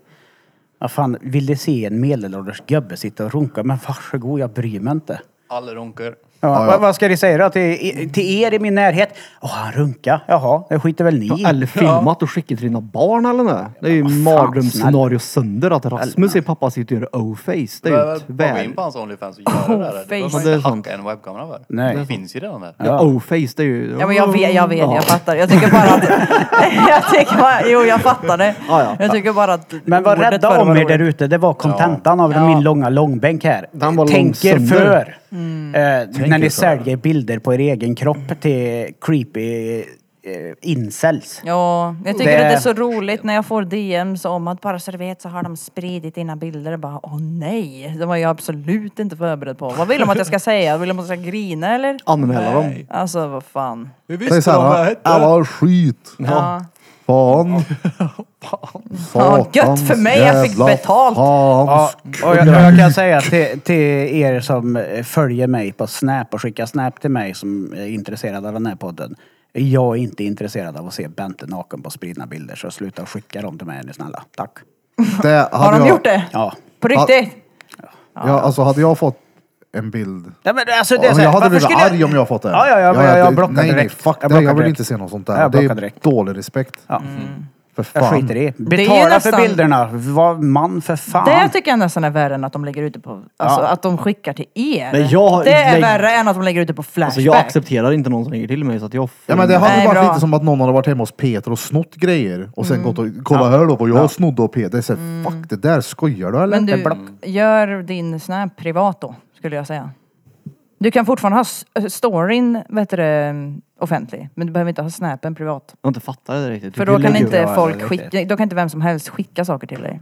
Vad fan, vill du se en medelålders gubbe sitta och runka? Men varsågod, jag bryr mig inte. Alla runkar. Ja, Vad, vad ska de säga då? Till, i- till er i min närhet? Åh, han runka. Jaha, det skiter väl ni i. Eller filmat och skickat till dina barn eller nåt. Det är ju mardrömsscenario sönder att Rasmus ser pappa sitta och göra o-face. Det är ju ett Hoppa in väl... på hans Onlyfans och göra det där. Du face. behöver Det är inte sant. hacka en webbkamera för. Nej. Det finns ju redan där. Ja, o-face det är ju... ja men jag vet, jag vet, Ja. jag fattar. Jag tycker bara att... jag tycker bara, jo, jag fattar det. Ja, ja. Jag tycker bara att... Men var ordet rädda för om vad er där roligt. ute. Det var kontentan av Ja. min långa långbänk här. Den var lång Tänk er sönder. för. Eh, när ni för. säljer bilder på er egen kropp till creepy eh, incels. Ja, jag tycker Det- att det är så roligt när jag får DMs om att bara så du vet så har de spridit dina bilder. Jag Bara, åh nej, det var jag absolut inte förberedd på. Vad vill de att jag ska säga? Vill de att jag ska grina eller? Anmäla dem. Alltså vad fan. Hur Säg så här, alla skit. Ja. Fan. Ja, gött för mig, jag fick jävla betalt. Fan. Ja, och jag, och jag kan säga till, till er som eh, följer mig på Snap och skickar Snap till mig som är intresserad av den här podden. Jag är inte intresserad av att se Bente naken på spridna bilder så sluta skicka dem till mig är ni snälla. Tack. Det Har hade de jag, gjort det? Ja. På riktigt? Ja, alltså hade jag fått en bild. Nej, men alltså, det är Ja, men så här, jag hade varför blivit skulle jag- arg om jag fått det. Ja, ja, ja, men jag, jag det- blockar nej, direkt. Nej, fuck jag det. Jag blockar vill direkt. inte se något sånt Ja, där. jag Det är blockar direkt. dålig respekt. Ja. För Jag Mm. fan. skiter i. är ju Betala nästan- för bilderna. Var man för fan. Det tycker jag nästan är värre än att de lägger ut det på, alltså att de skickar till er. Men jag- det är lägg- värre än att de lägger ut det på Flashback. Alltså jag accepterar inte någon som ringer till mig så att jag... Ja men det hade Nej, varit bra. Mm. lite som att någon hade varit hemma hos Peter och snott grejer och sen gått och kolla här då på jag snodde av Peter. Det är så här, fuck det där, skojar du eller? Men du, Mm. gör din Snap privat då, skulle jag säga. Du kan fortfarande ha s- eh, storyn vet du, det, mm, offentlig, men du behöver inte ha Snapen privat. Jag har inte fattat det riktigt. För Hur då kan lägger- inte jag folk det skicka, då kan inte vem som helst skicka saker till dig.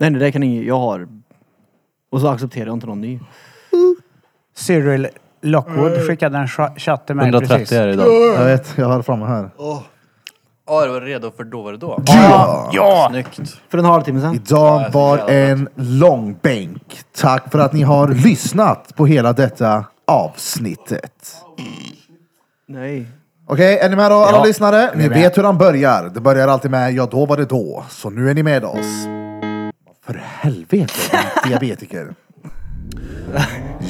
Nej nej, det kan ingen... Jag har... Och så accepterar jag inte någon ny. Cyril Mm. Lockwood skickade en cha- chatt till mig 130 precis. är det idag. Jag vet, jag har det framme här. Ja, du var redo för då var det då. Ja! Snyggt. För en halvtimme sedan. Idag var en lång bänk. Tack för att ni har lyssnat på hela detta avsnittet. Nej. Okej, är ni med då alla lyssnare? Ni vet hur han börjar. Det börjar alltid med ja, då var det då. Så nu är ni med oss. För helvete, din diabetiker.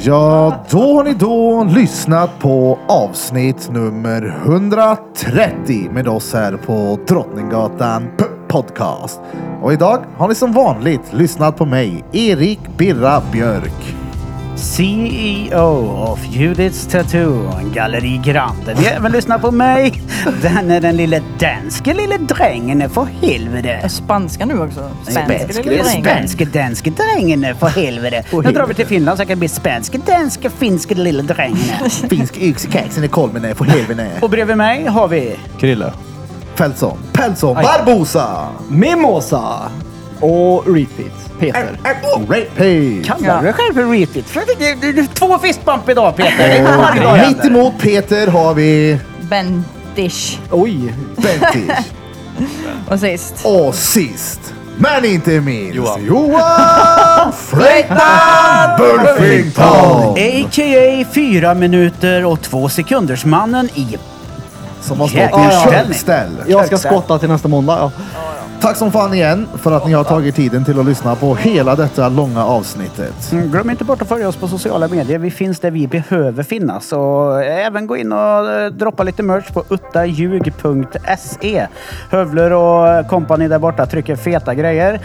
Ja, då har ni då lyssnat på avsnitt nummer 130 med oss här på Drottninggatan P- Podcast. Och idag har ni som vanligt lyssnat på mig, Erik Birra Björk. CEO E of Judiths Tattoo, Galleri Grande. Vi har även lyssnat på mig. Den är den lille danske lille drängen, för helvete. Spanska nu också. Spanska Spanske, spanske, danske drängen, för helvete. Nu drar vi till Finland så jag kan bli spanske, danske, finske lille drängen. Finsk yxkaxen i Kolmene, för helvete. Och bredvid mig har vi Krille. Peltson, Peltson, Barbosa! Mimosa! Och repeat. Peter. oh! Hej! Kallar du dig själv för repeat? För det- det- det- det är Två fistbump idag Peter! Det är varje dag Eh, Mitt emot Peter har vi Bendish. Oj! Bentish. Och sist. Och sist, men inte minst, Johan, Johan Fläktan Burfington! A.k.a. fyra minuter och två sekunders mannen i... Som har Ja, stått i ja. köldställ. Jag ska skotta till nästa måndag. Ja. Tack som fan igen för att ni har tagit tiden till att lyssna på hela detta långa avsnittet. Mm, Glöm inte bort att följa oss på sociala medier. Vi finns där vi behöver finnas. Och även gå in och eh, droppa lite merch på uttaljug.se. Hövler och kompani där borta trycker feta grejer.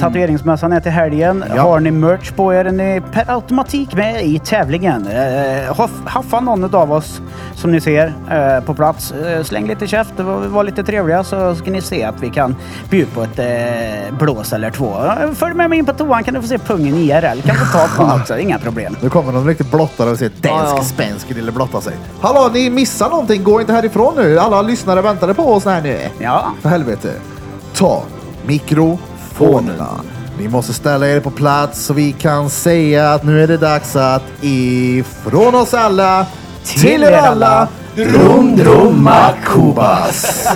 Tatueringsmässan är till helgen. Ja. Har ni merch på er är ni per automatik med i tävlingen. Eh, hoff- haffa någon av oss som ni ser eh, på plats. Eh, släng lite käft, var, var lite trevliga så ska ni se att vi kan bjuda på ett eh, blås eller två. Eh, Följ med mig in på toan kan du få se pungen IRL. Kan få ta på honom också, inga problem. Nu kommer de riktigt blottade och säger dansk, spansk lille blotta sig. Hallå, ni missar någonting. Gå inte härifrån nu. Alla lyssnare väntade på oss här nu. Ja. För helvete. Ta mikrofonerna. Ni måste ställa er på plats så vi kan säga att nu är det dags att ifrån oss alla till er alla Drum Drumma Kubas.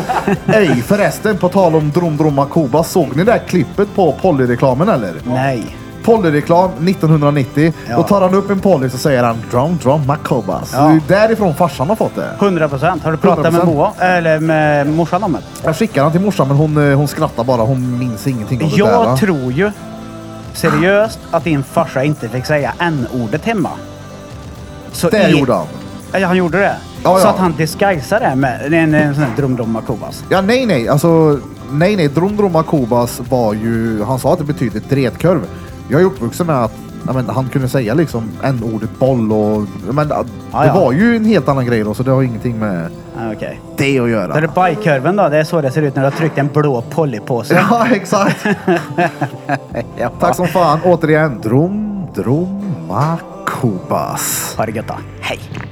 Ej förresten, på tal om Drum Drumma Kubas. Såg ni det där klippet på Polly-reklamen eller? Nej. Pollyreklam 1990. Ja. Då tar han upp en Polly så säger han Drum Drum Macoba. Så Ja. Det är därifrån farsan har fått det. 100 procent. Har du pratat med 100%? Moa? Eller med morsan om det? Jag skickade han till morsan men hon, eh, hon skrattar bara. Hon minns ingenting om det där. Jag va? tror ju seriöst att din farsa inte fick säga n-ordet hemma. Så Det i- gjorde han. Ja, han gjorde det? Ja, Så ja. att han disguisar det med en, en sån här drumdomma kobas. Ja, nej, nej. Alltså, nej, nej. Drum Drum Makobas var ju... Han sa att det betyder dretkörv. Jag är uppvuxen med att ja, men, han kunde säga liksom n-ordet boll och... ja, Men, det Ah, Ja, ja. var ju en helt annan grej då så det har ingenting med Ah, Okej. det att göra. Då är det bajkorven då. Det är så det ser ut när du har tryckt en blå poly på sig. Ja, exakt. Tack som fan. Återigen, Drum Drum Makobas. Ha det gött då. Hej!